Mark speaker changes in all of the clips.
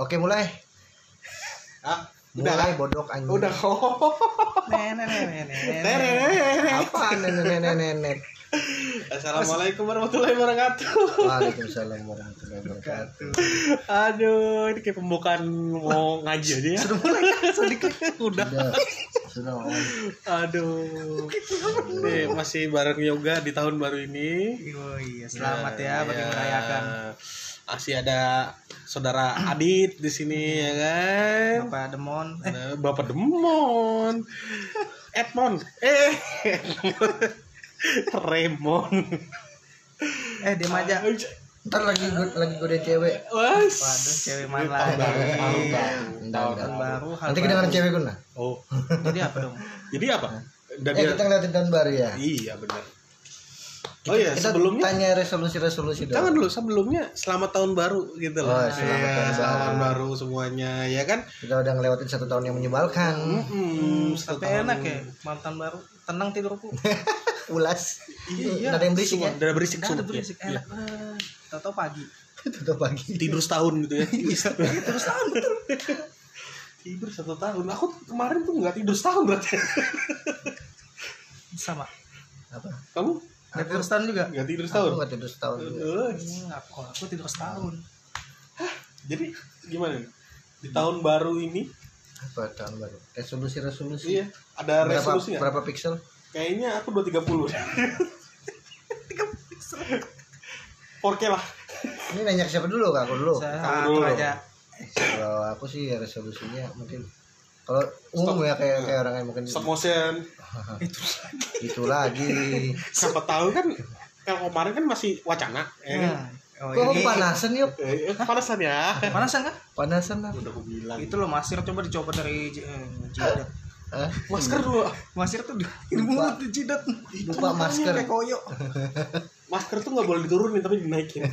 Speaker 1: Oke mulai.
Speaker 2: Ah, udah
Speaker 1: Mulai bodok anjing.
Speaker 2: udah kok.
Speaker 3: Nenek, nenek, nenek.
Speaker 2: Tererere.
Speaker 1: Apa nenek-nenek?
Speaker 2: Assalamualaikum warahmatullahi wabarakatuh.
Speaker 1: Waalaikumsalam warahmatullahi wabarakatuh.
Speaker 2: Aduh, ini kayak pembukaan mau ngaji aja ya.
Speaker 3: Sedikit udah.
Speaker 1: Sudah, sudah. Om.
Speaker 2: Aduh. Nih, masih bareng yoga di tahun baru ini.
Speaker 3: Oh iya, selamat ya bagi merayakan
Speaker 2: Masih ada saudara Adit di sini ya kan.
Speaker 3: Bapak Demon. Eh,
Speaker 2: Nah, Bapak Demon. Edmon. Eh. Remon.
Speaker 3: eh diam aja.
Speaker 1: Ntar lagi gue- lagi godain cewek.
Speaker 2: Wes.
Speaker 3: Waduh, cewek mana
Speaker 2: Ini tahun baru,
Speaker 3: lagi?
Speaker 2: tahun baru,
Speaker 1: Enggak,
Speaker 2: tahun
Speaker 1: enggak.
Speaker 3: Tahun
Speaker 2: baru.
Speaker 3: baru, hal
Speaker 1: Nanti
Speaker 3: baru.
Speaker 1: kedengeran cewek gue nah.
Speaker 2: Oh,
Speaker 3: Jadi Iya, apa dong?
Speaker 2: jadi apa? Dan
Speaker 1: Eh kita ngeliatin tahun baru ya.
Speaker 2: Iya benar. Oh iya,
Speaker 1: Kita
Speaker 2: sebelumnya
Speaker 1: tanya resolusi-resolusi dong.
Speaker 2: jangan dulu sebelumnya selamat tahun baru gitu loh.
Speaker 1: Oh, selamat
Speaker 2: Iya,
Speaker 1: tahun baru.
Speaker 2: selamat tahun baru semuanya ya kan?
Speaker 1: Kita udah ngelewatin satu tahun yang
Speaker 2: Hmm.
Speaker 1: menyebalkan.
Speaker 2: Mm-mm, satu
Speaker 3: Hmm. Tapi
Speaker 2: tahun.
Speaker 3: enak ya, malam tahun baru. Tenang tidurku.
Speaker 1: Ulas.
Speaker 2: Iya.
Speaker 1: Nggak ada yang berisik ya.
Speaker 2: Nggak ada berisik
Speaker 3: Nggak ada
Speaker 2: sumpah.
Speaker 3: berisik,
Speaker 2: Iya.
Speaker 3: enak. Ah, Tahu-tahu pagi.
Speaker 1: Tutup pagi.
Speaker 2: Tidur setahun gitu ya. tidur setahun. tidur satu tahun. Aku kemarin tuh nggak tidur setahun berarti.
Speaker 3: Sama.
Speaker 1: Apa?
Speaker 2: Kamu
Speaker 3: Nggak tidur setahun juga?
Speaker 2: nggak tidur
Speaker 1: Aku
Speaker 2: setahun?
Speaker 1: nggak tidur setahun. juga.
Speaker 2: Eh,
Speaker 3: Hmm, aku, aku tidur setahun.
Speaker 2: Jadi gimana nih? Di tahun baru ini
Speaker 1: Apa tahun baru? Resolusi-resolusi.
Speaker 2: iya ada
Speaker 1: Berapa,
Speaker 2: resolusi nggak?
Speaker 1: berapa piksel?
Speaker 2: Kayaknya aku 230.
Speaker 3: Saya
Speaker 2: 4K lah.
Speaker 1: Ini nanya ke siapa dulu? Kak aku dulu.
Speaker 3: atur
Speaker 2: Oh, dulu.
Speaker 3: aja.
Speaker 1: kalau aku sih ya resolusinya mungkin kalau umum ya kayak kayak orang yang mungkin
Speaker 2: Stop motion.
Speaker 1: itu lagi
Speaker 2: siapa tahu kan kalau kemarin kan masih wacana ya kan?
Speaker 3: Nah, oh,
Speaker 1: kok
Speaker 3: ini-
Speaker 1: panasan yuk
Speaker 2: Eh, eh, panasan ya
Speaker 3: Panasan kah?
Speaker 1: panasan lah
Speaker 2: udah aku bilang
Speaker 3: Itu loh masir coba dicoba dari j- eh, jidat.
Speaker 1: Hah?
Speaker 2: masker dulu
Speaker 3: Masir tuh ilmu tuh jidat.
Speaker 1: lupa masker
Speaker 3: Kayak koyo.
Speaker 2: masker tuh nggak boleh diturunin tapi dinaikin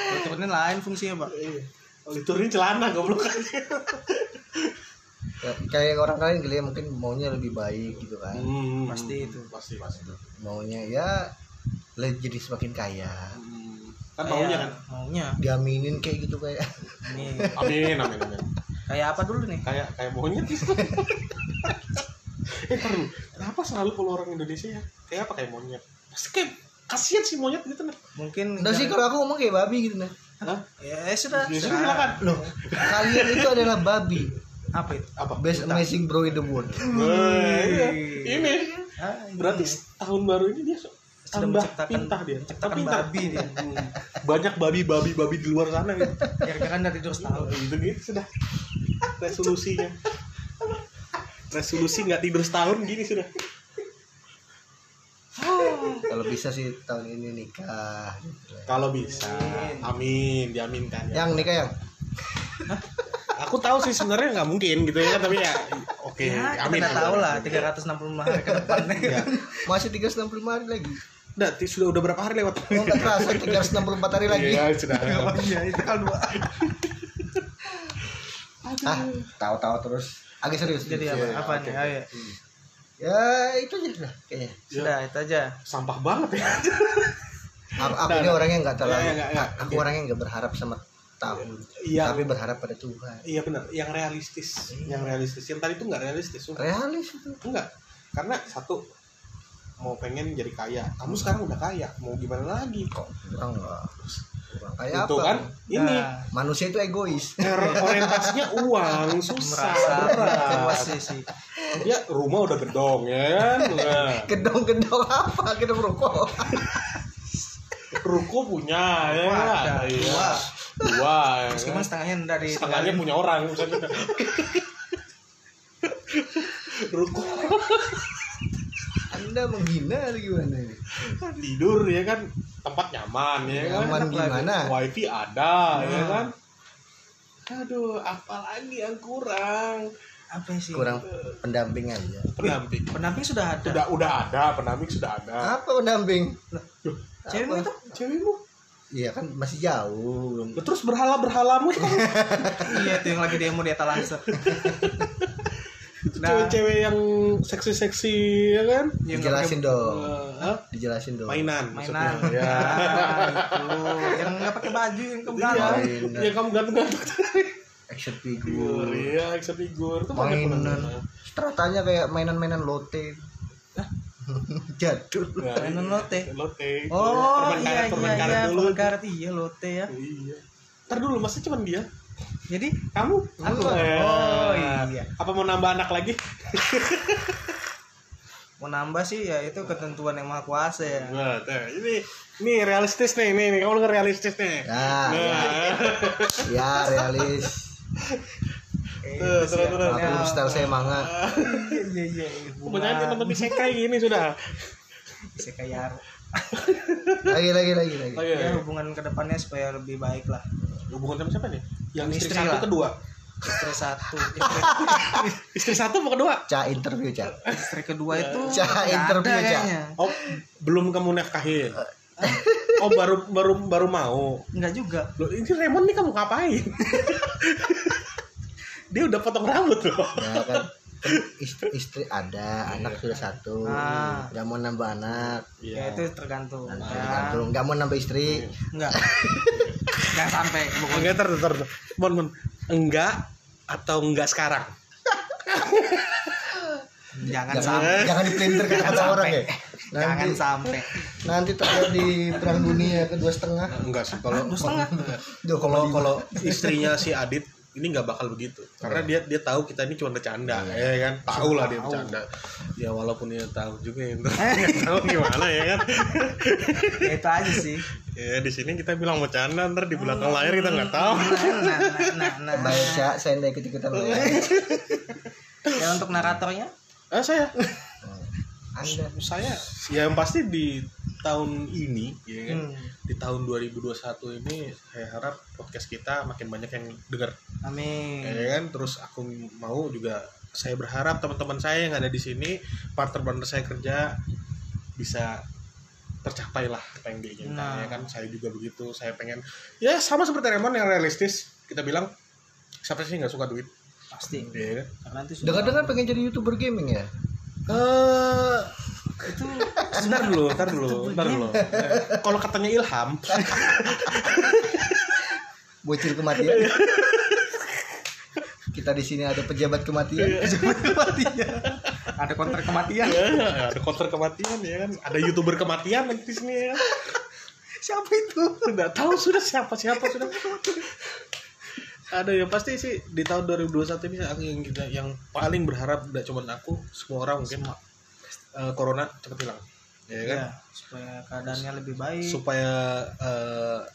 Speaker 3: Sebenarnya lain fungsinya, Pak.
Speaker 2: Eh, kalau diturunin celana goblok
Speaker 1: Ya, kayak orang lain kali ya mungkin maunya lebih baik gitu kan
Speaker 2: hmm,
Speaker 3: Pasti itu.
Speaker 2: pasti pasti
Speaker 1: maunya ya le- jadi semakin kaya
Speaker 2: Hmm, kan maunya kan
Speaker 3: Kayak- Iya, Maunya.
Speaker 1: diaminin kayak gitu kayak
Speaker 3: Ini
Speaker 2: amin amin amin
Speaker 3: kayak apa dulu nih?
Speaker 2: kayak kayak maunya eh ntar dulu. kenapa selalu kalau orang Indonesia ya kayak apa kayak monyet pasti kayak kasihan si monyet gitu nah
Speaker 3: Mungkin
Speaker 1: nah sih
Speaker 3: jangan-
Speaker 1: kalau aku ngomong kayak babi gitu nah
Speaker 2: Hah?
Speaker 3: Ya, sudah.
Speaker 2: Ya,
Speaker 3: sudah.
Speaker 2: silakan
Speaker 1: loh kalian itu adalah babi
Speaker 3: Apa itu?
Speaker 2: apa
Speaker 1: best amazing bro in the world
Speaker 2: Wah, iya. ini
Speaker 3: Ah, ini.
Speaker 2: Berarti tahun baru ini dia
Speaker 3: Sudah
Speaker 2: tambah
Speaker 3: menciptakan-
Speaker 2: pintar dia.
Speaker 3: menciptakan
Speaker 2: Pintar.
Speaker 3: babi dia.
Speaker 2: Hmm. Banyak babi-babi-babi di luar sana gitu.
Speaker 3: kira-kira dari tidur setahun.
Speaker 2: gitu gitu sudah. Resolusinya. Resolusi nggak tidur setahun gini sudah.
Speaker 1: kalau bisa sih tahun ini nikah gitu.
Speaker 3: Ya.
Speaker 2: Kalau bisa. Amin, diaminkan ya.
Speaker 1: yang nikah yang
Speaker 2: Aku tahu sih sebenarnya nggak mungkin gitu ya, tapi ya oke,
Speaker 3: Ya, kita
Speaker 2: amin.
Speaker 3: nggak tahu lah 365 hari ke depan.
Speaker 2: Ya.
Speaker 1: masih 365 hari lagi
Speaker 2: Udah, ti- sudah udah berapa hari lewat?
Speaker 1: Oh, nggak terasa 364 hari lagi.
Speaker 2: Iya, sudah.
Speaker 3: Oh iya, itu kan dua.
Speaker 1: Ah, tahu-tahu terus. Agak serius.
Speaker 3: Jadi
Speaker 1: ya.
Speaker 3: apa? Apa nih? Ayo.
Speaker 1: Ya, itu aja lah kayaknya.
Speaker 3: Sudah, itu aja.
Speaker 2: Sampah banget ya.
Speaker 1: Aku, aku
Speaker 2: Nah,
Speaker 1: ini orangnya nggak terlalu.
Speaker 2: Ya, ya, ya, ya.
Speaker 1: Aku orangnya nggak berharap sama tahun.
Speaker 2: Iya.
Speaker 1: Tapi berharap pada Tuhan.
Speaker 2: Iya benar, yang realistis, yang realistis. Yang tadi itu nggak realistis, sumpah.
Speaker 1: Realis itu.
Speaker 2: enggak. Karena satu mau pengen jadi kaya, kamu sekarang udah kaya, mau gimana lagi?
Speaker 1: Kok kurang lah. Kurang kayak
Speaker 2: Itu
Speaker 1: apa?
Speaker 2: kan nah. ini
Speaker 3: Nah,
Speaker 1: Manusia itu egois.
Speaker 2: or- orientasinya uang susah
Speaker 3: merasa puas
Speaker 2: berat.
Speaker 3: sih sih.
Speaker 2: Ya rumah udah gedong ya kan? Nah,
Speaker 1: Gedong-gedong apa? Gedong rokok.
Speaker 2: ruko punya ya
Speaker 3: Wah,
Speaker 2: kan?
Speaker 3: ada.
Speaker 2: Iya.
Speaker 3: Wah.
Speaker 2: Dua. ya
Speaker 3: Meskipun
Speaker 2: kan?
Speaker 3: setengahnya dari
Speaker 2: Setengahnya punya orang misalnya. ruko
Speaker 1: Anda menghina atau gimana ini?
Speaker 2: tidur ya kan tempat nyaman ya kan
Speaker 1: Nyaman
Speaker 2: Enak lagi.
Speaker 1: gimana?
Speaker 2: wifi ada ya
Speaker 3: Nah.
Speaker 2: kan aduh apalagi yang kurang
Speaker 3: apa sih?
Speaker 1: Kurang pendamping aja.
Speaker 2: pendamping
Speaker 3: Pendamping sudah ada.
Speaker 2: udah udah ada pendamping sudah ada
Speaker 1: Apa pendamping?
Speaker 3: Cewek itu?
Speaker 2: cewekmu
Speaker 1: Iya kan masih jauh belum
Speaker 2: Loh, Ya, terus kan
Speaker 3: Nah.
Speaker 2: berhala berhalamu itu
Speaker 3: Iya, itu yang lagi demo di etalase. Nah.
Speaker 2: cewek-cewek yang seksi-seksi ya kan?
Speaker 3: Yang
Speaker 1: Dijelasin dong.
Speaker 2: Eh, hah?
Speaker 1: Dijelasin dong.
Speaker 2: mainan.
Speaker 3: pakai mainan.
Speaker 2: maksudnya.
Speaker 3: Ya,
Speaker 2: Ya.
Speaker 3: itu. Yang nggak pakai baju yang
Speaker 2: Iya.
Speaker 3: kebelakang.
Speaker 1: Mainan.
Speaker 2: Ya kamu ganteng-ganteng tadi.
Speaker 1: Action
Speaker 2: Iya,
Speaker 1: figure.
Speaker 2: Iya, action figure. Itu banyak
Speaker 1: Mainan.
Speaker 2: banget.
Speaker 1: Stratanya kayak mainan-mainan lote. Jadul.
Speaker 2: Ya,
Speaker 3: Mainan
Speaker 2: iya.
Speaker 3: lote.
Speaker 2: Lote. itu.
Speaker 3: Oh
Speaker 2: Permen
Speaker 3: iya
Speaker 2: karet, permen
Speaker 3: iya
Speaker 2: karet
Speaker 3: iya
Speaker 2: dulu.
Speaker 3: permen karet iya lote ya.
Speaker 2: Iya. Ntar dulu, masih cuman dia?
Speaker 3: Jadi
Speaker 2: Kamu?
Speaker 3: Aku.
Speaker 2: Eh.
Speaker 3: Oh, iya.
Speaker 2: Apa mau nambah anak lagi?
Speaker 3: mau nambah sih ya itu ketentuan yang maha kuasa ya.
Speaker 2: Wah, tuh. ini ini realistis nih, nih, nih. kamu denger realistis nih.
Speaker 1: Nah, ya, ya realis.
Speaker 3: Eh,
Speaker 2: Tuh,
Speaker 3: itu sih
Speaker 2: terus,
Speaker 3: ya.
Speaker 2: terus.
Speaker 1: Aku style saya manga.
Speaker 3: Iya iya iya.
Speaker 2: Kebanyakan yang nonton isekai gini sudah.
Speaker 3: Bisa kayak
Speaker 1: Lagi lagi lagi lagi.
Speaker 2: Oke.
Speaker 3: ya hubungan kedepannya supaya lebih baik lah.
Speaker 2: Hubungan sama siapa nih? Yang istri,
Speaker 3: Istri
Speaker 2: satu
Speaker 3: lah.
Speaker 2: kedua.
Speaker 3: Istri satu, istri,
Speaker 2: Istri satu apa kedua?
Speaker 1: Ca interview, Ca.
Speaker 3: istri kedua itu
Speaker 1: Iya. Cah,
Speaker 3: nggak ada
Speaker 1: interview, Cah.
Speaker 3: kayaknya.
Speaker 2: Oh, belum kamu nafkahin. Oh, baru baru baru mau.
Speaker 3: Enggak juga.
Speaker 2: Loh, ini Raymond nih kamu ngapain? Dia udah potong rambut loh.
Speaker 1: Ya kan. Istri, istri ada, anak sudah satu.
Speaker 3: Ah.
Speaker 1: Nggak mau nambah anak.
Speaker 3: Ya, itu tergantung. Ya.
Speaker 1: Iya. Tergantung. Nggak mau nambah istri.
Speaker 3: Enggak. Enggak sampai pokoknya.
Speaker 2: Enggak ter ter. ter. Mon, mon. Enggak atau enggak sekarang?
Speaker 3: Jangan sampai.
Speaker 1: Jangan, jangan dipelintir kan kata orang ya. Nanti,
Speaker 3: Jangan sampai.
Speaker 1: nanti terjadi perang dunia kedua setengah.
Speaker 2: Enggak sih
Speaker 1: Kalau
Speaker 3: Dua setengah.
Speaker 1: Duh,
Speaker 2: kalau
Speaker 1: kalau
Speaker 2: kalau istrinya si Adit ini nggak bakal begitu karena dia dia tahu kita ini cuma bercanda ya kan Iya. tahu lah dia
Speaker 3: Tahu.
Speaker 2: bercanda ya walaupun dia tahu juga ya
Speaker 3: Eh.
Speaker 2: nggak tahu gimana ya kan
Speaker 3: Ya, itu aja sih.
Speaker 2: ya di sini kita bilang bercanda ntar di
Speaker 3: Oh.
Speaker 2: belakang layar kita nggak tahu
Speaker 3: Nah, nah, nah, nah.
Speaker 1: baik Ca, saya ndak ikut ikutan lo ya.
Speaker 3: Ya untuk naratornya
Speaker 2: ah saya
Speaker 1: Anda
Speaker 2: saya ya yang pasti di tahun ini ya
Speaker 1: Iya.
Speaker 2: kan
Speaker 3: Hmm.
Speaker 2: di tahun 2021 ini saya harap podcast kita makin banyak yang dengar
Speaker 3: Amin.
Speaker 2: ya kan terus aku mau juga saya berharap teman-teman saya yang ada di sini partner-partner saya kerja bisa tercapai lah apa yang diinginkan
Speaker 3: Nah.
Speaker 2: ya kan saya juga begitu saya pengen ya sama seperti Raymond yang realistis kita bilang siapa sih nggak suka duit
Speaker 3: Pasti.
Speaker 2: ya kan
Speaker 3: Karena itu sudah-
Speaker 1: dengar-dengar pengen jadi youtuber gaming ya?
Speaker 2: Eh,
Speaker 3: itu
Speaker 2: ntar dulu, ntar dulu, ntar dulu. Eh, Kalau katanya Ilham,
Speaker 1: Bocil kematian. Kita di sini ada pejabat kematian.
Speaker 3: ada konter kematian.
Speaker 2: ya, ada konter kematian ya kan, ada youtuber kematian nanti di sini ya.
Speaker 3: Siapa itu?
Speaker 2: Nggak tahu sudah siapa siapa sudah. Ada yang pasti sih di tahun 2021 ini aku yang kita yang paling berharap tidak cuma aku, semua orang mungkin eh, corona cepat hilang. Ya kan?
Speaker 3: Ya, supaya keadaannya lebih baik.
Speaker 2: supaya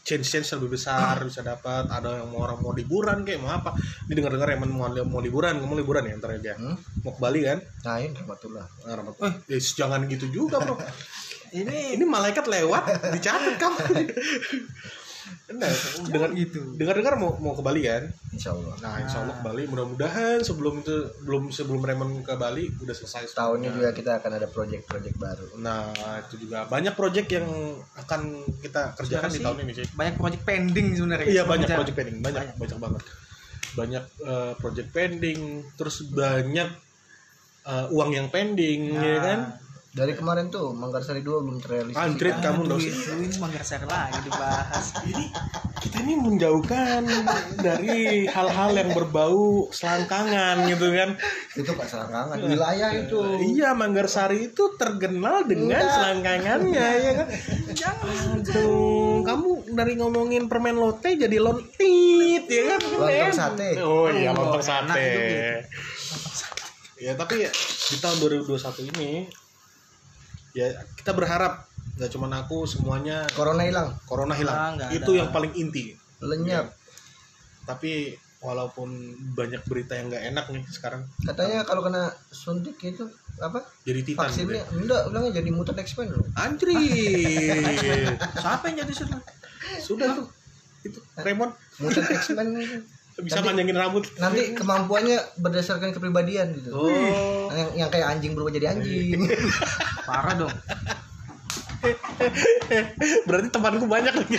Speaker 2: change change lebih besar bisa dapat ada yang mau orang mau liburan kayak mau apa ini dengar dengar yang mau mau liburan kamu liburan ya ntar dia
Speaker 1: Hmm?
Speaker 2: mau ke Bali kan
Speaker 1: Nah, ini rahmatullah.
Speaker 2: Ah, Rahmat. Eh, jangan gitu juga bro
Speaker 3: Ini
Speaker 2: ini malaikat lewat dicatat kamu Nah, dengar
Speaker 3: gitu.
Speaker 2: dengar dengar mau mau ke Bali kan
Speaker 1: Insya Allah.
Speaker 2: nah insya Allah ke Bali mudah-mudahan sebelum itu belum sebelum Raymond ke Bali udah selesai
Speaker 1: Tahun ini
Speaker 2: semuanya.
Speaker 1: juga kita akan ada project-project baru.
Speaker 2: nah itu juga banyak proyek yang akan kita kerjakan kan di
Speaker 3: sih?
Speaker 2: tahun ini sih
Speaker 3: Banyak project pending sebenarnya.
Speaker 2: Iya banyak
Speaker 3: Kerja.
Speaker 2: project pending, banyak banyak, banget. Banyak eh, project pending, terus banyak eh, uang yang pending, ya
Speaker 3: Nah,
Speaker 2: kan?
Speaker 1: Dari kemarin tuh Manggarsari 2 belum terrealisasi.
Speaker 2: Antri
Speaker 3: ah,
Speaker 2: kamu dong.
Speaker 3: duit, duit manggarsar lagi dibahas.
Speaker 2: Kita ini menjauhkan dari hal-hal yang berbau selangkangan gitu kan?
Speaker 1: Itu Pak Selangkangan wilayah itu.
Speaker 2: Iya Manggarsari itu terkenal dengan selangkangannya ya kan? Aduh, kamu dari ngomongin permen lote jadi lontit ya kan?
Speaker 1: Lontong sate.
Speaker 2: Oh iya
Speaker 3: Oh,
Speaker 2: lontong
Speaker 3: enak
Speaker 2: sate.
Speaker 3: itu, Bi.
Speaker 2: Ya tapi ya, di tahun 2021 ini ya kita berharap nggak cuma aku semuanya
Speaker 1: Corona hilang,
Speaker 2: corona
Speaker 3: Ah,
Speaker 2: hilang.
Speaker 3: nggak
Speaker 2: itu
Speaker 3: ada.
Speaker 2: yang paling inti.
Speaker 1: lenyap.
Speaker 2: Tapi walaupun banyak berita yang nggak enak nih sekarang
Speaker 1: Katanya kalau kena suntik itu apa?
Speaker 2: jadi titan gitu
Speaker 1: Vaksinnya
Speaker 2: ya.
Speaker 1: enggak, bilangnya jadi mutant X-Men loh.
Speaker 2: Anjir.
Speaker 3: Siapa yang jadi sudah?
Speaker 2: Sudah tuh. Itu Raymond
Speaker 1: Mutant X-Men itu.
Speaker 2: bisa
Speaker 1: Nanti-
Speaker 2: panjangin rambut.
Speaker 1: Nanti kemampuannya berdasarkan kepribadian gitu.
Speaker 2: Oh.
Speaker 1: Yang, yang kayak anjing berubah jadi anjing.
Speaker 3: Parah dong.
Speaker 2: Berarti temanku banyak lagi.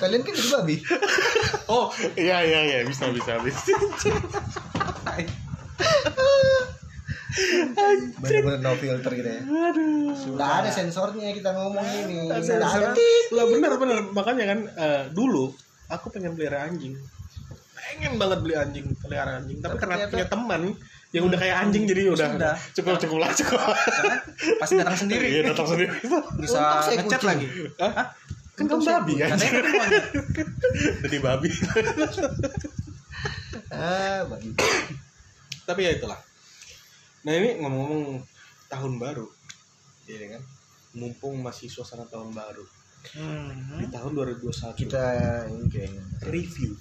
Speaker 1: Kalian kan jadi babi.
Speaker 2: oh iya iya iya bisa bisa bisa
Speaker 1: Bener-bener no filter gitu ya.
Speaker 2: aduh
Speaker 1: Nggak ada sensornya kita ngomong ini.
Speaker 2: Ada
Speaker 1: Nggak ada.
Speaker 2: sensor- lah bener bener makanya kan eh, dulu aku pengen pelihara anjing pengen banget beli anjing pelihara anjing tapi,
Speaker 1: Tapi
Speaker 2: karena
Speaker 1: ternyata-
Speaker 2: punya teman yang udah kayak anjing jadi udah
Speaker 3: Sudah.
Speaker 2: cukup cukup lah cukup
Speaker 3: Karena pasti datang
Speaker 2: Iya,
Speaker 3: sendiri
Speaker 2: datang sendiri
Speaker 3: bisa
Speaker 1: Untung saya
Speaker 3: ngechat
Speaker 1: kucing.
Speaker 3: lagi
Speaker 2: Hah? kan kamu babi ya
Speaker 3: Katanya kan emang
Speaker 2: jadi babi
Speaker 1: Ah, bagi.
Speaker 2: tapi ya itulah nah ini ngomong-ngomong tahun baru iya kan mumpung masih suasana tahun baru
Speaker 3: Hmm.
Speaker 2: di tahun 2021
Speaker 1: Kita ini kayaknya.
Speaker 2: review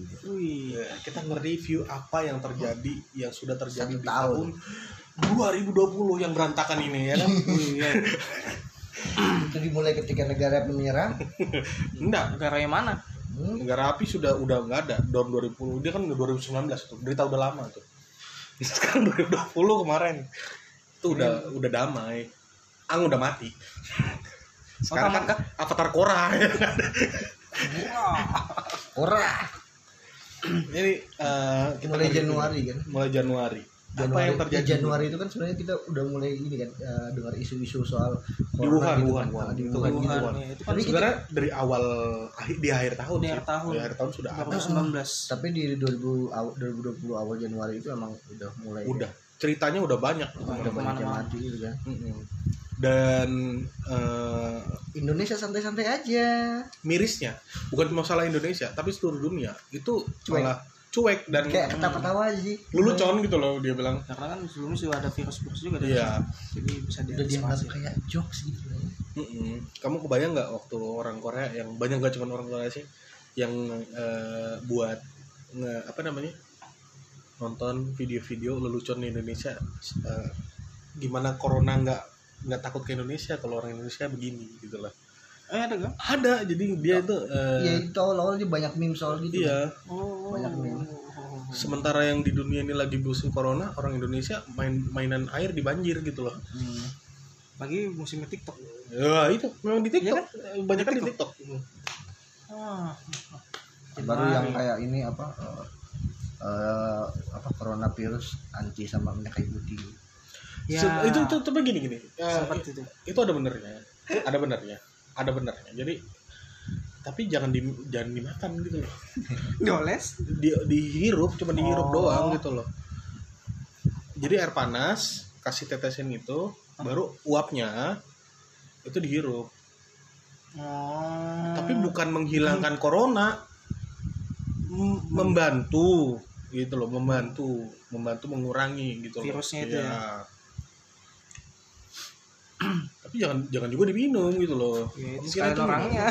Speaker 2: Iya. Wih, kita nge-review apa yang terjadi yang sudah terjadi
Speaker 1: Satu
Speaker 2: di
Speaker 1: tahun.
Speaker 2: tahun 2020 yang berantakan ini ya kan? Iya.
Speaker 1: Itu dimulai ketika negara menyerang.
Speaker 3: enggak negaranya mana
Speaker 1: Hmm.
Speaker 2: Negara api sudah udah nggak ada tahun 2020 dia kan udah 2019 tuh berita udah lama tuh sekarang 2020 kemarin itu udah udah damai ang udah mati sekarang kan
Speaker 3: Otak-otak.
Speaker 2: avatar Korra ya kan?
Speaker 1: Ora.
Speaker 2: ini eh, kita
Speaker 1: Mulai
Speaker 2: nge-review.
Speaker 1: Januari kan.
Speaker 2: mulai Januari apa
Speaker 1: Januari,
Speaker 2: yang terjadi
Speaker 1: di Januari itu kan sebenarnya kita udah mulai ini kan eh, dengar isu-isu soal
Speaker 2: di Wuhan,
Speaker 1: gitu
Speaker 2: Wuhan,
Speaker 1: kan.
Speaker 2: Wuhan,
Speaker 1: Ah, di
Speaker 2: itu
Speaker 1: Wuhan,
Speaker 2: kan
Speaker 1: gitu.
Speaker 2: Wuhan.
Speaker 3: ya, itu kan
Speaker 2: Tapi
Speaker 1: Tapi kita-
Speaker 2: sebenarnya dari awal akhir- di akhir tahun,
Speaker 3: Di
Speaker 2: sih.
Speaker 3: akhir tahun.
Speaker 2: di akhir tahun sudah ada.
Speaker 3: 2019
Speaker 1: Tapi di 2000 aw- 2020 awal Januari itu emang udah mulai
Speaker 2: udah ceritanya udah banyak.
Speaker 1: udah banyak yang
Speaker 3: Kemana-mana.
Speaker 1: mati gitu kan.
Speaker 2: Mm-mm. Dan eh,
Speaker 1: Indonesia santai-santai aja.
Speaker 2: mirisnya bukan masalah Indonesia, tapi seluruh dunia itu
Speaker 1: Cuek.
Speaker 2: malah cuek dan
Speaker 1: Kayak ketawa-ketawa aja sih.
Speaker 2: lelucon gitu loh dia bilang.
Speaker 3: karena kan sebelumnya sudah ada virus-virus juga dari
Speaker 2: Iya.
Speaker 3: jadi bisa
Speaker 1: Udah dianggap
Speaker 3: diantisipasi
Speaker 1: kayak jokes gitu. ya.
Speaker 2: Mm-mm. Kamu kebayang nggak waktu orang Korea yang banyak gak cuma orang Korea sih yang eh, buat nge- apa namanya nonton video-video lelucon di Indonesia eh, gimana corona nggak nggak takut ke Indonesia kalau orang Indonesia begini gitu lah
Speaker 3: eh ada gak?
Speaker 2: ada jadi dia itu eh,
Speaker 1: Iya itu awal-awal dia banyak meme soal gitu.
Speaker 2: iya
Speaker 3: oh
Speaker 1: Banyak nih.
Speaker 2: sementara yang di dunia ini lagi musim corona orang Indonesia main mainan air di banjir gitu loh
Speaker 3: Hmm. lagi musimnya tiktok
Speaker 2: ya itu memang di TikTok
Speaker 3: Iya
Speaker 2: banyak kan di
Speaker 3: Di
Speaker 2: TikTok
Speaker 3: ah.
Speaker 1: Baru
Speaker 3: Januari.
Speaker 1: yang kayak ini apa eh, eh, apa coronavirus anti sama minyak kayu putih.
Speaker 3: ya,
Speaker 2: Se- itu itu tapi gini gini Eh,
Speaker 3: sempat itu
Speaker 2: itu ada benernya ada benernya ada benernya jadi tapi jangan di jangan dimakan gitu loh
Speaker 3: doles
Speaker 2: di, dihirup cuma dihirup
Speaker 3: Oh.
Speaker 2: doang gitu loh jadi air panas kasih tetesin itu baru uapnya itu dihirup
Speaker 3: oh.
Speaker 2: tapi bukan menghilangkan
Speaker 3: Hmm.
Speaker 2: corona m- membantu gitu loh membantu membantu mengurangi gitu loh
Speaker 3: Virusnya itu ya.
Speaker 2: tapi jangan jangan juga diminum gitu loh
Speaker 3: ya, itu
Speaker 2: Mungkin
Speaker 3: sekalian
Speaker 2: itu-
Speaker 3: orangnya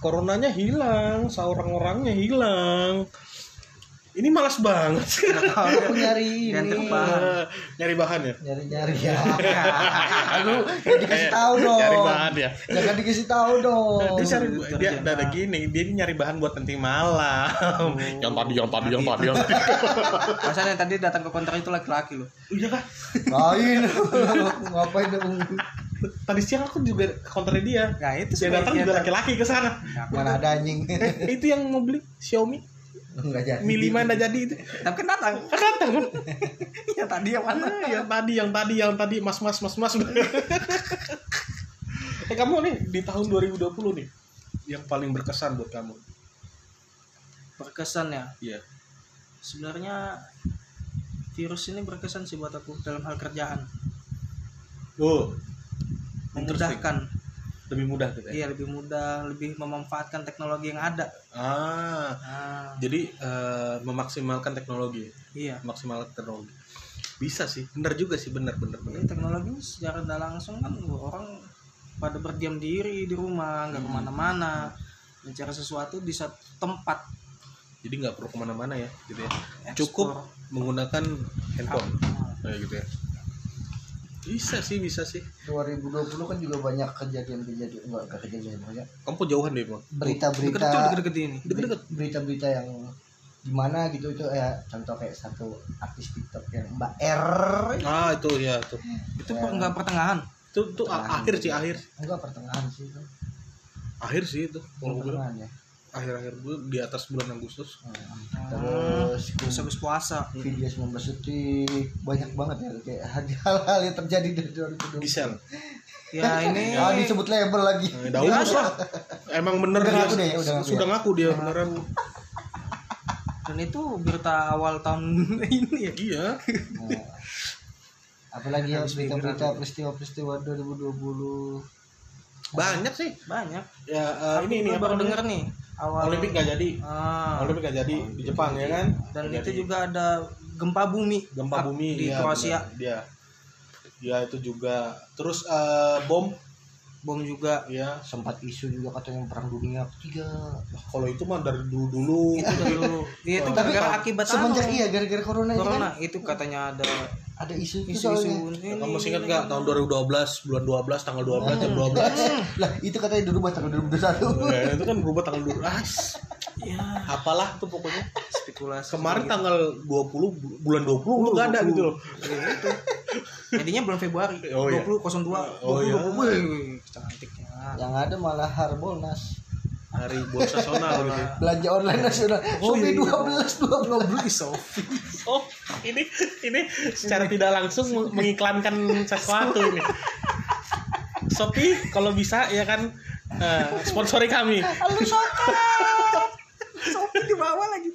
Speaker 2: coronanya hilang, seorang-orangnya hilang. Ini malas banget sih.
Speaker 1: Aku nyari
Speaker 3: Ganti
Speaker 1: ini.
Speaker 3: kepala. Bahan.
Speaker 2: Nyari bahan ya? Eh,
Speaker 1: Nyari-nyari ya.
Speaker 3: Nah,
Speaker 1: Aduh, nggak dikasih tahu dong.
Speaker 2: Nyari bahan ya.
Speaker 1: Jangan dikasih tahu dong.
Speaker 2: dia cari
Speaker 3: Oh, itu
Speaker 2: dia
Speaker 3: ternyata.
Speaker 2: ada gini, dia nyari bahan buat nanti
Speaker 3: Oh.
Speaker 2: malam. yang tadi, yang tadi, yang tadi, yang tadi.
Speaker 3: Masa yang tadi datang ke konter itu laki-laki loh.
Speaker 2: Iya kan?
Speaker 1: Lain. Ngapain dong?
Speaker 2: Tadi siang aku juga ke konternya dia.
Speaker 3: Nah itu
Speaker 2: Dia datang
Speaker 3: sebaiknya Nah,
Speaker 2: juga
Speaker 3: ter-
Speaker 2: laki-laki ke sana.
Speaker 1: Mana ada anjing.
Speaker 2: Eh, itu yang mau beli Xiaomi
Speaker 1: Enggak jadi.
Speaker 2: Mi 5 nggak jadi itu.
Speaker 3: Tapi kan datang.
Speaker 2: Datang kan?
Speaker 3: Iya tadi yang mana?
Speaker 2: Ah, yang tadi, yang tadi, yang tadi, mas, mas, mas, mas. eh kamu nih di tahun 2020 nih, yang paling berkesan buat kamu?
Speaker 3: Berkesan ya.
Speaker 2: Iya.
Speaker 3: Sebenarnya virus ini berkesan sih buat aku dalam hal kerjaan.
Speaker 2: Oh, interesting.
Speaker 3: Memudahkan.
Speaker 2: Lebih mudah gitu ya.
Speaker 3: Iya lebih mudah, lebih memanfaatkan teknologi yang ada.
Speaker 2: Ah,
Speaker 3: Ah,
Speaker 2: jadi eh, memaksimalkan teknologi,
Speaker 3: iya.
Speaker 2: maksimal teknologi. Bisa sih, benar juga sih, benar, benar, benar.
Speaker 3: Jadi teknologi ini secara tidak langsung kan orang pada berdiam diri di rumah,
Speaker 2: Hmm.
Speaker 3: nggak kemana-mana, mencari sesuatu di satu tempat.
Speaker 2: Jadi nggak perlu kemana-mana ya, gitu ya.
Speaker 3: Ekspor.
Speaker 2: Cukup menggunakan handphone,
Speaker 3: Ah,
Speaker 2: kayak gitu ya. Bisa sih, bisa sih.
Speaker 1: 2020 kan juga banyak kejadian-kejadian enggak enggak kejadian banyak
Speaker 2: Kamu jauhan deh, Bang.
Speaker 1: berita-berita
Speaker 3: Deket-deket deket-deket ini.
Speaker 2: Deket-deket.
Speaker 1: berita-berita yang gimana gitu itu ya contoh kayak satu artis TikTok yang Mbak R
Speaker 2: Ah, itu ya, tuh.
Speaker 3: Itu per- nggak pertengahan.
Speaker 2: itu tuh a-
Speaker 1: Pertengahan.
Speaker 2: akhir sih akhir
Speaker 1: enggak pertengahan sih itu
Speaker 3: Oh,
Speaker 2: akhir sih itu kalau gue bilang.
Speaker 1: pertengahan ya
Speaker 2: akhir-akhir bulan di atas bulan Agustus
Speaker 3: Ah.
Speaker 1: terus
Speaker 3: terus habis puasa
Speaker 1: video 19 detik banyak banget ya kayak hal-hal yang terjadi dari 2020
Speaker 2: Gisel
Speaker 3: ya
Speaker 2: Kan
Speaker 3: ini
Speaker 1: Ah, disebut label lagi Iya,
Speaker 2: Eh, Daus lah emang
Speaker 1: Udah
Speaker 2: bener dia
Speaker 1: ngaku deh, udah
Speaker 2: sudah,
Speaker 1: ngaku ya.
Speaker 2: ngaku dia beneran
Speaker 3: dan itu berita awal tahun ini ya
Speaker 2: iya
Speaker 1: Nah, apalagi ya
Speaker 3: Harus
Speaker 1: berita-berita peristiwa-peristiwa 2020
Speaker 2: banyak sih
Speaker 3: banyak
Speaker 2: ya eh,
Speaker 3: Tapi
Speaker 2: ini ini
Speaker 3: gue
Speaker 2: apa
Speaker 3: baru
Speaker 2: namanya?
Speaker 3: denger nih awal
Speaker 2: Olimpik nggak jadi
Speaker 3: Ah,
Speaker 2: Olimpik nggak jadi di Jepang ya kan
Speaker 3: dan
Speaker 2: Nggak
Speaker 3: itu
Speaker 2: jadi.
Speaker 3: juga ada gempa bumi
Speaker 2: gempa
Speaker 3: Kak,
Speaker 2: bumi
Speaker 3: di
Speaker 2: iya,
Speaker 3: Kroasia
Speaker 2: benar. dia ya itu juga terus eh, bom
Speaker 3: bom juga
Speaker 2: ya
Speaker 1: sempat isu juga katanya perang dunia ketiga
Speaker 2: Wah, kalau itu mah dari dulu dulu
Speaker 3: itu dulu ya, itu
Speaker 2: Oh,
Speaker 3: gara-gara
Speaker 1: kalau-
Speaker 3: akibat
Speaker 1: semenjak
Speaker 3: anu,
Speaker 1: iya gara-gara corona, itu
Speaker 3: corona
Speaker 1: kan
Speaker 3: itu katanya ada
Speaker 1: ada isu itu soalnya.
Speaker 3: isu-isu ini
Speaker 2: kamu masih ingat nggak tahun 2012 bulan 12 tanggal 12 jam 12
Speaker 3: Hmm.
Speaker 1: lah itu katanya di rumah tanggal 2021
Speaker 2: Ya, itu kan berubah tanggal 12 As,
Speaker 3: ya
Speaker 2: apalah tuh pokoknya
Speaker 3: spekulasi
Speaker 2: kemarin
Speaker 3: gitu.
Speaker 2: tanggal 20 bu- bulan 20 lu nggak ada gitu loh
Speaker 3: Ya, itu jadinya bulan Februari
Speaker 2: Oh, iya.
Speaker 3: 2002
Speaker 2: Oh, iya.
Speaker 3: 2020. Wih, wih, cantiknya
Speaker 1: yang ada malah harbolnas
Speaker 2: hari bonsasional gitu
Speaker 1: belanja online nasional
Speaker 2: Oh,
Speaker 1: Shopee 12 12
Speaker 2: iya.
Speaker 3: lo beli Sofi
Speaker 2: oh ini ini secara tidak langsung meng- mengiklankan sesuatu ini Shopee kalau bisa ya kan eh, sponsori kami
Speaker 3: halo Sokat Sofi di bawah lagi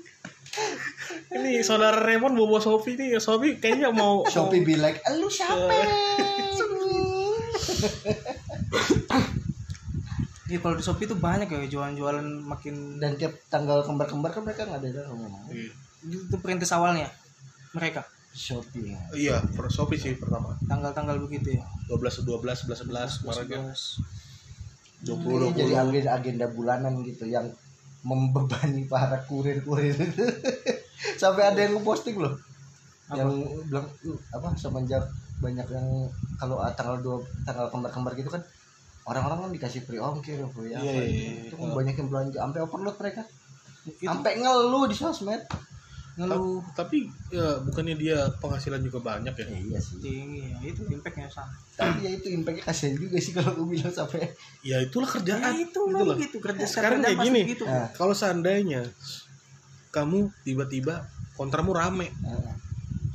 Speaker 2: ini saudara Raymond bobo Shopee nih Shopee kayaknya mau
Speaker 1: Shopee be like lu siapa
Speaker 3: Iya kalau di Shopee tuh banyak ya jualan-jualan makin
Speaker 1: dan tiap tanggal kembar-kembar kan mereka nggak ada yang ngomong
Speaker 3: itu perintis awalnya mereka
Speaker 1: Shopee ya.
Speaker 2: iya per- Shopee sih pertama
Speaker 3: tanggal-tanggal begitu ya
Speaker 2: 12 12 11 11 kemarin kan
Speaker 1: Ini
Speaker 2: 20
Speaker 3: 11.
Speaker 1: Iya, jadi
Speaker 2: 20
Speaker 1: agenda agenda bulanan gitu yang membebani para kurir-kurir itu sampai ada yang posting loh
Speaker 3: Apa?
Speaker 1: yang bilang "Uh, apa semenjak banyak yang kalau ah, tanggal dua tanggal kembar-kembar gitu kan orang-orang kan dikasih free ongkir bro ya
Speaker 2: Iya,
Speaker 1: apa
Speaker 2: iya,
Speaker 1: itu.
Speaker 2: iya.
Speaker 1: itu kan banyak yang belanja sampai overload mereka
Speaker 3: Itu
Speaker 1: sampai ngeluh di sosmed
Speaker 3: ngeluh
Speaker 2: tapi ya, bukannya dia penghasilan juga banyak ya
Speaker 1: Ya, iya sih
Speaker 3: tinggi ya itu impactnya sama
Speaker 1: tapi ya itu impactnya kasihan juga sih kalau gue bilang sampai
Speaker 2: ya itulah
Speaker 3: ya
Speaker 2: kerjaan
Speaker 3: itu
Speaker 2: gitu
Speaker 3: memang
Speaker 2: loh.
Speaker 3: gitu kerja
Speaker 2: Sekarang
Speaker 3: kerja
Speaker 2: kayak
Speaker 3: pasti
Speaker 2: gini. Ah.
Speaker 3: gitu.
Speaker 1: Nah.
Speaker 2: kalau seandainya kamu tiba-tiba kontramu rame
Speaker 1: eh,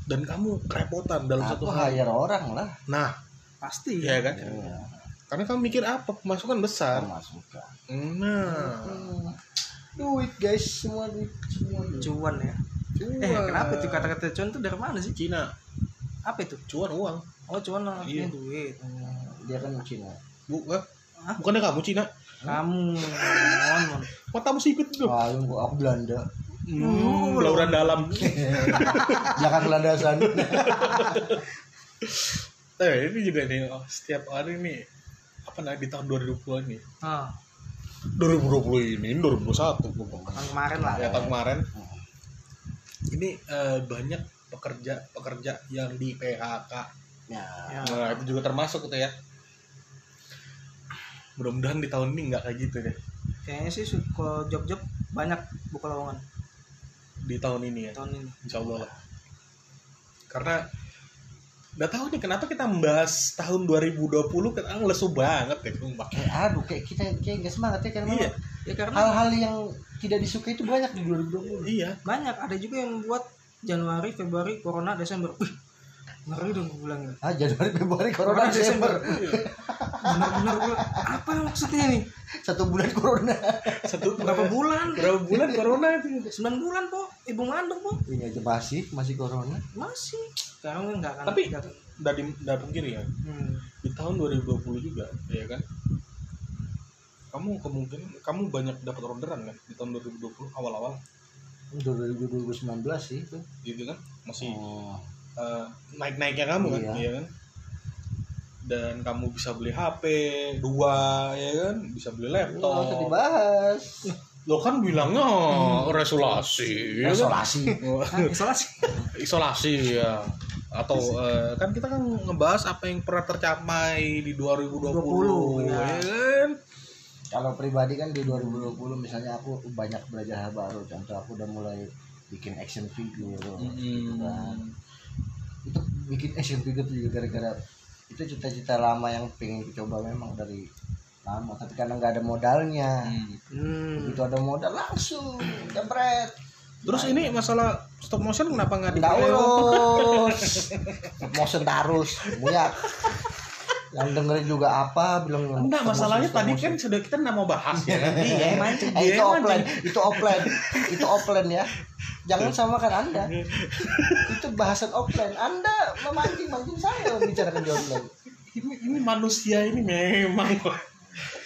Speaker 2: dan kamu kerepotan dalam
Speaker 1: aku
Speaker 2: satu hari
Speaker 1: hire orang lah
Speaker 2: nah
Speaker 3: pasti
Speaker 2: Iya kan?
Speaker 1: ya,
Speaker 2: Karena kamu mikir apa? Pemasukan besar.
Speaker 1: masuk lah
Speaker 2: Nah,
Speaker 1: Hmm. duit guys semua duit semua duit.
Speaker 3: cuan ya eh kenapa tuh kata-kata cuan tuh dari mana sih
Speaker 2: Cina?
Speaker 3: apa itu
Speaker 2: Cuan uang.
Speaker 3: oh cuan
Speaker 2: Iya.
Speaker 3: artinya duit
Speaker 1: Hmm, dia kan Cina
Speaker 2: Bu, eh,
Speaker 3: Hah?
Speaker 2: bukannya kamu Cina?
Speaker 3: kamu mon mon
Speaker 2: Matamu sipit
Speaker 3: Oh.
Speaker 2: tuh.
Speaker 1: ah aku, aku Belanda
Speaker 2: Hmm, Belauran dalam.
Speaker 3: Iya.
Speaker 1: jangan landasan
Speaker 2: eh, ini juga nih oh, setiap hari nih apa nah di tahun 2020 ini.
Speaker 3: ah
Speaker 2: 2020 ini, 2021 gua bilang.
Speaker 3: tahun kemarin lah
Speaker 2: Ya tahun kemarin. Ini eh, banyak pekerja-pekerja yang di PHK.
Speaker 1: ya
Speaker 3: ya.
Speaker 2: Nah, itu juga termasuk tuh ya. Mudah-mudahan di tahun ini nggak kayak gitu deh.
Speaker 3: kayaknya sih su- kalau job-job banyak buka lowongan
Speaker 2: Di tahun ini ya.
Speaker 3: tahun ini
Speaker 2: Insya Allah lah. Karena nggak tahu nih kenapa kita membahas tahun 2020 kita lesu banget ya sumpah.
Speaker 1: kayak Eh, aduh kayak kita kayak nggak semangat ya karena
Speaker 2: Iya,
Speaker 3: ya karena
Speaker 1: hal-hal yang tidak disukai itu banyak di 2020
Speaker 2: iya.
Speaker 3: banyak ada juga yang membuat Januari Februari Corona Desember Wih, ngeri dong gue bilang ya.
Speaker 1: ah Januari Februari Corona
Speaker 3: Corona, Desember.
Speaker 1: Desember
Speaker 2: Iya.
Speaker 3: bener-bener gue apa maksudnya nih
Speaker 1: satu bulan Corona
Speaker 2: Satu
Speaker 3: berapa
Speaker 2: berapa
Speaker 3: bulan
Speaker 2: berapa bulan corona itu?
Speaker 3: 9 bulan po ibu mandor po
Speaker 1: ini aja masih masih Corona
Speaker 3: masih sekarang kan nggak akan
Speaker 2: Tapi-
Speaker 3: nggak akan-
Speaker 2: Nggak di nggak pungkiri ya.
Speaker 3: hmm.
Speaker 2: Di tahun 2020 juga, ya kan? Kamu kemungkinan kamu banyak dapat orderan kan di tahun 2020 awal-awal,
Speaker 1: 2019 sih itu
Speaker 2: gitu kan? Masih
Speaker 1: oh.
Speaker 2: eh, naik-naiknya kamu kan,
Speaker 1: Iya.
Speaker 2: ya kan? Dan kamu bisa beli HP dua, ya kan? Bisa beli
Speaker 1: Iya, Nggak usah
Speaker 2: laptop.
Speaker 1: dibahas Hmm.
Speaker 2: Lo kan bilangnya resolusi,
Speaker 1: Iya.
Speaker 2: ya kan?
Speaker 1: isolasi
Speaker 3: Hah, isolasi
Speaker 2: isolasi ya. Atau eh, kan kita kan ngebahas apa yang pernah tercapai di 2020,
Speaker 3: 20, ya.
Speaker 2: ya kan?
Speaker 1: kalau pribadi kan di 2020 misalnya aku banyak belajar hal baru contoh aku udah mulai bikin action figure
Speaker 2: Hmm.
Speaker 1: gitu kan. itu bikin action figure tuh juga gara-gara itu cita-cita lama yang pengen ku coba memang dari sama tapi karena nggak ada modalnya
Speaker 4: Hmm.
Speaker 3: Hmm.
Speaker 1: begitu ada modal langsung jebret
Speaker 2: Terus ini masalah stop motion kenapa nggak
Speaker 1: nggak oh.
Speaker 2: dipakai?
Speaker 1: urus motion tarus muyak yang dengerin juga apa belum
Speaker 2: Enggak, masalahnya tadi kan sudah kita nggak mau bahas ya. kan?
Speaker 1: iya
Speaker 2: mancing,
Speaker 1: eh, itu
Speaker 2: dia
Speaker 1: offline itu offline itu offline ya jangan samakan anda itu bahasan offline anda memancing mancing saya membicarakan di online
Speaker 2: Ini, ini manusia ini memang.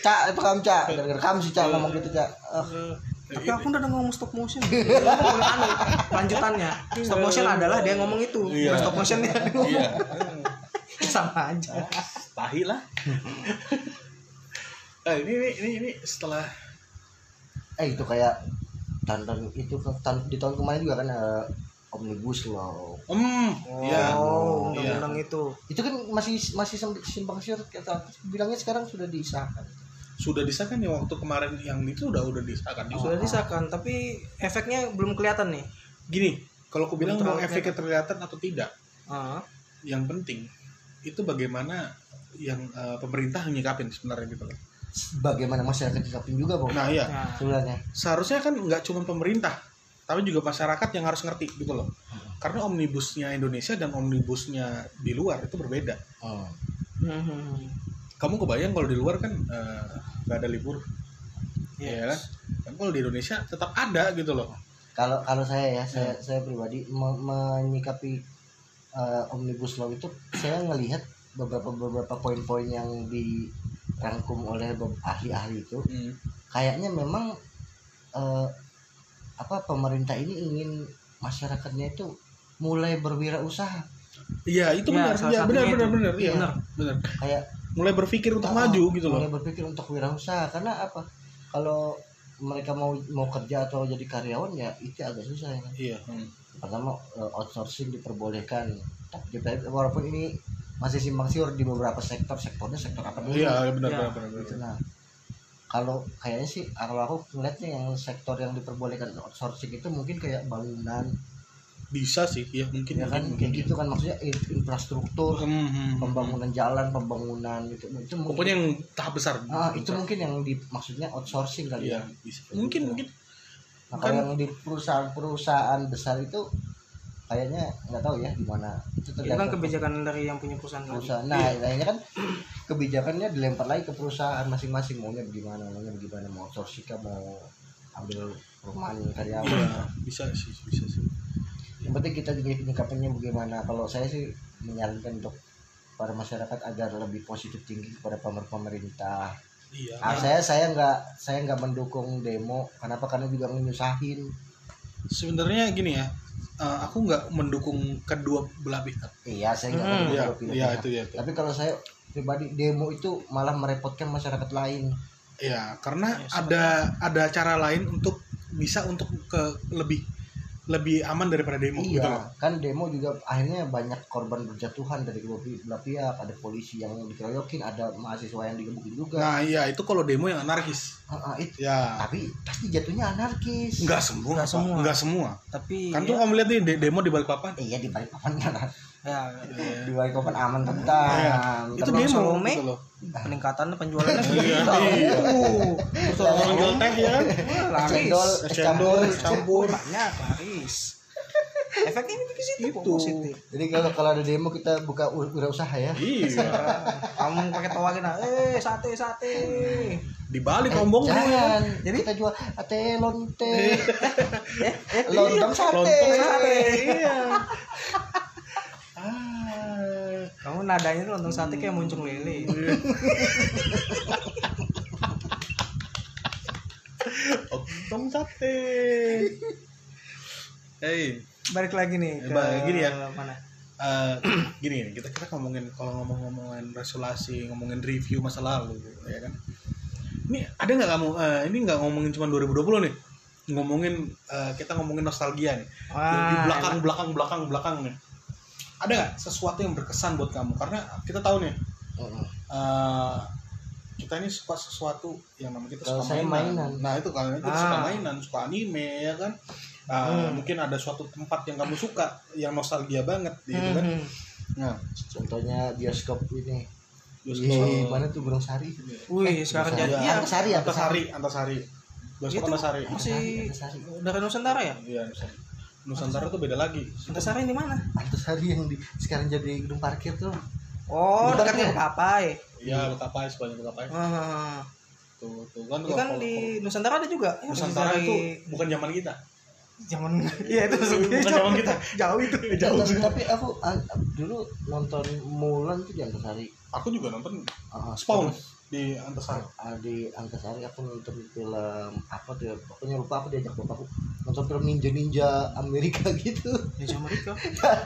Speaker 1: cak itu kamu cak gara-gara kamu sih cak ngomong gitu cak Eh,
Speaker 3: Tapi aku udah ngomong stop motion. Dia ngomong anu, lanjutannya. Stop motion adalah dia ngomong itu.
Speaker 2: Iya.
Speaker 3: Bukan stop motionnya.
Speaker 4: Iya.
Speaker 3: Sama aja.
Speaker 4: Tahi lah.
Speaker 2: Nah, ini, ini ini ini setelah
Speaker 1: eh itu kayak tantan itu ke- tan- di tahun kemarin juga kan eh, omnibus law
Speaker 2: hmm ya
Speaker 3: Oh,
Speaker 2: Iya.
Speaker 3: undang-undang itu.
Speaker 1: itu kan masih masih sem- simpang siur kata bilangnya sekarang sudah diisahkan
Speaker 2: sudah disahkan ya waktu kemarin yang itu udah udah disahkan juga.
Speaker 3: Sudah disahkan, tapi efeknya belum kelihatan nih.
Speaker 2: Gini, kalau aku bilang mau
Speaker 3: Terlalu
Speaker 2: efeknya terlihatan atau tidak,
Speaker 3: Ah,
Speaker 2: yang penting itu bagaimana yang eh, pemerintah nyikapin sebenarnya gitu loh.
Speaker 1: bagaimana masyarakat diterapin juga bang
Speaker 2: Nah, iya.
Speaker 3: nah.
Speaker 1: sebenarnya
Speaker 2: seharusnya kan nggak cuma pemerintah tapi juga masyarakat yang harus ngerti gitu loh
Speaker 3: Hmm.
Speaker 2: karena omnibusnya Indonesia dan omnibusnya di luar itu berbeda
Speaker 1: Hmm.
Speaker 2: Hmm.
Speaker 3: Mhm.
Speaker 2: kamu kebayang kalau di luar kan eh, nggak ada libur
Speaker 3: Iya.
Speaker 2: ya kan tapi kalau di Indonesia tetap ada gitu loh
Speaker 1: kalau kalau saya ya saya saya pribadi me- menyikapi eh, omnibus law itu saya ngelihat beberapa beberapa poin-poin yang dirangkum oleh be- ahli-ahli itu
Speaker 3: Hmm.
Speaker 1: kayaknya memang eh, apa pemerintah ini ingin masyarakatnya itu mulai berwirausaha
Speaker 2: iya itu
Speaker 3: Iya,
Speaker 2: benar
Speaker 3: salah
Speaker 2: iya benar
Speaker 3: satunya
Speaker 2: benar
Speaker 3: itu.
Speaker 2: benar iya
Speaker 3: Benar.
Speaker 2: benar
Speaker 1: kayak
Speaker 2: mulai berpikir untuk
Speaker 1: Ah,
Speaker 2: maju gitu loh
Speaker 1: mulai berpikir untuk wirausaha karena apa kalau mereka mau mau kerja atau jadi karyawan ya itu agak susah ya kan?
Speaker 2: iya hmm.
Speaker 1: pertama eh, outsourcing diperbolehkan tapi di- walaupun ini masih simpang siur di beberapa sektor sektornya sektor apa dulu
Speaker 2: iya benar benar
Speaker 3: Iya.
Speaker 2: benar benar.
Speaker 1: gitu. nah kalau kayaknya sih kalau aku ngeliatnya yang sektor yang diperbolehkan outsourcing itu mungkin kayak bangunan
Speaker 2: bisa sih ya
Speaker 1: ya
Speaker 2: mungkin
Speaker 1: kan kayak
Speaker 2: mungkin, mungkin.
Speaker 1: gitu kan maksudnya in- infrastruktur
Speaker 2: Hmm, hmm, hmm.
Speaker 1: pembangunan jalan pembangunan gitu itu mungkin
Speaker 2: pokoknya yang tahap besar
Speaker 1: Ah, itu mungkin yang dimaksudnya outsourcing kali
Speaker 2: iya Kan
Speaker 1: ya
Speaker 2: bisa mungkin mungkin
Speaker 1: Nah, kalau yang di perusahaan-perusahaan besar itu kayaknya nggak tahu ya gimana itu
Speaker 2: Iya.
Speaker 3: Itu kan
Speaker 1: tergantung
Speaker 3: kebijakan dari yang punya perusahaan tadi.
Speaker 1: perusahaan. Nah, akhirnya kan kebijakannya dilempar lagi ke perusahaan masing-masing maunya bagaimana, maunya bagaimana mau outsourcing kah, mau ambil perumahan karyawan.
Speaker 2: Iya, bisa sih, bisa sih.
Speaker 1: Yang penting kita juga nyikapinnya bagaimana. Kalau saya sih menyarankan untuk para masyarakat agar lebih positif tinggi kepada pemer- pemerintah.
Speaker 2: Iya.
Speaker 1: Ah, saya saya nggak saya nggak mendukung demo. Kenapa? Karena juga menyusahin.
Speaker 2: Sebenarnya gini ya, eh, aku nggak mendukung kedua belah pihak.
Speaker 1: Iya, saya nggak
Speaker 3: Hmm.
Speaker 1: mendukung
Speaker 2: Iya,
Speaker 1: demo
Speaker 2: iya
Speaker 1: pihak.
Speaker 2: itu ya. Itu.
Speaker 1: Tapi kalau saya pribadi demo itu malah merepotkan masyarakat lain.
Speaker 2: Iya, karena
Speaker 3: Ya,
Speaker 2: ada ada cara lain untuk bisa untuk ke lebih lebih aman daripada demo
Speaker 1: iya,
Speaker 2: gitu loh.
Speaker 1: kan demo juga akhirnya banyak korban berjatuhan dari kedua pi- belah pihak. Ada polisi yang dikeroyokin, ada mahasiswa yang digebukin juga.
Speaker 2: Nah, iya itu kalau demo yang anarkis.
Speaker 1: Ah, ah, itu.
Speaker 2: Ya,
Speaker 1: Tapi pasti jatuhnya anarkis.
Speaker 2: nggak semua,
Speaker 3: Nggak
Speaker 2: Pak.
Speaker 3: semua.
Speaker 2: nggak semua.
Speaker 3: Tapi
Speaker 2: Kan tuh
Speaker 3: ya,
Speaker 2: kamu lihat nih de- demo di Balikpapan.
Speaker 1: Iya di balik papan kan,
Speaker 3: ya,
Speaker 1: di balik papan aman tentang.
Speaker 2: Iya. Itu
Speaker 1: Tapi-
Speaker 3: Terbang
Speaker 2: demo
Speaker 3: Salome.
Speaker 2: gitu loh.
Speaker 3: peningkatan penjualannya
Speaker 2: Iya,
Speaker 3: segitu.
Speaker 2: iya.
Speaker 3: Uh,
Speaker 2: Terus orang jual teh ya kan?
Speaker 3: wah,
Speaker 1: es
Speaker 3: laris.
Speaker 1: cendol, es
Speaker 2: Cendol,
Speaker 1: campur.
Speaker 2: campur.
Speaker 3: Banyak laris. Efeknya ini ke situ
Speaker 2: Itu.
Speaker 3: positif.
Speaker 1: Jadi kalau kalau ada demo kita buka u- wirausaha ya.
Speaker 2: Iya.
Speaker 3: Kamu pakai tawagin, eh sate sate.
Speaker 2: Di Bali rombong dulu ya. Iya.
Speaker 1: Jangan.
Speaker 3: Jadi?
Speaker 1: Jadi kita jual ah, teh lonte, lontong
Speaker 3: Iya,
Speaker 1: sate.
Speaker 2: Lontong sate. Iya. ah.
Speaker 3: Kamu nadanya tuh lontong sate kayak muncung lele.
Speaker 2: Lontong sate. Hey,
Speaker 3: Balik lagi nih
Speaker 2: Eh, balik gini ya.
Speaker 3: Mana?
Speaker 2: eh, gini kita kita ngomongin kalau ngomong-ngomongin resolusi, ngomongin review masa lalu, ya kan? Ini ada nggak kamu? eh, ini nggak ngomongin cuma 2020 nih, ngomongin eh, kita ngomongin nostalgia nih. di
Speaker 3: Wah,
Speaker 2: belakang belakang belakang belakang nih ada nggak sesuatu yang berkesan buat kamu karena kita tahu nih
Speaker 1: Mm-mm.
Speaker 2: eh, kita ini suka sesuatu yang namanya kita
Speaker 1: Kalau
Speaker 2: suka
Speaker 1: saya mainan.
Speaker 2: nah itu kalau itu
Speaker 3: Ah.
Speaker 2: suka mainan suka anime ya kan Eh,
Speaker 3: Hmm.
Speaker 2: mungkin ada suatu tempat yang kamu
Speaker 3: Hmm,
Speaker 2: suka yang nostalgia banget gitu kan
Speaker 3: Mhm.
Speaker 2: nah
Speaker 1: Contohnya bioskop ini. Di Iya, mana tuh Gunung Sari?
Speaker 3: Wih, sekarang jadi ya
Speaker 1: Antasari, Antasari.
Speaker 2: Iya, Antasari, Antasari. Bioskop
Speaker 3: Itu
Speaker 2: Antasari.
Speaker 3: masih
Speaker 1: Antasari,
Speaker 3: dari Nusantara ya?
Speaker 2: Iya, Antasari. Nusantara tuh beda lagi.
Speaker 3: Nusantara di mana?
Speaker 1: Antasari yang di, sekarang jadi gedung parkir tuh.
Speaker 3: Oh,
Speaker 1: Bukan ya?
Speaker 3: dekatnya Kapai.
Speaker 2: Iya, Bekapai, sebanyak Bekapai.
Speaker 3: Ah, Heeh.
Speaker 2: Tuh, tuh kan.
Speaker 3: Itu kan
Speaker 2: kalau-
Speaker 3: di Nusantara ada juga.
Speaker 2: kalau Nusantara
Speaker 3: Dari
Speaker 2: itu bukan zaman kita.
Speaker 3: zaman iya itu maksudnya
Speaker 2: Bukan zaman kita.
Speaker 3: Iya, Jauh itu.
Speaker 2: Jauh.
Speaker 1: Tapi, tapi aku ah, dulu nonton Mulan tuh di Antasari.
Speaker 2: Aku juga nonton
Speaker 1: Ah,
Speaker 2: Spawn
Speaker 1: terus,
Speaker 2: di Antasari.
Speaker 1: ah, di Antasari aku nonton film apa tuh ya, pokoknya lupa aku diajak bapakku nonton film ninja ninja Amerika gitu
Speaker 3: Di Amerika.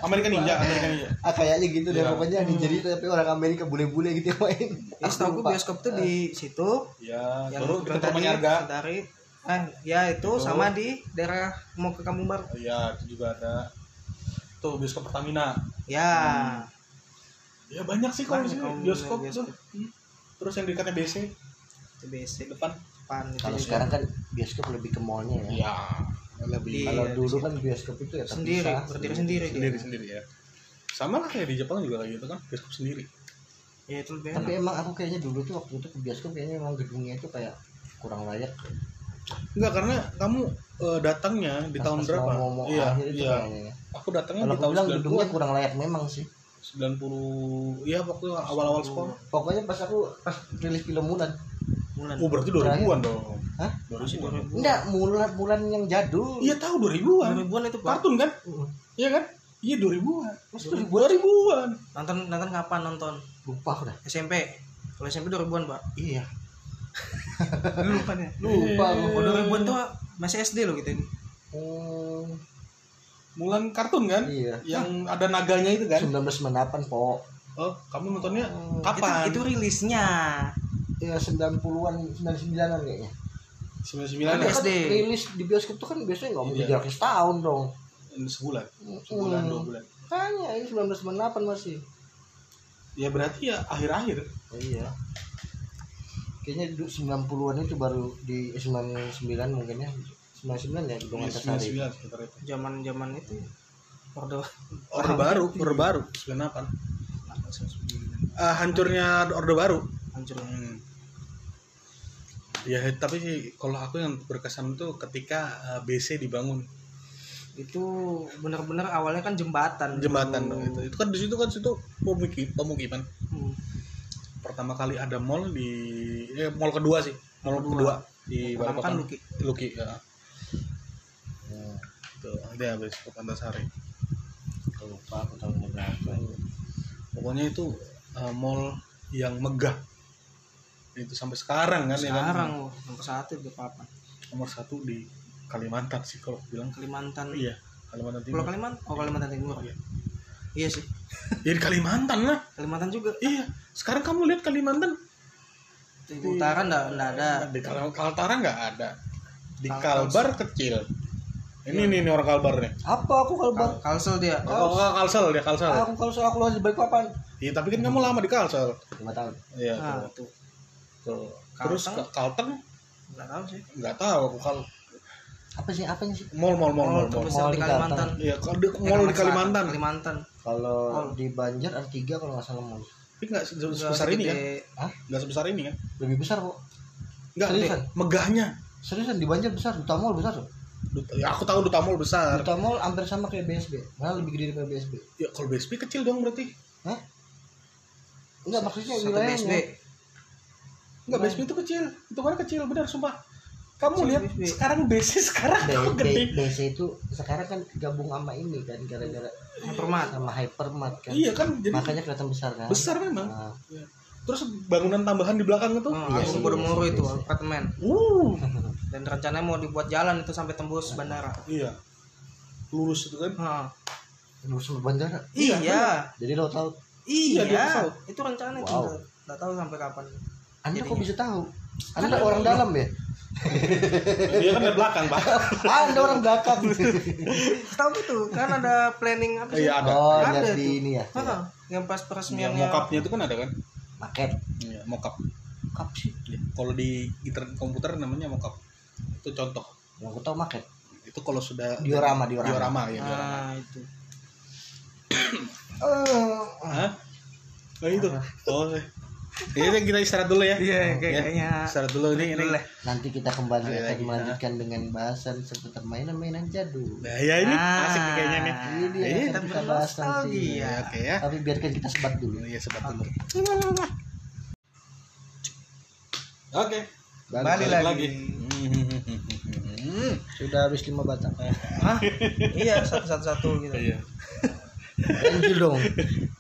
Speaker 2: Amerika Ninja, Amerika Ninja.
Speaker 1: ah, kayaknya gitu deh
Speaker 2: Iya.
Speaker 1: pokoknya ninja itu tapi orang Amerika bule-bule gitu yang main
Speaker 3: Ya, setahu gue bioskop tuh di situ
Speaker 2: Ya,
Speaker 3: yang
Speaker 2: baru
Speaker 3: lu
Speaker 2: di
Speaker 3: bilang
Speaker 2: Ketua
Speaker 3: tadi,
Speaker 2: Penyarga.
Speaker 3: Sutari. Eh, ya itu
Speaker 2: Itu.
Speaker 3: sama di daerah mau ke Kampung Baru.
Speaker 2: Iya, itu juga ada. Tuh bioskop Pertamina.
Speaker 3: Ya.
Speaker 2: Ya banyak sih kalau di sini
Speaker 3: Banyak
Speaker 2: bioskop
Speaker 3: bioskop.
Speaker 2: tuh. Hmm. Terus yang dekatnya BC
Speaker 3: Itu basic
Speaker 2: di depan.
Speaker 3: depan itu
Speaker 1: kalau
Speaker 3: juga.
Speaker 1: sekarang kan bioskop lebih ke mallnya ya
Speaker 2: Iya, lebih
Speaker 3: Iya,
Speaker 1: kalau
Speaker 3: di
Speaker 1: dulu
Speaker 3: situ.
Speaker 1: kan bioskop itu ya
Speaker 3: sendiri,
Speaker 1: terpisah,
Speaker 3: berdiri sendiri,
Speaker 2: sendiri
Speaker 3: dia.
Speaker 2: sendiri ya. Sama lah kayak di Jepang juga lagi itu kan bioskop sendiri.
Speaker 3: Ya itu lebih
Speaker 1: tapi
Speaker 3: enak.
Speaker 1: emang aku kayaknya dulu tuh waktu itu ke bioskop kayaknya emang gedungnya itu kayak kurang layak
Speaker 2: Enggak karena kamu eh, datangnya di
Speaker 1: Pas-
Speaker 2: tahun
Speaker 1: pas
Speaker 2: berapa?
Speaker 1: mau ngomong
Speaker 2: iya,
Speaker 1: akhir itu
Speaker 2: iya.
Speaker 1: kayaknya ya.
Speaker 2: Aku datangnya
Speaker 1: kalau aku
Speaker 2: di tahun
Speaker 1: bilang
Speaker 2: 90
Speaker 1: gedungnya kurang layak memang sih
Speaker 2: 90 ya waktu awal-awal sekolah.
Speaker 1: pokoknya pas aku pas rilis film Mulan
Speaker 3: Bulan.
Speaker 2: Oh, berarti 2000-an dong.
Speaker 1: Hah?
Speaker 2: 2000-an.
Speaker 1: enggak Mulan Mulan yang jadul
Speaker 2: Iya, tahu 2000-an.
Speaker 3: Ribuan itu Pak.
Speaker 2: Kartun kan?
Speaker 1: Mm.
Speaker 2: Iya kan? Iya 2000-an.
Speaker 1: Maksud
Speaker 2: 2000-an.
Speaker 3: Nonton nonton kapan nonton?
Speaker 1: lupa udah
Speaker 3: SMP. Kalau SMP 2000-an, Pak.
Speaker 1: iya
Speaker 3: Lupa deh.
Speaker 1: lupa
Speaker 3: Kalau
Speaker 1: aku.
Speaker 3: 2000-an Oh, tuh masih SD loh gitu. kita ini.
Speaker 1: Hmm,
Speaker 2: Mulan kartun kan?
Speaker 1: iya
Speaker 2: Yang ada naganya itu kan?
Speaker 1: 1998 po
Speaker 2: Oh, kamu nontonnya
Speaker 1: Hmm,
Speaker 2: kapan?
Speaker 3: Itu, itu rilisnya.
Speaker 1: ya 90-an 99-an kayaknya Kan
Speaker 2: 99 ya?
Speaker 3: Ada. SD.
Speaker 1: rilis di bioskop tuh kan biasanya nggak mungkin
Speaker 2: Iya.
Speaker 1: jaraknya setahun dong
Speaker 2: ya? Sebulan, sebulan,
Speaker 1: Hmm.
Speaker 2: dua bulan.
Speaker 1: Tanya ini 1998 masih.
Speaker 2: Ya berarti ya akhir-akhir.
Speaker 1: Oh, iya. Kayaknya du- 90-an itu baru di eh, 99 mungkin ya. 99 ya gedung
Speaker 2: Ya,
Speaker 1: Antasari.
Speaker 2: 99 sekitar itu.
Speaker 3: Zaman-zaman itu Orde
Speaker 2: Orde baru, orde baru, 98. Eh, hancurnya orde baru.
Speaker 3: Hancur.
Speaker 2: Hmm. Ya tapi sih kalau aku yang berkesan itu ketika eh, BC dibangun
Speaker 3: Itu bener-bener awalnya kan jembatan.
Speaker 2: jembatan dong
Speaker 3: dulu.
Speaker 2: itu. Itu kan di situ kan situ pemuki- pemukiman.
Speaker 3: Hmm.
Speaker 2: Pertama kali ada mall di eh mall kedua sih. Mall kedua,
Speaker 3: Kedua.
Speaker 2: di
Speaker 3: Pertama kan
Speaker 2: Balikpapan.
Speaker 3: Luki.
Speaker 2: Luki ya.
Speaker 1: Hmm,
Speaker 2: Tuh, ada habis ke Pantasari.
Speaker 1: lupa aku tahunnya berapa. ya.
Speaker 2: Pokoknya itu eh, mall yang megah. Itu sampai sekarang kan ya kan?
Speaker 3: Sekarang loh, nomor satu di apa?
Speaker 2: Nomor satu di Kalimantan sih kalau aku bilang.
Speaker 3: Kalimantan.
Speaker 2: Iya, Kalimantan
Speaker 3: Pulau
Speaker 2: Timur.
Speaker 3: Kalimantan? Oh, Kalimantan Timur.
Speaker 2: Iya.
Speaker 3: Iya sih.
Speaker 2: Ya di Kalimantan lah.
Speaker 3: Kalimantan juga.
Speaker 2: Iya, sekarang kamu lihat Kalimantan
Speaker 3: Di utara enggak enggak ada.
Speaker 2: di Kal- Kaltara nggak ada. Di
Speaker 3: Kaltara.
Speaker 2: Kalbar kecil. Ini nih, nih orang Kalbar nih.
Speaker 1: Apa aku kalau bang?
Speaker 3: Kal- Kalsel dia.
Speaker 2: Oh, oh, Kalsel dia Kalsel.
Speaker 1: Aku kalau soal keluar di Balikpapan.
Speaker 2: Iya, tapi kan kamu lama di Kalsel.
Speaker 1: 5 tahun.
Speaker 2: Iya,
Speaker 3: Nah,
Speaker 2: tuh.
Speaker 3: tuh.
Speaker 2: tuh. Terus
Speaker 3: Kalteng?
Speaker 2: ke- Kalteng
Speaker 3: Enggak tahu sih.
Speaker 2: nggak tahu aku kal
Speaker 1: Apa sih apanya sih?
Speaker 2: mall Oh, mall mall mall. mall.
Speaker 3: Mall terbesar
Speaker 1: Mall
Speaker 3: di
Speaker 1: di
Speaker 3: Kalimantan.
Speaker 2: Iya, kalau di
Speaker 3: Eh,
Speaker 2: mall di Kalimantan.
Speaker 3: Selatan, Kalimantan.
Speaker 1: Kalau
Speaker 3: Oh.
Speaker 1: di Banjar ada 3 kalau nggak salah mall.
Speaker 2: Tapi nggak se- sebesar ini kan?
Speaker 3: Gede.
Speaker 2: Nggak sebesar ini kan?
Speaker 1: Lebih besar kok.
Speaker 2: Nggak deh.
Speaker 1: Seriusan?
Speaker 2: Megahnya.
Speaker 1: Seriusan di Banjar besar, Duta Mall besar. loh.
Speaker 2: Duta- ya, aku tahu Duta Mall besar.
Speaker 1: Duta Mall hampir sama kayak BSB. Malah lebih gede daripada BSB.
Speaker 2: Ya kalau BSP kecil dong berarti.
Speaker 1: Enggak maksudnya
Speaker 3: Satu BSD.
Speaker 1: wilayahnya.
Speaker 2: Enggak, BSP itu kecil. Itu kan kecil, benar sumpah. Kamu
Speaker 3: Kecil
Speaker 2: lihat
Speaker 3: BSP.
Speaker 2: sekarang BC sekarang
Speaker 1: B,
Speaker 2: tuh
Speaker 1: B,
Speaker 2: gede.
Speaker 1: BC itu sekarang kan gabung sama ini kan gara-gara
Speaker 3: Hypermart.
Speaker 1: sama hypermart kan.
Speaker 2: Iya kan, jadi
Speaker 1: Makanya kelihatan besar kan.
Speaker 2: besar memang.
Speaker 1: Nah,
Speaker 2: Terus bangunan tambahan di belakang itu.
Speaker 3: Oh,
Speaker 1: Iya,
Speaker 3: aku
Speaker 1: iya,
Speaker 3: Borobudur
Speaker 1: iya,
Speaker 3: itu
Speaker 1: iya.
Speaker 3: apartemen
Speaker 2: Uh,
Speaker 3: dan rencananya mau dibuat jalan itu sampai tembus bandara.
Speaker 2: iya. Lurus itu kan.
Speaker 3: Hah.
Speaker 1: lurus sama bandara.
Speaker 2: Iya,
Speaker 3: Iya,
Speaker 1: Jadi laut laut.
Speaker 3: iya,
Speaker 2: Iya, dia tahu.
Speaker 3: itu rencana itu
Speaker 1: Wow.
Speaker 3: nggak- nggak tahu sampai kapan.
Speaker 1: Anda kok
Speaker 3: Jadinya.
Speaker 1: bisa tahu? Anda orang dalam ya?
Speaker 2: Dia kan di belakang, Pak.
Speaker 1: Ah, Anda orang belakang.
Speaker 3: Tahu itu kan ada planning apa sih?
Speaker 2: Iya, ada.
Speaker 1: Oh, lihat
Speaker 3: Ada tuh.
Speaker 1: di ini ya.
Speaker 3: Hah, yang pas
Speaker 2: yang
Speaker 3: peresmiannya
Speaker 2: mokapnya itu kan ada kan?
Speaker 1: Paket.
Speaker 2: Iya, mokap.
Speaker 1: Kap sih.
Speaker 2: Kalau di gitar komputer namanya mokap. Itu contoh.
Speaker 1: Yang aku tahu maket.
Speaker 2: Itu kalau sudah
Speaker 1: Diorama, diorama.
Speaker 2: diorama ya, diorama.
Speaker 3: Nah, itu.
Speaker 1: Eh,
Speaker 2: Hah? Nah, itu. Oh, Ini kita istirahat dulu ya. Ya,
Speaker 3: Iya, kayaknya.
Speaker 2: Istirahat dulu ini. ini.
Speaker 3: Boleh.
Speaker 1: Nanti kita kembali
Speaker 2: Kembali
Speaker 1: akan
Speaker 2: lagi,
Speaker 1: melanjutkan dengan bahasan seputar mainan-mainan jadul.
Speaker 2: Nah, ya ini asik nih kayaknya nih.
Speaker 3: Ah,
Speaker 1: Ini dia
Speaker 2: Ini
Speaker 1: akan
Speaker 3: kita Iya,
Speaker 1: kita bahas nanti.
Speaker 3: bernostalgia.
Speaker 2: Ya, oke ya.
Speaker 1: Tapi biarkan kita sebat dulu.
Speaker 2: Iya, sebat dulu.
Speaker 3: Oke.
Speaker 2: Oke.
Speaker 3: Balik
Speaker 2: balik
Speaker 3: lagi.
Speaker 2: lagi. Hmm.
Speaker 1: Sudah habis lima batang.
Speaker 3: Hah? iya, satu-satu gitu.
Speaker 2: Iya.
Speaker 1: Ganjil dong.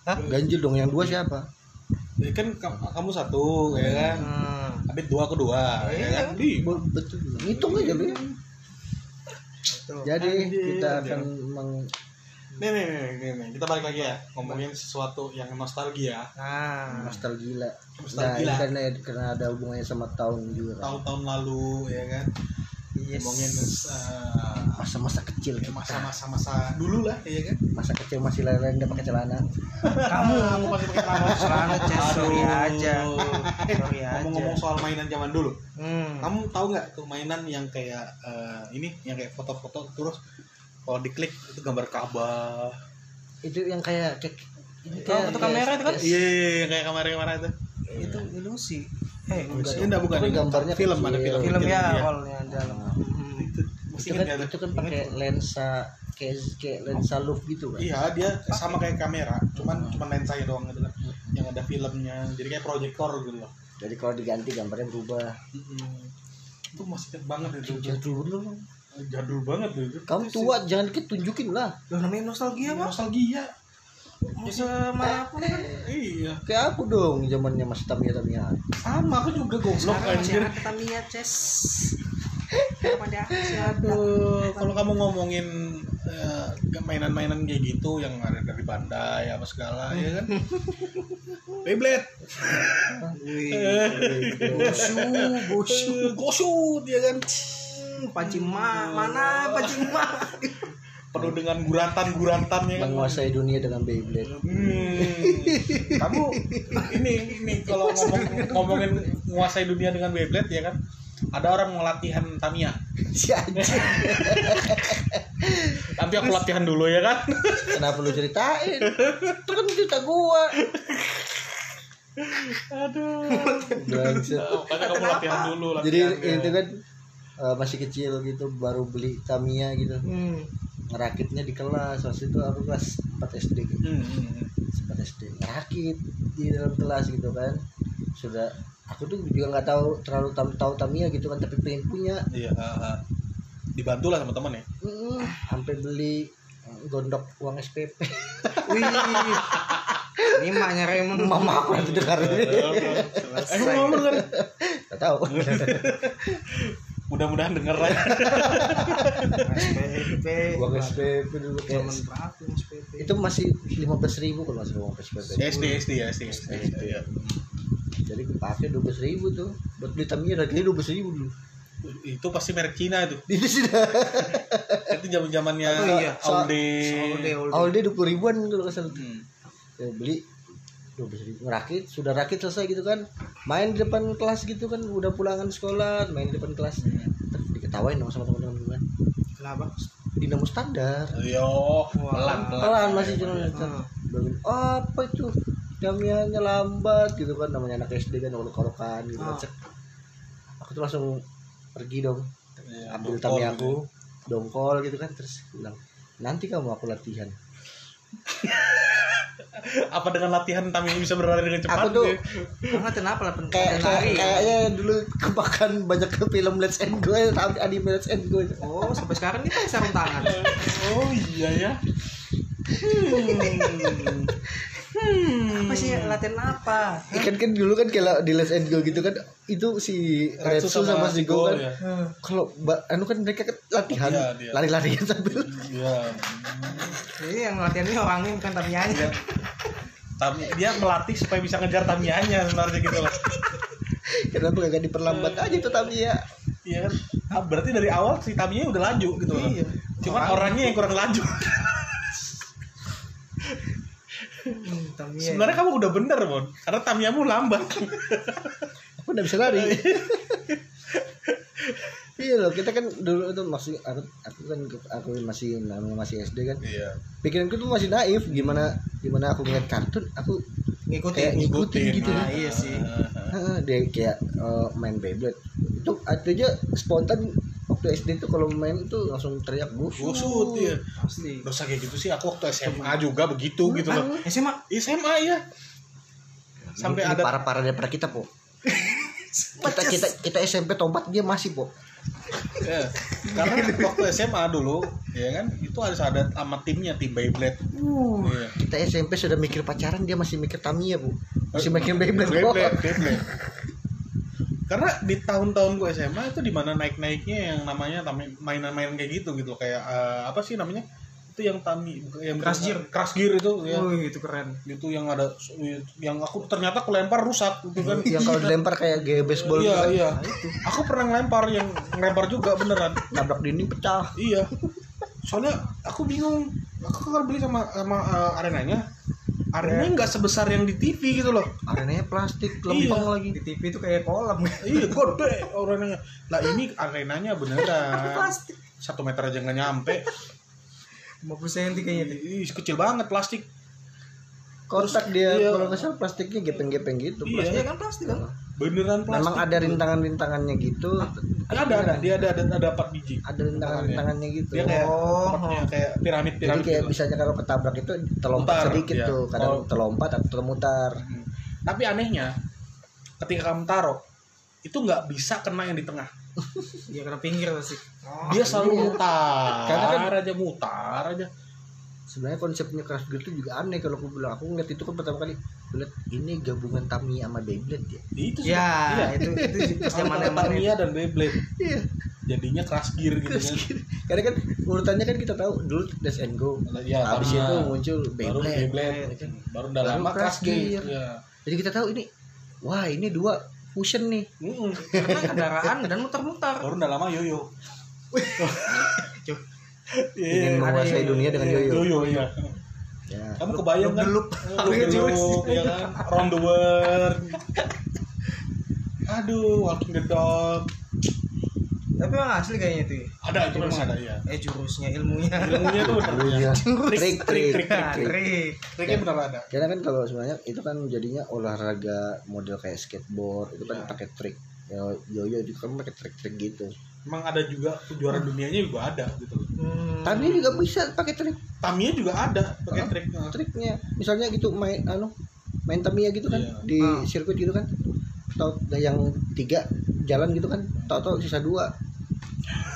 Speaker 3: Hah?
Speaker 1: Ganjil dong. Yang dua siapa?
Speaker 2: Ya kan kam- kamu satu ya kan.
Speaker 3: Hmm.
Speaker 2: Habis dua aku dua ya
Speaker 3: Iya.
Speaker 2: kan. Di.
Speaker 1: Bo- Betul. Hitung aja Bro.
Speaker 3: Tuh.
Speaker 1: Jadi
Speaker 2: Anjir.
Speaker 1: kita akan meng
Speaker 2: Nih, nih, nih, nih, nih. Kita balik lagi ya. Ngomongin sesuatu yang nostalgia.
Speaker 3: Nah,
Speaker 1: nostalgia. Nah,
Speaker 2: Nostalgia.
Speaker 1: ini karena karena ada hubungannya sama tahun juga.
Speaker 2: Tahun-tahun lalu ya kan.
Speaker 3: yes.
Speaker 2: Ngomongin eh,
Speaker 1: Masa-masa kecil kita.
Speaker 2: masa-masa masa dulu lah ya kan.
Speaker 1: Masa kecil masih lelen nggak pakai celana.
Speaker 3: kamu
Speaker 2: Kamu masih pakai celana.
Speaker 3: celana Ces, sorry
Speaker 2: Aduh.
Speaker 3: aja. Sorry aja.
Speaker 2: Ngomong-ngomong soal mainan zaman dulu.
Speaker 3: Hmm.
Speaker 2: Kamu tahu nggak tuh mainan yang kayak eh, ini yang kayak foto-foto terus kalau diklik itu gambar Ka'bah.
Speaker 1: Itu yang kayak cek ini
Speaker 3: Oh, itu kamera itu kan?
Speaker 1: kayak-
Speaker 2: Iya, iya, iya, kayak kamera-kamera itu.
Speaker 3: itu ilusi. Eh,
Speaker 1: Enggak.
Speaker 2: Ini enggak bukan
Speaker 1: Itu
Speaker 2: ini
Speaker 1: gambarnya
Speaker 2: film ada
Speaker 1: kecil.
Speaker 2: film.
Speaker 3: film ya
Speaker 2: iya.
Speaker 3: hallnya dalam. Hmm.
Speaker 2: Itu mesti
Speaker 1: itu kan,
Speaker 2: ingat
Speaker 1: itu
Speaker 2: nggak tuh?
Speaker 1: kan pakai lensa kayak kayak lensa loof gitu kan.
Speaker 2: Iya, dia sama kayak kamera, cuman cuman lensanya doang gitu kan. Yang ada filmnya, jadi kayak proyektor gitu loh.
Speaker 1: Jadi kalau diganti gambarnya berubah.
Speaker 2: Mm-mm. Itu masih ingat banget itu.
Speaker 1: Jadul dulu.
Speaker 2: Jadul banget tuh itu. Iya,
Speaker 1: Kamu tua jangan ditunjukin lah.
Speaker 3: Loh, namanya nostalgia, Mas.
Speaker 2: Nostalgia.
Speaker 3: Mau semanapun kan
Speaker 2: Iya.
Speaker 1: Kayak aku dong zamannya masih Tamiya Tamiya.
Speaker 2: Sama aku juga goblok
Speaker 3: sekarang masih
Speaker 2: anjir.
Speaker 3: ada kita lihat, Ces. Kenapa dia masih ada?
Speaker 2: Aduh, kalau kamu ngomongin eh, ke mainan-mainan kayak gitu yang ada dari Bandai apa segala ya kan. Beyblade,
Speaker 3: Bushu, bushu.
Speaker 2: eh, Goshoot ya kan.
Speaker 3: Pancing ma, mana pancing ma?
Speaker 2: Penuh dengan guratan-guratan ya kan.
Speaker 1: Menguasai dunia dengan Beyblade.
Speaker 2: Hmm. Kamu ini ini kalau ngomong, ngomongin menguasai dunia dengan Beyblade ya kan. Ada orang mau latihan Tamiya.
Speaker 1: Si anjing.
Speaker 2: Nanti aku latihan dulu ya kan.
Speaker 1: Kenapa lu ceritain? Itu kan cerita gua.
Speaker 2: Aduh.
Speaker 1: Bangsat.
Speaker 2: Makanya Oh, kamu latihan dulu latihan.
Speaker 1: Jadi
Speaker 2: ya.
Speaker 1: itu kan eh, masih kecil gitu baru beli Tamiya gitu.
Speaker 3: Hmm.
Speaker 1: Ngerakitnya di kelas. Waktu itu aku kelas 4 SD gitu.
Speaker 2: Hmm, hmm, hmm.
Speaker 1: 4 SD. Ngerakit di dalam kelas gitu kan. Sudah aku tuh juga nggak tahu terlalu tam- tahu Tamiya gitu kan tapi pengen punya
Speaker 2: Iya, heeh. dibantu lah sama teman ya.
Speaker 1: Mm, sampai beli eh, gondok uang SPP
Speaker 3: Wih. Ini maknya Raymond.
Speaker 1: mama aku nanti dengar ini
Speaker 2: Eh, mau ngomong dengar.
Speaker 1: nggak tahu
Speaker 2: Mudah-mudahan denger lah.
Speaker 3: SPP.
Speaker 1: uang SPP dulu kayak
Speaker 3: Zaman berapa Mas SPP?
Speaker 1: itu masih lima belas ribu kalau masih uang SPP
Speaker 2: SD, SD ya, SD. SD, ya.
Speaker 1: jadi kepake dua belas ribu tuh buat beli tamnya harganya dua belas ribu dulu
Speaker 2: Itu pasti merek Cina itu.
Speaker 1: itu sudah
Speaker 2: Itu zaman-zamannya
Speaker 3: Oh, iya.
Speaker 2: Audi.
Speaker 3: Olde, olde.
Speaker 1: all day dua puluh ribuan kalau nggak salah
Speaker 2: Hmm.
Speaker 1: ya, beli dua belas ribu ngerakit sudah rakit selesai gitu kan main di depan kelas gitu kan udah pulangan sekolah main di depan kelas terus diketawain dong sama teman-teman gue
Speaker 3: Kenapa?
Speaker 1: dinamo standar
Speaker 2: Yo, pelan-pelan.
Speaker 1: pelan masih jalan
Speaker 3: Hmm.
Speaker 1: Bangun, apa itu jamiannya lambat gitu kan namanya anak SD kan kalau korokan gitu kan
Speaker 3: Ah.
Speaker 1: Cek. aku tuh langsung pergi dong
Speaker 2: Iya,
Speaker 1: ambil
Speaker 2: dongkol
Speaker 1: tami
Speaker 2: gitu.
Speaker 1: aku dongkol gitu kan terus bilang nanti kamu aku latihan
Speaker 2: Apa dengan latihan Tami bisa berlari dengan cepat?
Speaker 1: aku tuh
Speaker 2: ya?
Speaker 3: Karena kenapa lah penting
Speaker 1: kayak kayak- kayaknya dulu kebakan banyak ke film Let's End Go eh, anime Let's End Go
Speaker 3: Oh, sampai sekarang ini pakai sarung tangan.
Speaker 2: Oh iya ya.
Speaker 3: Apa sih latihan apa?
Speaker 1: ikan kan dulu kan kalau di Let's End Go gitu kan itu si Retsu sama, si Go kan
Speaker 2: ya.
Speaker 1: kalau ba- anu kan mereka kan latihan
Speaker 2: Latihan, iya.
Speaker 1: lari-larian sambil
Speaker 2: Iya.
Speaker 3: Jadi yang latihan ini orangnya bukan tamianya.
Speaker 2: Iya. Tami, dia melatih supaya bisa ngejar tamianya sebenarnya gitu loh.
Speaker 1: Kenapa gak diperlambat aja ya. tuh Tamiya?
Speaker 2: Iya kan? Ah, berarti dari awal si Tamiya udah laju gitu loh.
Speaker 3: Iya.
Speaker 2: Cuman orangnya yang kurang laju.
Speaker 1: Iya,
Speaker 3: Hmm,
Speaker 1: iya.
Speaker 3: Tamiya.
Speaker 2: Sebenarnya kamu udah bener, Mon. Karena Tamiyamu lambat.
Speaker 1: Aku udah bisa lari. iya loh, kita kan dulu itu masih aku, aku kan aku masih namanya masih SD kan.
Speaker 2: Iya.
Speaker 1: Pikiranku tuh masih naif, gimana gimana aku ngeliat kartun, aku
Speaker 3: ngikutin
Speaker 1: kayak ngikutin gitu
Speaker 2: Ah,
Speaker 3: nah,
Speaker 1: ya.
Speaker 3: iya sih
Speaker 1: Heeh, dia kayak eh, main Beyblade itu ada aja spontan waktu SD tuh kalau main tuh langsung teriak busuk
Speaker 2: Busut ya.
Speaker 3: pasti
Speaker 2: Dosa kayak gitu sih aku waktu SMA juga begitu gitu loh.
Speaker 3: ah, SMA
Speaker 2: SMA ya. Sampai ada
Speaker 1: para para daripada kita po kita kita kita SMP tobat dia masih po
Speaker 2: Ya, karena waktu SMA dulu ya kan itu harus ada sama timnya tim Beyblade Iya.
Speaker 1: kita SMP sudah mikir pacaran dia masih mikir Tamiya bu masih
Speaker 2: Eh,
Speaker 1: mikir Beyblade po
Speaker 2: Beyblade Beyblade karena di tahun-tahun gue SMA itu di mana naik-naiknya yang namanya tami- mainan-mainan kayak gitu gitu kayak eh, apa sih namanya itu yang tami yang
Speaker 3: Crush Gear. Uh.
Speaker 2: crash gear itu ya
Speaker 3: Wih, itu keren
Speaker 2: itu yang ada yang aku ternyata kelempar rusak gitu kan
Speaker 1: yang kalau dilempar kayak gaya baseball
Speaker 2: iya
Speaker 1: gitu kan.
Speaker 2: iya aku pernah ngelempar yang ngelempar juga beneran
Speaker 1: tabrak dinding pecah
Speaker 2: Iya. Soalnya aku bingung. Aku kan beli sama sama eh, arenanya.
Speaker 1: Iya.
Speaker 2: Arenanya nggak sebesar yang di TV gitu loh.
Speaker 1: arenanya plastik
Speaker 2: Iya.
Speaker 1: lempeng lagi
Speaker 3: di TV itu kayak kolam
Speaker 2: Iya, gede arenanya. Lah ini arenanya beneran. Satu meter aja nggak nyampe.
Speaker 3: 50 cm
Speaker 1: Iya.
Speaker 3: kayaknya tuh.
Speaker 2: Ih, kecil banget plastik.
Speaker 1: kontak dia
Speaker 2: Iya.
Speaker 1: kalau nggak salah plastiknya gepeng-gepeng gitu
Speaker 2: Iya.
Speaker 1: plastik.
Speaker 3: Iya kan pasti kan
Speaker 2: Beneran plastik.
Speaker 1: memang ada rintangan-rintangannya gitu
Speaker 2: Ada ada, ada. dia ada ada, ada empat biji.
Speaker 1: ada rintangan-rintangannya gitu
Speaker 2: Dia Iya, kayak
Speaker 3: Oh.
Speaker 2: tempatnya kayak piramid
Speaker 1: jadi
Speaker 2: piramid.
Speaker 1: kayak
Speaker 2: gitu.
Speaker 1: misalnya kalau ketabrak itu terlompat
Speaker 2: Mutar,
Speaker 1: sedikit
Speaker 2: iya.
Speaker 1: tuh kadang
Speaker 2: Oh.
Speaker 1: terlompat atau termutar
Speaker 2: Hmm. Tapi anehnya ketika kamu taruh itu nggak bisa kena yang di tengah.
Speaker 3: Iya karena pinggir pasti
Speaker 2: Dia selalu
Speaker 1: Iya.
Speaker 2: mutar.
Speaker 1: Karena kan
Speaker 2: aja mutar aja.
Speaker 1: sebenarnya konsepnya Crash Gear itu juga aneh kalau aku bilang aku ngeliat itu kan pertama kali aku lihat ini gabungan Tamiya sama Beyblade ya
Speaker 2: Itu iya. sih.
Speaker 3: ya itu itu sih pas zaman
Speaker 2: Antara
Speaker 3: zaman
Speaker 2: Tamiya dan Beyblade
Speaker 1: iya
Speaker 2: jadinya crash gear gitu
Speaker 1: Crash
Speaker 2: kan.
Speaker 1: Gear karena kan urutannya kan kita tahu dulu Dash and Go Nah,
Speaker 2: Ya,
Speaker 1: habis
Speaker 2: Tamiya.
Speaker 1: itu muncul
Speaker 2: baru
Speaker 1: Beyblade
Speaker 2: Beyblade, gitu.
Speaker 1: Beyblade.
Speaker 2: baru udah
Speaker 1: Baru
Speaker 2: lama
Speaker 1: crash
Speaker 2: crash gear.
Speaker 1: gear.
Speaker 2: Ya.
Speaker 1: jadi kita tahu ini wah ini dua fusion nih
Speaker 2: Mm-mm.
Speaker 3: karena kendaraan dan muter-muter
Speaker 2: Baru udah lama yoyo.
Speaker 1: Ingin Iya.
Speaker 2: Iya,
Speaker 1: menguasai
Speaker 2: ada
Speaker 1: dunia dengan
Speaker 2: iya,
Speaker 1: yoyo.
Speaker 2: Yoyo iya.
Speaker 1: ya
Speaker 2: Kamu kebayang kan?
Speaker 3: Luk-luk.
Speaker 2: Luk-luk, ya kan? Round the world. Aduh, Walking the Dog.
Speaker 3: tapi emang asli kayaknya itu ya.
Speaker 2: Ada itu memang ada ya.
Speaker 3: eh jurusnya ilmunya
Speaker 2: Ilmunya tuh bener.
Speaker 1: Gurunya. Iya. trik trik
Speaker 2: trik,
Speaker 3: Nah,
Speaker 2: trik.
Speaker 3: trik
Speaker 2: Triknya bener ada.
Speaker 1: karena kan kalau sebenarnya itu kan jadinya olahraga model kayak skateboard itu kan
Speaker 2: Iya.
Speaker 1: pakai trik Ya, yoyo itu kan pakai trik-trik gitu
Speaker 2: Emang ada juga kejuaraan dunianya juga ada gitu.
Speaker 3: Hmm.
Speaker 1: Tamiya juga bisa pakai trik
Speaker 2: Tamiya juga ada pakai
Speaker 1: Hah?
Speaker 2: trik. eh,
Speaker 1: triknya misalnya gitu main anu main Tamiya gitu kan
Speaker 2: Iya.
Speaker 1: di
Speaker 3: Ah.
Speaker 1: sirkuit gitu kan atau yang tiga jalan gitu kan tahu-tahu sisa dua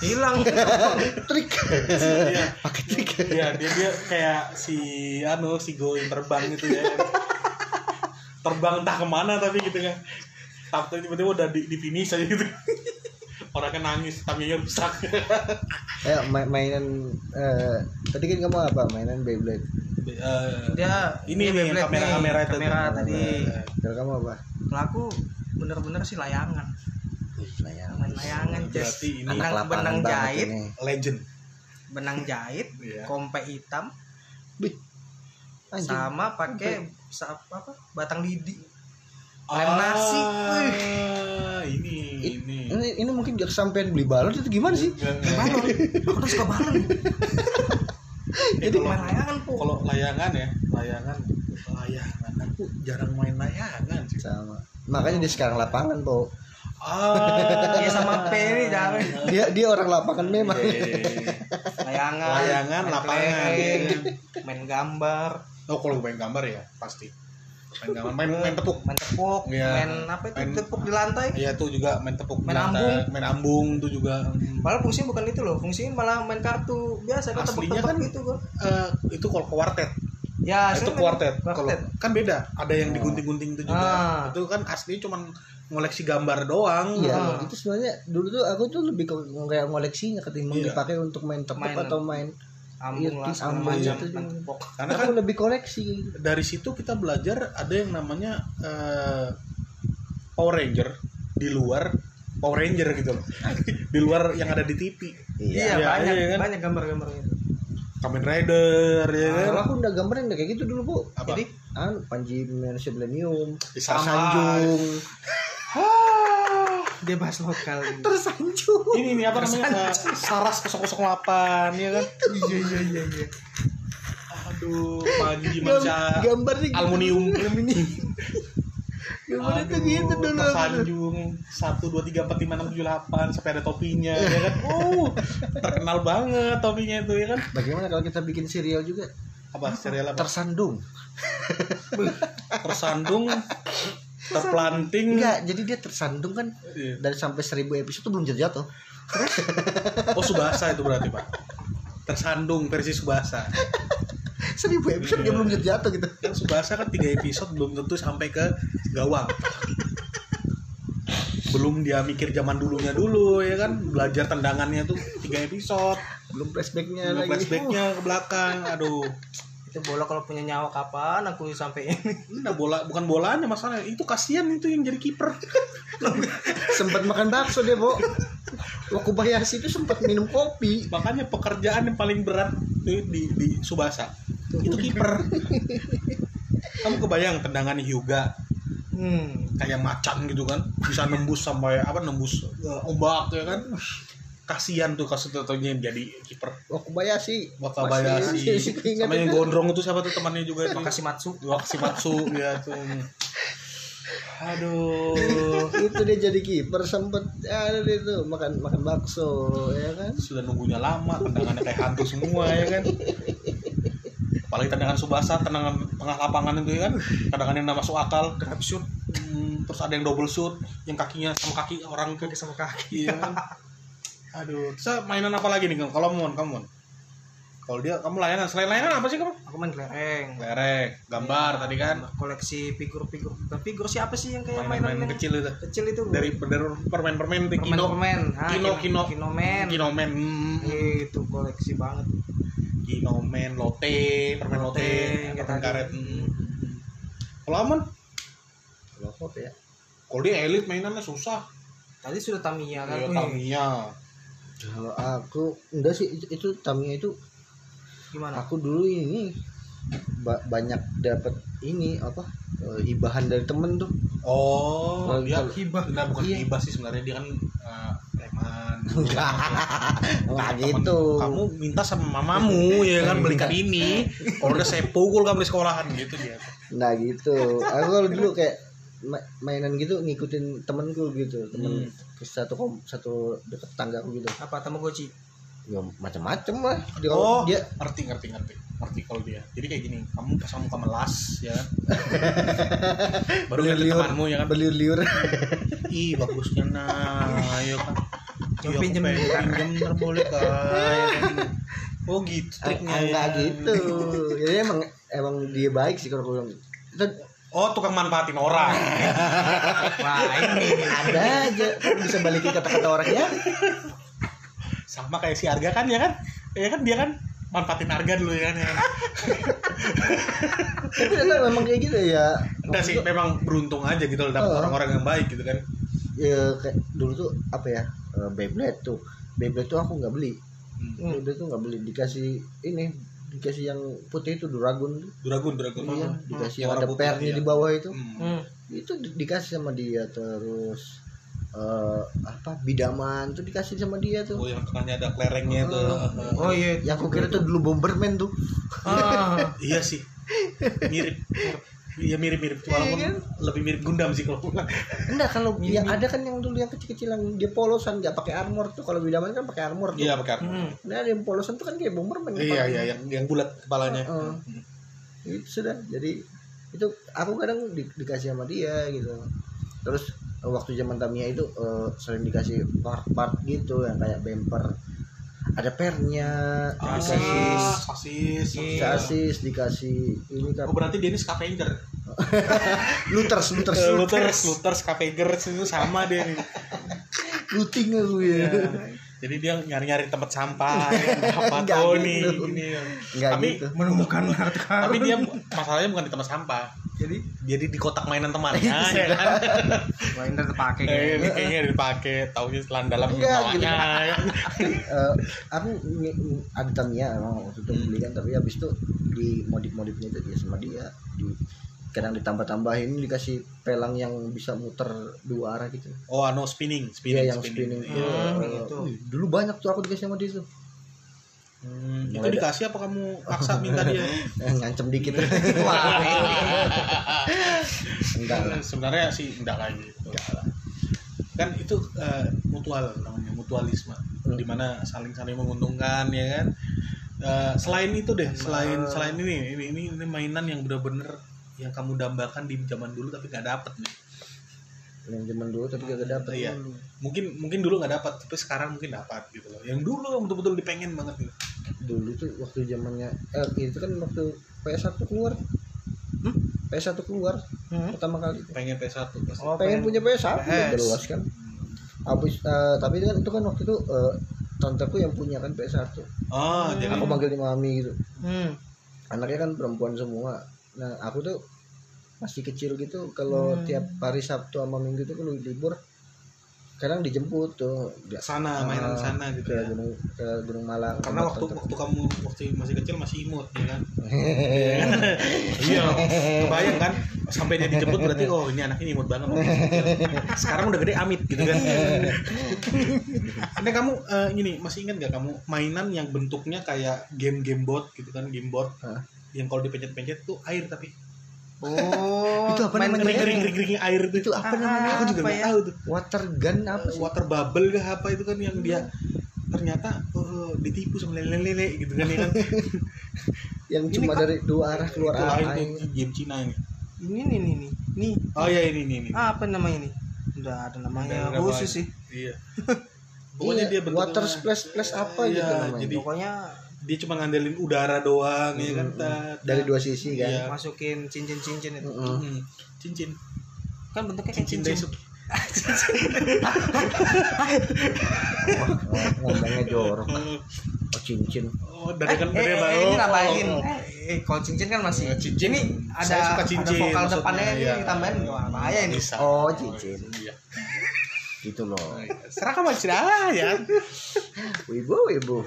Speaker 3: hilang
Speaker 1: trik
Speaker 2: Iya.
Speaker 1: pakai trik
Speaker 2: Iya, dia dia kayak si anu si Go yang terbang gitu ya. terbang entah kemana tapi gitu kan. Tapi tiba-tiba udah di, di finish aja gitu. Orangnya nangis, taminya rusak.
Speaker 1: ya ma- mainan eh, tadi kan kamu apa mainan Beyblade
Speaker 2: Eh,
Speaker 3: dia
Speaker 2: Ini-
Speaker 3: dia
Speaker 2: ini yang
Speaker 3: Beyblade
Speaker 2: kamera-kamera
Speaker 3: nih,
Speaker 2: itu.
Speaker 3: kamera tadi
Speaker 1: kalau kamu apa
Speaker 3: kalau aku bener-bener sih layangan
Speaker 1: Wih, layangan.
Speaker 3: main layangan Jess.
Speaker 2: berarti ini
Speaker 3: Anak-
Speaker 1: anak lapangan
Speaker 3: benang
Speaker 1: banget
Speaker 3: jahit.
Speaker 1: ini
Speaker 2: legend.
Speaker 3: benang jahit
Speaker 2: Iya.
Speaker 3: kompe hitam
Speaker 1: Anjing.
Speaker 3: sama pakai sa- apa batang lidi Lem
Speaker 2: Ah,
Speaker 3: nasi.
Speaker 2: ini
Speaker 1: It-
Speaker 2: ini.
Speaker 1: ini, ini mungkin gak kesampean beli balon itu gimana sih
Speaker 3: balon aku udah suka balon
Speaker 2: Jadi
Speaker 3: main layangan po
Speaker 2: kalau layangan ya, layangan layangan kan aku jarang main layangan sih.
Speaker 1: sama makanya dia sekarang lapangan po
Speaker 2: Ah,
Speaker 3: Iya, sama P ini jarang.
Speaker 1: dia dia orang lapangan memang
Speaker 2: Iya.
Speaker 3: layangan
Speaker 2: Layangan,
Speaker 3: main
Speaker 2: lapangan.
Speaker 3: kelereng, main gambar
Speaker 2: Oh kalau main gambar ya pasti. Main gambar, main, main tepuk.
Speaker 3: main tepuk
Speaker 2: Iya.
Speaker 3: main apa itu
Speaker 2: Main-
Speaker 3: tepuk di lantai
Speaker 2: Iya tuh juga main tepuk.
Speaker 3: Main
Speaker 2: Nah,
Speaker 3: ambung.
Speaker 2: Main ambung tuh juga.
Speaker 3: malah fungsinya bukan itu loh fungsinya malah main kartu biasa kan
Speaker 2: Aslinya
Speaker 3: tepuk-tepuk
Speaker 2: kan-
Speaker 3: gitu kan
Speaker 2: Eh, itu kalau kuartet.
Speaker 3: ya
Speaker 2: itu
Speaker 3: aslinya main
Speaker 2: kuartet. Kalau
Speaker 3: kuartet
Speaker 2: kan beda. Ada yang digunting-gunting itu juga.
Speaker 3: Ah.
Speaker 2: Itu kan asli cuman ngoleksi gambar doang.
Speaker 1: Iya,
Speaker 3: Ah.
Speaker 1: itu sebenarnya dulu tuh aku tuh lebih ke kayak ngoleksinya ketimbang
Speaker 2: Iya.
Speaker 1: dipakai untuk main tepuk
Speaker 3: Main-
Speaker 1: atau main. Iya,
Speaker 3: ambung lah segala
Speaker 1: ambung
Speaker 3: macam
Speaker 1: itu
Speaker 3: main
Speaker 1: juga.
Speaker 3: tepuk
Speaker 2: Karena kan Iya.
Speaker 1: aku lebih koleksi.
Speaker 2: dari situ kita belajar ada yang namanya eh, Power Ranger di luar Power Ranger gitu loh. di luar yang ada di TV. Iya,
Speaker 3: iya banyak
Speaker 2: iya kan?
Speaker 3: banyak gambar-gambar itu
Speaker 2: Kamen Rider ya kan.
Speaker 1: Kalau aku udah gambarnya udah kayak gitu dulu, Bu.
Speaker 2: Apa?
Speaker 1: Jadi, anu Panji Manusia Millennium,
Speaker 2: Bisa
Speaker 1: Tersanjung.
Speaker 3: dia bahas lokal gitu. ini.
Speaker 1: Tersanjung.
Speaker 2: ini nih apa namanya Eh, Saras 008 ya kan
Speaker 3: iya iya iya iya
Speaker 2: Tuh, Panji Mansyah
Speaker 1: gambarnya gitu.
Speaker 2: Aluminium.
Speaker 1: Aluminium. gambarnya tuh gitu dulu.
Speaker 2: Tersanjung satu dua tiga empat lima enam tujuh delapan sampai ada topinya ya kan. Oh terkenal banget topinya itu ya kan.
Speaker 1: Bagaimana kalau kita bikin serial juga?
Speaker 2: Apa serial apa?
Speaker 1: Tersandung.
Speaker 2: Tersandung, terplanting.
Speaker 1: Enggak, jadi dia tersandung kan
Speaker 2: Iya.
Speaker 1: dari sampai 1000 episode tuh belum jatuh.
Speaker 2: Oh Subasa itu berarti pak. Tersandung versi Subasa.
Speaker 1: 1000 episode dia
Speaker 2: Iya.
Speaker 1: belum jatuh gitu.
Speaker 2: Kan Subasa kan tiga episode belum tentu sampai ke gawang. Belum dia mikir zaman dulunya dulu ya kan belajar tendangannya tuh tiga episode.
Speaker 1: Belum flashbacknya Ya,
Speaker 2: Nge-
Speaker 1: lagi.
Speaker 2: flashbacknya ke belakang aduh
Speaker 3: itu bola kalau punya nyawa kapan aku sampein
Speaker 2: Nah bola bukan bolanya masalahnya itu kasihan itu yang jadi kiper
Speaker 1: sempat makan bakso dia, Bo. Wakubayashi itu sempat minum kopi.
Speaker 2: makanya pekerjaan yang paling berat itu di, di Subasa itu kiper kamu kebayang tendangan Hyuga
Speaker 3: hmm.
Speaker 2: kayak macan gitu kan bisa nembus sampai apa nembus eh, ombak ya kan kasihan tuh kasih yang jadi kiper
Speaker 1: Wakubayashi.
Speaker 2: Wakabayashi
Speaker 1: Masih- masih keinget.
Speaker 2: sama yang gondrong itu siapa tuh temannya juga itu
Speaker 3: makasih Matsu
Speaker 2: Waksimatsu ya tuh aduh
Speaker 1: itu dia jadi kiper sempet ada dia tuh makan makan bakso ya kan
Speaker 2: sudah nunggunya lama tendangannya kayak hantu semua ya kan apalagi tendangan Subasa tendangan tengah lapangan itu ya kan tendangan yang nggak masuk akal drop shoot Hmm, terus ada yang double shoot yang kakinya sama kaki orang tuh
Speaker 3: kaki sama kaki
Speaker 2: iya kan aduh terus mainan apa lagi nih Kang? kalau mon kamu Mon? kalau dia kamu layanan selain layanan apa sih kamu
Speaker 3: aku main kelereng
Speaker 2: lerek gambar tadi kan
Speaker 3: koleksi figur-figur bukan figur siapa sih yang kayak mainan,
Speaker 2: mainan-mainan
Speaker 3: yang kecil.
Speaker 2: kecil itu
Speaker 3: itu
Speaker 2: dari dari permen-permen itu
Speaker 3: permen
Speaker 2: kino
Speaker 3: permen Ah,
Speaker 2: Kino, kino.
Speaker 3: kinomen
Speaker 2: kinomen Hmm,
Speaker 3: itu koleksi banget
Speaker 2: kinomen lote permen lote
Speaker 3: Lote,
Speaker 2: permen
Speaker 3: kayak
Speaker 2: karet
Speaker 3: tadi.
Speaker 2: Hmm. kalau aman
Speaker 1: Lokop ya
Speaker 2: kalau dia elit mainannya susah
Speaker 3: tadi sudah Tamiya kan
Speaker 2: ya,
Speaker 3: Wih,
Speaker 2: Tamiya
Speaker 1: kalau aku enggak sih itu, itu Tamiya itu
Speaker 3: gimana
Speaker 1: aku dulu ini ba- banyak dapat ini apa eh, hibahan dari temen tuh
Speaker 2: oh
Speaker 1: Kalau-
Speaker 2: dia
Speaker 1: kalau-
Speaker 2: hibah nah, bukan
Speaker 1: Iya.
Speaker 2: hibah sih sebenarnya dia kan eh, preman
Speaker 1: nggak
Speaker 2: Oh, Temen,
Speaker 1: gitu
Speaker 2: kamu minta sama mamamu ya kan belikan ini kalau udah saya pukul kamu di sekolahan gitu dia
Speaker 1: nah gitu aku kalau dulu kayak ma- mainan gitu ngikutin temenku gitu
Speaker 2: Hmm.
Speaker 1: temen ke satu kom satu deket tangga aku gitu
Speaker 3: apa Tamagotchi
Speaker 1: ya, macam-macam lah dia,
Speaker 2: Oh.
Speaker 1: dia
Speaker 2: ngerti ngerti ngerti ngerti kalau dia jadi kayak gini kamu pas kamu kemelas ya kan baru ngerti
Speaker 1: Liur-liur.
Speaker 2: temanmu ya kan
Speaker 1: berliur-liur
Speaker 2: ih bagusnya nah ayo kan Iya,
Speaker 3: Yang
Speaker 2: aku
Speaker 3: pinjem
Speaker 2: pengen
Speaker 3: kan?
Speaker 2: pinjem ntar boleh kan Ya kan? oh gitu triknya
Speaker 1: enggak
Speaker 2: ya.
Speaker 1: gitu jadi emang emang dia baik sih kalau aku bilang itu
Speaker 2: oh tukang manfaatin orang
Speaker 3: wah ini
Speaker 1: ada aja Kok bisa balikin kata-kata orang ya
Speaker 2: sama kayak si Arga kan ya kan ya kan dia kan manfaatin harga dulu ya kan ya.
Speaker 1: tapi ternyata memang kayak gitu ya
Speaker 2: Udah sih memang beruntung aja gitu loh dapet
Speaker 1: Oh.
Speaker 2: orang-orang yang baik gitu kan
Speaker 1: ya kayak dulu tuh apa ya eh, Beyblade tuh Beyblade tuh aku nggak beli
Speaker 2: Hmm.
Speaker 1: Beyblade Oh, tuh nggak beli dikasih ini dikasih yang putih itu Dragon
Speaker 2: Duragun, Duragun. Hmm.
Speaker 1: iya dikasih
Speaker 2: Yang
Speaker 1: yang ada
Speaker 2: warna putih,
Speaker 1: pernya
Speaker 2: iya.
Speaker 1: di bawah itu
Speaker 2: Hmm.
Speaker 3: hmm.
Speaker 1: itu di- dikasih sama dia terus eh, apa bidaman tuh dikasih sama dia tuh Ah.
Speaker 2: Oh, yang tengahnya ada klerengnya itu.
Speaker 3: oh iya
Speaker 1: yang aku kira tuh dulu Bomberman tuh
Speaker 3: ah,
Speaker 2: Iya sih. Mirip. mirip. Iya mirip-mirip walaupun
Speaker 1: Iya kan?
Speaker 2: lebih mirip Gundam sih kalau pulang.
Speaker 1: Enggak kalau yang ada kan yang dulu yang kecil-kecil yang dia polosan nggak pakai armor tuh kalau bidaman kan pakai armor tuh.
Speaker 2: Iya pakai armor.
Speaker 3: hmm.
Speaker 1: Nah ada yang polosan tuh kan kayak bomberman.
Speaker 2: Iya iya yang yang bulat kepalanya.
Speaker 1: Heeh.
Speaker 2: Hmm.
Speaker 1: Itu Ya, sudah jadi itu aku kadang di- dikasih sama dia gitu. Terus eh, waktu zaman Tamiya itu eh, sering dikasih part-part gitu yang kayak bumper ada pernya
Speaker 2: Ah,
Speaker 1: dikasih
Speaker 2: sasis. sasis.
Speaker 1: dikasih dikasih ini kan
Speaker 2: Oh, berarti dia ini scavenger.
Speaker 1: looters looters
Speaker 2: Eh, Luthers, Luthers, scavenger itu sama dia nih.
Speaker 1: looting aku ya
Speaker 2: Iya. Jadi dia nyari-nyari tempat sampah, apa
Speaker 1: Nggak
Speaker 2: tuh
Speaker 1: gitu.
Speaker 2: nih, ini.
Speaker 1: nggak
Speaker 2: Tapi-
Speaker 1: gitu
Speaker 3: menemukan harta karun.
Speaker 2: Tapi dia masalahnya bukan di tempat sampah,
Speaker 3: jadi
Speaker 2: jadi di kotak mainan temannya.
Speaker 1: Itu
Speaker 2: ya kan?
Speaker 3: wah ini udah terpakai
Speaker 2: Eh, ini kayaknya dipakai tahu sih selan dalam
Speaker 1: Enggak,
Speaker 2: bawahnya.
Speaker 1: gitu. Eh, aku nge- nge- ada Tamiya emang waktu itu beli kan tapi habis itu di modif-modifnya itu dia sama dia di kadang ditambah-tambahin dikasih pelang yang bisa muter dua arah gitu
Speaker 2: oh anu spinning spinning
Speaker 1: dia yang spinning,
Speaker 2: Iya.
Speaker 1: Iya.
Speaker 3: Hmm, gitu.
Speaker 1: Wih, dulu banyak tuh aku dikasih sama dia tuh
Speaker 2: Hmm, itu
Speaker 1: Mulai
Speaker 2: dikasih apa kamu paksa minta dia?
Speaker 1: Eh, ngancem dikit
Speaker 2: Iya.
Speaker 1: enggak lah
Speaker 2: Sebenarnya sih enggak lah gitu. Kan itu eh, mutual namanya mutualisme,
Speaker 1: Hmm.
Speaker 2: dimana saling-saling menguntungkan ya kan. Eh, selain itu deh, selain selain ini ini ini, ini mainan yang bener-bener yang kamu dambakan di zaman dulu tapi nggak dapet nih.
Speaker 1: yang zaman dulu tapi gak dapet
Speaker 2: Iya. Mungkin mungkin dulu nggak dapat, tapi sekarang mungkin dapat gitu loh. Yang dulu yang betul-betul dipengen banget gitu.
Speaker 1: dulu tuh waktu zamannya eh, itu kan waktu PS1 keluar
Speaker 2: Hmm?
Speaker 1: PS1 keluar
Speaker 3: Hmm.
Speaker 1: pertama kali
Speaker 2: Pengen PS1 pasti.
Speaker 3: Oh,
Speaker 1: pengen punya PS1
Speaker 2: PS.
Speaker 1: udah luas kan habis eh, tapi itu kan itu kan waktu itu eh, tanteku yang punya kan PS1
Speaker 2: Oh, jadi
Speaker 1: aku manggil di mami gitu
Speaker 3: Hmm.
Speaker 1: anaknya kan perempuan semua nah aku tuh masih kecil gitu kalau
Speaker 3: Hmm.
Speaker 1: tiap hari Sabtu sama Minggu tuh kalau libur kadang dijemput tuh
Speaker 2: ke
Speaker 1: nggak
Speaker 2: sana mainan ke sana gitu
Speaker 1: ke
Speaker 2: ya.
Speaker 1: gunung ke gunung Malang
Speaker 2: karena
Speaker 1: tempat
Speaker 2: waktu
Speaker 1: tanteku.
Speaker 2: waktu kamu waktu masih kecil masih imut ya kan iya kebayang kan sampai dia dijemput berarti oh ini anak ini imut banget waktu masih kecil. sekarang udah gede amit gitu kan Anda kamu eh, gini masih ingat nggak kamu mainan yang bentuknya kayak game game board gitu kan game board
Speaker 1: Hah?
Speaker 2: yang kalau dipencet-pencet tuh air tapi
Speaker 3: Oh,
Speaker 1: Itu apa
Speaker 3: main
Speaker 1: namanya?
Speaker 2: kering
Speaker 3: kering-kering.
Speaker 2: kering kering kering air itu Ah,
Speaker 1: itu apa namanya
Speaker 2: aku juga
Speaker 3: Apa
Speaker 2: nggak
Speaker 3: ya?
Speaker 2: tahu tuh
Speaker 1: water gun apa sih
Speaker 2: water bubble kah apa itu kan yang dia ternyata eh, ditipu sama lele-lele gitu kan ya kan
Speaker 1: yang
Speaker 2: Ini
Speaker 1: cuma
Speaker 2: kan-
Speaker 1: dari dua arah keluar
Speaker 2: Itu lain
Speaker 1: air
Speaker 2: tuh, game Cina ini
Speaker 3: Ini nih nih nih. Nih,
Speaker 2: oh ya ini ini ini
Speaker 3: ah, apa namanya ini? Udah ada
Speaker 2: Udah
Speaker 3: namanya
Speaker 2: ada
Speaker 3: khusus
Speaker 2: namanya.
Speaker 3: sih.
Speaker 2: iya pokoknya
Speaker 1: Pokoknya
Speaker 2: dia bentuknya
Speaker 1: Iya, water splash splash apa
Speaker 2: Iya,
Speaker 1: gitu namanya.
Speaker 2: jadi-
Speaker 3: Pokoknya
Speaker 2: dia cuma ngandelin udara doang ya kan
Speaker 1: Mm,
Speaker 2: tat,
Speaker 1: dari
Speaker 2: tat.
Speaker 1: dua sisi kan. Hmm,
Speaker 2: Iya.
Speaker 3: masukin cincin-cincin itu.
Speaker 1: Mm-mm.
Speaker 2: Mm, cincin
Speaker 3: Kan bentuknya kayak
Speaker 2: cincin
Speaker 3: cincin.
Speaker 2: Daisuke
Speaker 1: Wah, ngom- ngomongnya jorok.
Speaker 2: Mm,
Speaker 1: Oh, cincin.
Speaker 2: oh dari kan
Speaker 3: eh,
Speaker 2: dari
Speaker 3: eh,
Speaker 2: baru
Speaker 3: ini nambahin.
Speaker 2: Oh, oh.
Speaker 3: Eh, eh, kalau cincin kan masih
Speaker 2: Eh, cincin
Speaker 3: Ini ada
Speaker 2: saya suka cincin
Speaker 3: ada vokal
Speaker 2: maksudnya,
Speaker 3: depannya ini
Speaker 2: iya.
Speaker 3: ditambahin wah, bahaya ini.
Speaker 2: Bisa.
Speaker 1: Oh, cincin.
Speaker 2: iya.
Speaker 1: Gitu loh.
Speaker 2: serah kamu cerah ya
Speaker 1: Wibu, wibu.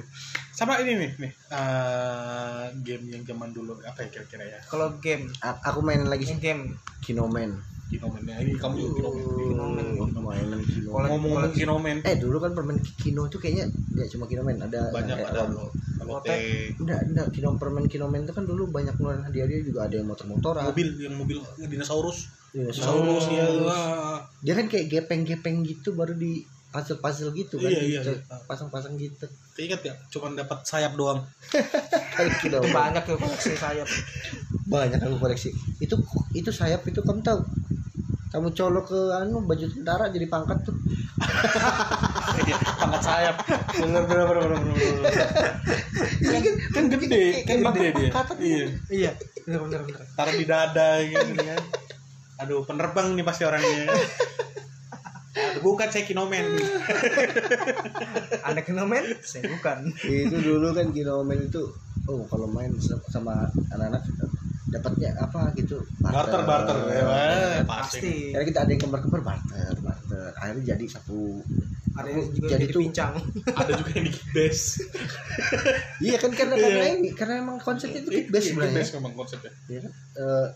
Speaker 2: sama ini nih nih eh, game yang zaman dulu apa ya kira-kira ya
Speaker 3: Kalau game,
Speaker 1: A- aku mainin lagi sih
Speaker 3: ini game.
Speaker 1: Kinoman.
Speaker 2: Kinomen ya ini kamu juga Kinomen
Speaker 3: Kinoman.
Speaker 1: Oh, mainan Kinoman.
Speaker 3: Kalau-
Speaker 2: ngomong-ngomong Kinomen
Speaker 1: Eh, dulu kan permen Kino tuh kayaknya nggak cuma Kinoman,
Speaker 3: Eh,
Speaker 1: ada
Speaker 2: banyak
Speaker 1: yang kayak
Speaker 2: ada
Speaker 1: rom.
Speaker 2: loh Lotte
Speaker 1: Enggak, enggak. Kino, permen Kinoman itu kan dulu banyak ngeluarin hadiah-hadiah juga ada yang motor-motoran.
Speaker 2: mobil yang mobil dinosaurus
Speaker 1: dinosaurus.
Speaker 2: dinosaurus ya
Speaker 1: Dia kan kayak gepeng-gepeng gitu baru di puzzle-puzzle gitu kan.
Speaker 2: Iya, iya,
Speaker 1: Gitu.
Speaker 2: iya.
Speaker 1: Pasang-pasang gitu.
Speaker 2: ingat gak cuman dapat sayap doang
Speaker 1: Kayak
Speaker 3: Itu
Speaker 1: Kinoman.
Speaker 3: banyak tuh koleksi sayap.
Speaker 1: banyak aku koleksi itu itu sayap itu kamu tahu kamu colok ke anu baju tentara jadi pangkat tuh
Speaker 2: Iya, pangkat sayap bener bener bener bener bener, bener.
Speaker 1: Iya kan?
Speaker 2: kan gede kan
Speaker 1: Kayak
Speaker 2: gede dia
Speaker 1: pangkat.
Speaker 2: iya
Speaker 3: Iya, benar benar benar.
Speaker 2: taruh di dada gitu kan aduh penerbang nih pasti orangnya aduh, bukan saya kinomen
Speaker 3: Anda kenal men? Saya bukan.
Speaker 1: itu dulu kan kinomen itu oh kalau main sa- sama anak-anak dapatnya apa gitu
Speaker 2: barter barter ya wah, pasti
Speaker 3: Pasti.
Speaker 1: karena kita ada yang kembar-kembar barter barter akhirnya jadi satu
Speaker 3: Ada yang
Speaker 1: Aku
Speaker 3: juga
Speaker 1: jadi
Speaker 3: jadi,
Speaker 1: tuh.
Speaker 3: pincang.
Speaker 2: ada juga yang di kibes
Speaker 1: iya kan karena karena ini karena emang konsepnya itu kick base sebenarnya
Speaker 2: kibes Iya, memang konsepnya
Speaker 1: Iya kan? Eh,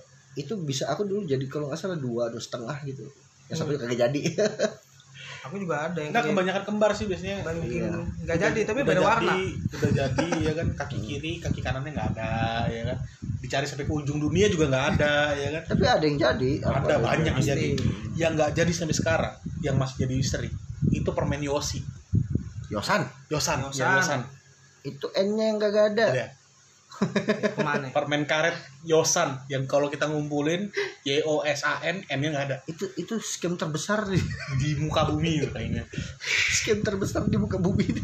Speaker 1: itu bisa aku dulu jadi kalau nggak salah dua dua setengah gitu yang satu
Speaker 2: Hmm.
Speaker 1: kagak jadi
Speaker 3: Aku juga ada yang gitu.
Speaker 2: enggak Iya. kebanyakan kembar sih biasanya
Speaker 3: Bang, mungkin
Speaker 1: Iya.
Speaker 3: nggak jadi tapi
Speaker 2: Udah
Speaker 3: beda
Speaker 2: jadi-
Speaker 3: warna
Speaker 2: udah jadi ya kan kaki kiri kaki kanannya nggak ada ya kan dicari sampai ke ujung dunia juga nggak ada ya kan
Speaker 1: tapi ada yang jadi
Speaker 2: ada
Speaker 1: yang
Speaker 2: banyak yang
Speaker 1: jadi.
Speaker 2: jadi yang nggak jadi sampai sekarang yang masih jadi misteri itu permen Yosi
Speaker 1: Yosan
Speaker 2: Yosan
Speaker 3: Yosan.
Speaker 2: ya, Yosan
Speaker 1: itu N-nya yang kagak ada.
Speaker 2: Ada.
Speaker 3: kemana
Speaker 2: permen karet Yosan yang kalau kita ngumpulin Y O S A N N nya nggak ada
Speaker 1: Itu itu scam terbesar di
Speaker 2: di muka bumi itu kayaknya
Speaker 1: scam terbesar di muka bumi.
Speaker 2: itu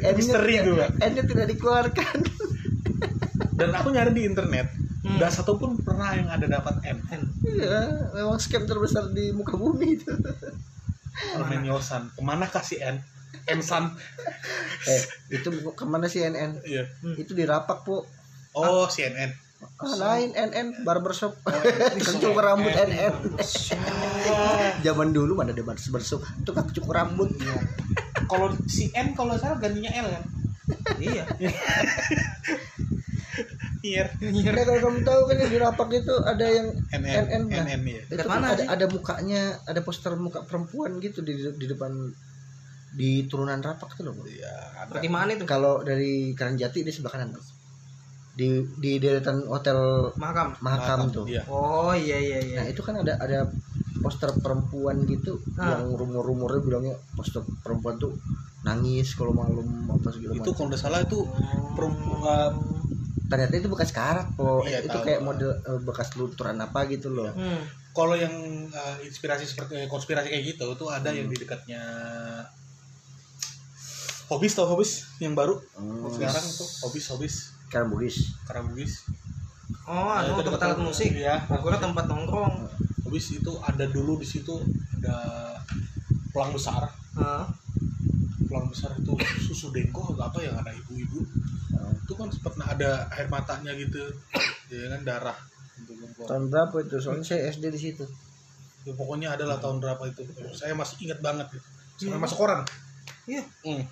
Speaker 1: N-nya
Speaker 2: misteri
Speaker 1: tidak-
Speaker 2: itu Pak.
Speaker 1: N-nya tidak dikeluarkan.
Speaker 2: dan aku nyari di internet
Speaker 3: Hmm.
Speaker 2: nggak satu pun pernah yang ada dapat N
Speaker 1: Iya, memang scam terbesar di muka bumi itu.
Speaker 2: permen Yosan kemana kasih N N San
Speaker 1: Eh, itu bu- kemana sih NN?
Speaker 2: Iya.
Speaker 1: Itu di rapak, Bu.
Speaker 2: oh CNN
Speaker 1: Ah, lain NN barbershop.
Speaker 2: Oh,
Speaker 1: Cukur rambut NN. Zaman dulu mana ada barbershop, tukang cukur kan rambut.
Speaker 2: Iya. kalau si N kalau nggak salah gantinya L kan
Speaker 3: iya
Speaker 2: Nier
Speaker 1: Nah, kalau kamu tahu kan yang di rapak itu ada yang
Speaker 2: NN
Speaker 1: NN. nah.
Speaker 2: NN ya
Speaker 1: Itu
Speaker 3: Dekat mana
Speaker 1: ada,
Speaker 3: sih?
Speaker 1: ada mukanya, ada poster muka perempuan gitu di, di depan di turunan rapak tuh loh Bro.
Speaker 2: Iya, ada.
Speaker 3: Seperti mana itu?
Speaker 1: kalau dari Keranjati di sebelah kanan Bro. di di deretan hotel
Speaker 3: Makam.
Speaker 1: Mahakam tuh
Speaker 2: Iya.
Speaker 3: Oh iya iya iya.
Speaker 1: nah itu kan ada ada poster perempuan gitu
Speaker 3: Ah.
Speaker 1: yang rumor-rumornya bilangnya poster perempuan tuh nangis kalau malam apa segala macam
Speaker 2: Itu kalau nggak salah itu perempuan
Speaker 1: ternyata itu bekas karat po
Speaker 2: Iya,
Speaker 1: itu
Speaker 2: tahu. Iya.
Speaker 1: kayak model eh, bekas lunturan apa gitu loh
Speaker 3: Hmm.
Speaker 2: kalau yang eh, inspirasi seperti konspirasi kayak gitu tuh ada yang di dekatnya Hobis tau Hobis yang baru
Speaker 1: hmm.
Speaker 2: sekarang tuh Hobis Hobis
Speaker 1: sekarang Bugis
Speaker 2: Karambugis
Speaker 3: Oh,
Speaker 2: Nah,
Speaker 3: anu
Speaker 2: itu
Speaker 3: tempat
Speaker 2: dekat-
Speaker 3: alat musik.
Speaker 2: Iya.
Speaker 3: Aku kira tempat nongkrong.
Speaker 2: Hobis itu ada dulu di situ ada pelang besar
Speaker 3: Heeh.
Speaker 2: pelang besar itu susu dengko atau apa yang ada ibu-ibu
Speaker 1: Hmm.
Speaker 2: itu kan sempat ada air matanya gitu ya kan darah Gitu kan, keluar.
Speaker 1: tahun berapa itu soalnya saya SD di situ
Speaker 2: Ya, pokoknya adalah tahun
Speaker 3: Hmm.
Speaker 2: berapa itu saya masih ingat banget gitu. Sampai masuk koran
Speaker 3: Iya.
Speaker 2: Hmm.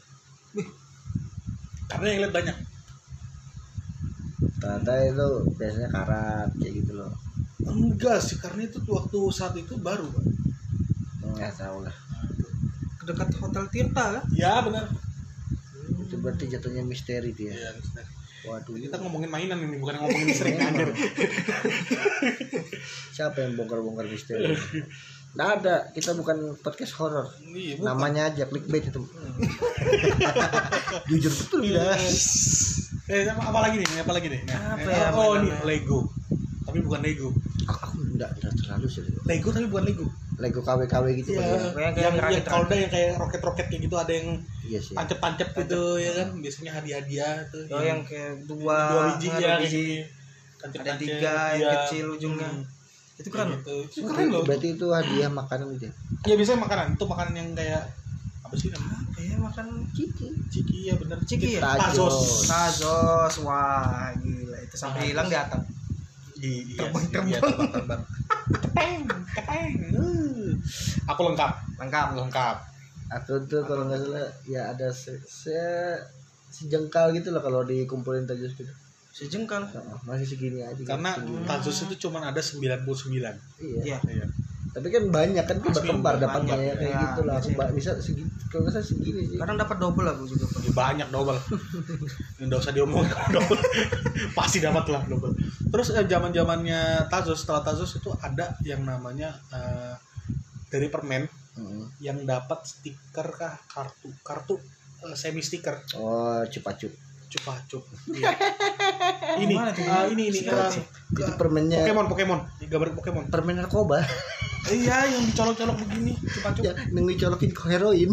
Speaker 2: karena yang lihat banyak
Speaker 1: ternyata itu biasanya karat kayak gitu loh
Speaker 2: enggak sih karena itu tuh waktu saat itu baru Pak.
Speaker 1: nggak tahu lah
Speaker 3: Dekat Hotel Tirta kan?
Speaker 2: ya benar
Speaker 1: itu berarti jatuhnya misteri dia
Speaker 2: Iya, benar.
Speaker 1: waduh
Speaker 2: kita ngomongin mainan ini kan bukan ngomongin seringan
Speaker 3: Iya.
Speaker 1: siapa yang bongkar-bongkar misteri nggak ada kita bukan podcast horor
Speaker 2: iya bukan.
Speaker 1: namanya aja clickbait itu jujur betul
Speaker 2: Iya.
Speaker 1: tidak
Speaker 2: eh sama apa lagi nih apa lagi nih nah,
Speaker 3: Apa
Speaker 2: eh,
Speaker 3: ya
Speaker 2: oh ini
Speaker 3: mainannya?
Speaker 2: Lego tapi bukan Lego
Speaker 1: aku, aku enggak, enggak terlalu sih
Speaker 2: Lego tapi bukan Lego
Speaker 1: Lego KW KW gitu bagaimana?
Speaker 2: Iya,
Speaker 3: Kayak- kayak
Speaker 2: yang, yang
Speaker 3: rakit-rakit.
Speaker 2: kalau ada yang kayak roket-roket kayak gitu ada yang
Speaker 1: iya sih
Speaker 2: tancap-tancap gitu ya kan biasanya hadiah-hadiah tuh
Speaker 3: Oh, yang kayak dua,
Speaker 2: Iya. dua biji
Speaker 3: ada
Speaker 2: ya kayak
Speaker 3: biji.
Speaker 2: gini. Tancap-tancap,
Speaker 3: Ada tiga
Speaker 2: iya.
Speaker 3: yang kecil ujungnya.
Speaker 2: Hmm.
Speaker 3: Itu keren.
Speaker 2: Kayak gitu. itu
Speaker 1: berarti,
Speaker 2: keren loh
Speaker 1: berarti itu hadiah makanan gitu ya
Speaker 2: ya biasanya makanan itu makanan yang kayak apa sih namanya
Speaker 3: Iya, makan
Speaker 1: Ciki.
Speaker 2: ciki ya bener
Speaker 3: Ciki ya?
Speaker 2: tazos
Speaker 1: Tazos.
Speaker 3: Tazos, wah gila itu sampai hilang di atap.
Speaker 2: Iya, iya,
Speaker 3: Terbang,
Speaker 2: iya,
Speaker 3: terbang.
Speaker 2: terbang, terbang. Keteng, keteng. Uh. aku lengkap
Speaker 3: Lengkap.
Speaker 2: aku lengkap
Speaker 1: aku tuh kalau nggak salah ya ada se, se- sejengkal gitu loh kalau dikumpulin tajus gitu
Speaker 3: Sejengkal.
Speaker 1: Heeh, masih segini aja gitu,
Speaker 2: karena
Speaker 1: segini.
Speaker 2: tazos itu cuma ada 99
Speaker 1: iya.
Speaker 3: Iya.
Speaker 2: iya
Speaker 1: tapi kan banyak kan tuh
Speaker 2: Masih
Speaker 1: berkembar
Speaker 2: banyak,
Speaker 1: dapatnya ya, kayak
Speaker 3: ya,
Speaker 1: gitu lah aku
Speaker 3: biasanya.
Speaker 1: ba- bisa segini kalau nggak salah segini sih
Speaker 3: Kadang dapat double aku juga. Pak.
Speaker 2: Ya, banyak double nggak usah diomongin double pasti dapat lah double terus zaman zamannya tazos setelah tazos itu ada yang namanya eh, dari permen
Speaker 1: Heeh.
Speaker 2: yang dapat stiker kah kartu kartu eh, semi stiker
Speaker 1: oh cupacup
Speaker 2: cupa cup Iya. ini
Speaker 3: Gimana tuh?
Speaker 2: eh, ini ini eh,
Speaker 1: Cupacup. itu permennya
Speaker 2: Pokemon Pokemon gambar Pokemon
Speaker 1: permen narkoba
Speaker 2: iya yang dicolok-colok begini cupa cup
Speaker 1: ya yang dicolokin ke heroin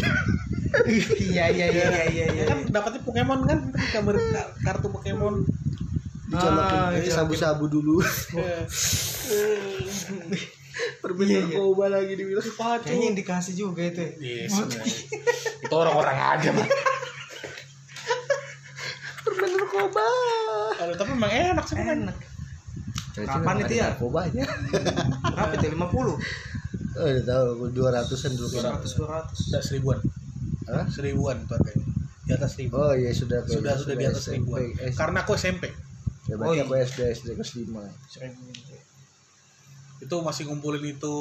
Speaker 3: Iya iya iya iya iya.
Speaker 2: ya
Speaker 3: iya.
Speaker 2: kan dapatnya Pokemon kan gambar ka- kartu Pokemon
Speaker 1: dicolokin
Speaker 3: Ah,
Speaker 1: pakai
Speaker 3: iya.
Speaker 1: sabu-sabu dulu
Speaker 2: Eh,
Speaker 1: permen
Speaker 3: Iya, iya.
Speaker 1: narkoba lagi dibilang
Speaker 3: Kayaknya indikasi juga itu. ya.
Speaker 2: Iya, sebenarnya. itu orang-orang aja Bang.
Speaker 1: permen narkoba
Speaker 2: Aduh, tapi emang enak sih kan
Speaker 3: Enak. Kapan itu ya?
Speaker 1: narkobanya
Speaker 3: Berapa itu? 50?
Speaker 1: oh, udah tahu dua ratusan dulu kan
Speaker 3: 100 200.
Speaker 2: Udah seribuan
Speaker 1: Hah?
Speaker 2: seribuan tuh kayaknya di atas seribu
Speaker 1: oh iya sudah aku-
Speaker 2: sudah sudah di atas
Speaker 1: SMP,
Speaker 2: seribuan
Speaker 1: S-
Speaker 2: karena aku SMP
Speaker 1: ya, berarti
Speaker 2: iya.
Speaker 3: Oh,
Speaker 1: aku SD SD kelas lima
Speaker 3: 1000.
Speaker 2: itu masih ngumpulin itu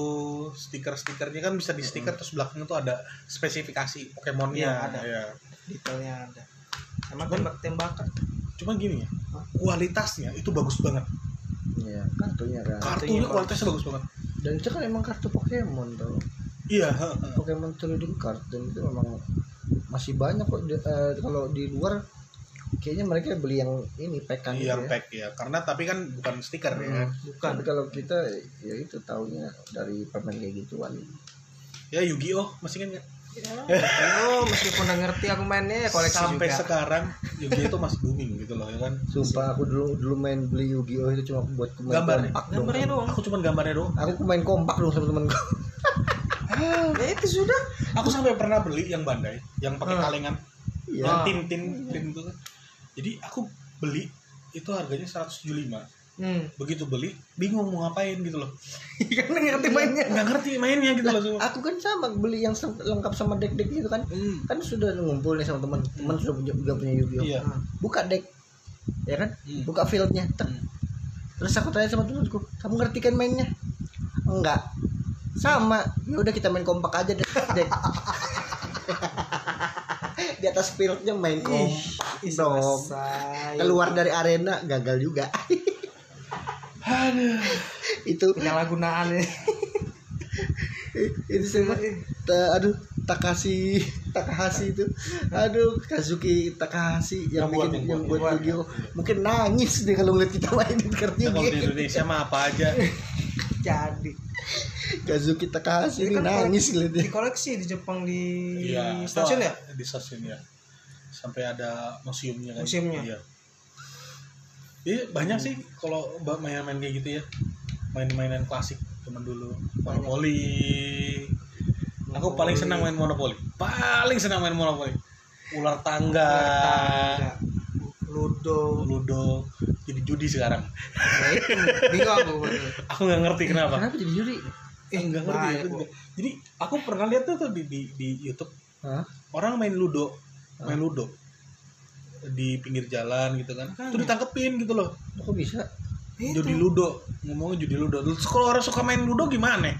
Speaker 2: stiker-stikernya kan bisa di stiker terus belakangnya tuh ada spesifikasi Pokemonnya
Speaker 3: Iya, ada.
Speaker 2: Iya.
Speaker 3: detailnya ada sama tembak tembakan
Speaker 2: cuma gini ya
Speaker 3: Hah?
Speaker 2: kualitasnya itu bagus banget
Speaker 1: ya kartunya kan
Speaker 2: kartunya
Speaker 3: Kartunya
Speaker 2: kualitasnya bagus banget
Speaker 1: dan itu kan emang kartu Pokemon tuh
Speaker 2: iya
Speaker 1: Pokemon trading card dan itu memang masih banyak kok di- eh, kalau di luar kayaknya mereka beli yang ini pekan
Speaker 2: iya
Speaker 1: gitu ya.
Speaker 2: pack ya karena tapi kan bukan stiker ya
Speaker 1: Hmm.
Speaker 3: bukan
Speaker 1: Tapi kalau kita ya itu taunya dari permen kayak gituan.
Speaker 2: ya Yu-Gi-Oh masih kan nggak?
Speaker 3: oh meskipun udah ngerti aku mainnya ya koleksi
Speaker 2: sampai
Speaker 3: juga
Speaker 2: sekarang Yu-Gi-Oh itu masih booming gitu loh ya kan
Speaker 1: Sumpah aku dulu dulu main beli Yu-Gi-Oh itu cuma buat main
Speaker 2: Gambar ya?
Speaker 1: kompak dong. kan.
Speaker 3: gambarnya doang
Speaker 2: aku cuman gambarnya doang
Speaker 1: Aku main kompak dong sama temen gue.
Speaker 3: ya itu sudah
Speaker 2: aku sampai pernah beli yang Bandai yang pakai
Speaker 3: Hmm.
Speaker 2: kalengan
Speaker 1: Iya.
Speaker 2: yang
Speaker 3: Ah.
Speaker 2: tin tin tin itu kan jadi aku beli itu harganya 175
Speaker 3: hmm.
Speaker 2: begitu beli bingung mau ngapain gitu loh
Speaker 1: Iya,
Speaker 3: karena ngerti
Speaker 2: Iya.
Speaker 3: mainnya
Speaker 2: nggak ngerti mainnya gitu loh semua
Speaker 1: kan, Aku kan sama beli yang se- lengkap sama deck-deck gitu kan.
Speaker 2: Hmm,
Speaker 1: Kan sudah ngumpul nih sama teman. Teman sudah punya, udah punya Yu-Gi-Oh.
Speaker 2: iya
Speaker 1: Buka deck. Ya kan?
Speaker 2: Hmm.
Speaker 1: Buka fieldnya. Tek.
Speaker 2: Hmm.
Speaker 1: Terus aku tanya sama temanku, kamu ngerti kan mainnya? Enggak. Sama. Ya udah kita main kompak aja deck. deck. naik di atas pilotnya main kompak dong.
Speaker 3: Selesai.
Speaker 1: Keluar dari arena gagal juga.
Speaker 3: Aduh,
Speaker 1: itu
Speaker 3: penyalahgunaan ya.
Speaker 1: itu semua ta- aduh Takashi Takahashi itu aduh Kazuki Takahashi yang
Speaker 2: Yang buat,
Speaker 1: bikin
Speaker 2: yang
Speaker 1: yang
Speaker 2: buat,
Speaker 1: buat video mungkin nangis deh kalau ngeliat kita main
Speaker 3: Iya.
Speaker 1: kartu
Speaker 2: Kalau di Indonesia mah apa aja.
Speaker 3: Jadi.
Speaker 1: Kazuki Takahashi
Speaker 3: Jadi
Speaker 1: ini
Speaker 3: kan
Speaker 1: nangis
Speaker 3: Di
Speaker 1: ngeliatnya
Speaker 3: koleksi di Jepang di
Speaker 2: Iya.
Speaker 3: stasiun ya?
Speaker 2: Di stasiun ya. Sampai ada museumnya kan.
Speaker 3: Museumnya. Hmm.
Speaker 2: Iya. Iya, banyak sih kalau ba- main-main kayak gitu ya. Main-mainan klasik zaman dulu. Monopoly. Aku paling senang main Monopoly. Paling senang main Monopoly. Ular tangga,
Speaker 3: Tangga, Iya. Ludo.
Speaker 2: Ludo, jadi judi sekarang.
Speaker 3: Ya itu, Bingung aku.
Speaker 2: Aku nggak ngerti kenapa.
Speaker 1: kenapa jadi juri
Speaker 2: Eh, nggak ngerti
Speaker 3: banyak,
Speaker 2: aku
Speaker 3: Bu.
Speaker 2: juga. Jadi aku pernah lihat tuh, tuh di, di di YouTube
Speaker 1: Hah?
Speaker 2: orang main ludo, main ludo di pinggir jalan gitu kan.
Speaker 3: Makanya.
Speaker 2: Itu ditangkepin gitu loh.
Speaker 1: kok bisa
Speaker 3: Itu.
Speaker 2: Judi ludo, ngomongnya judi ludo. Terus kalau orang suka main ludo gimana?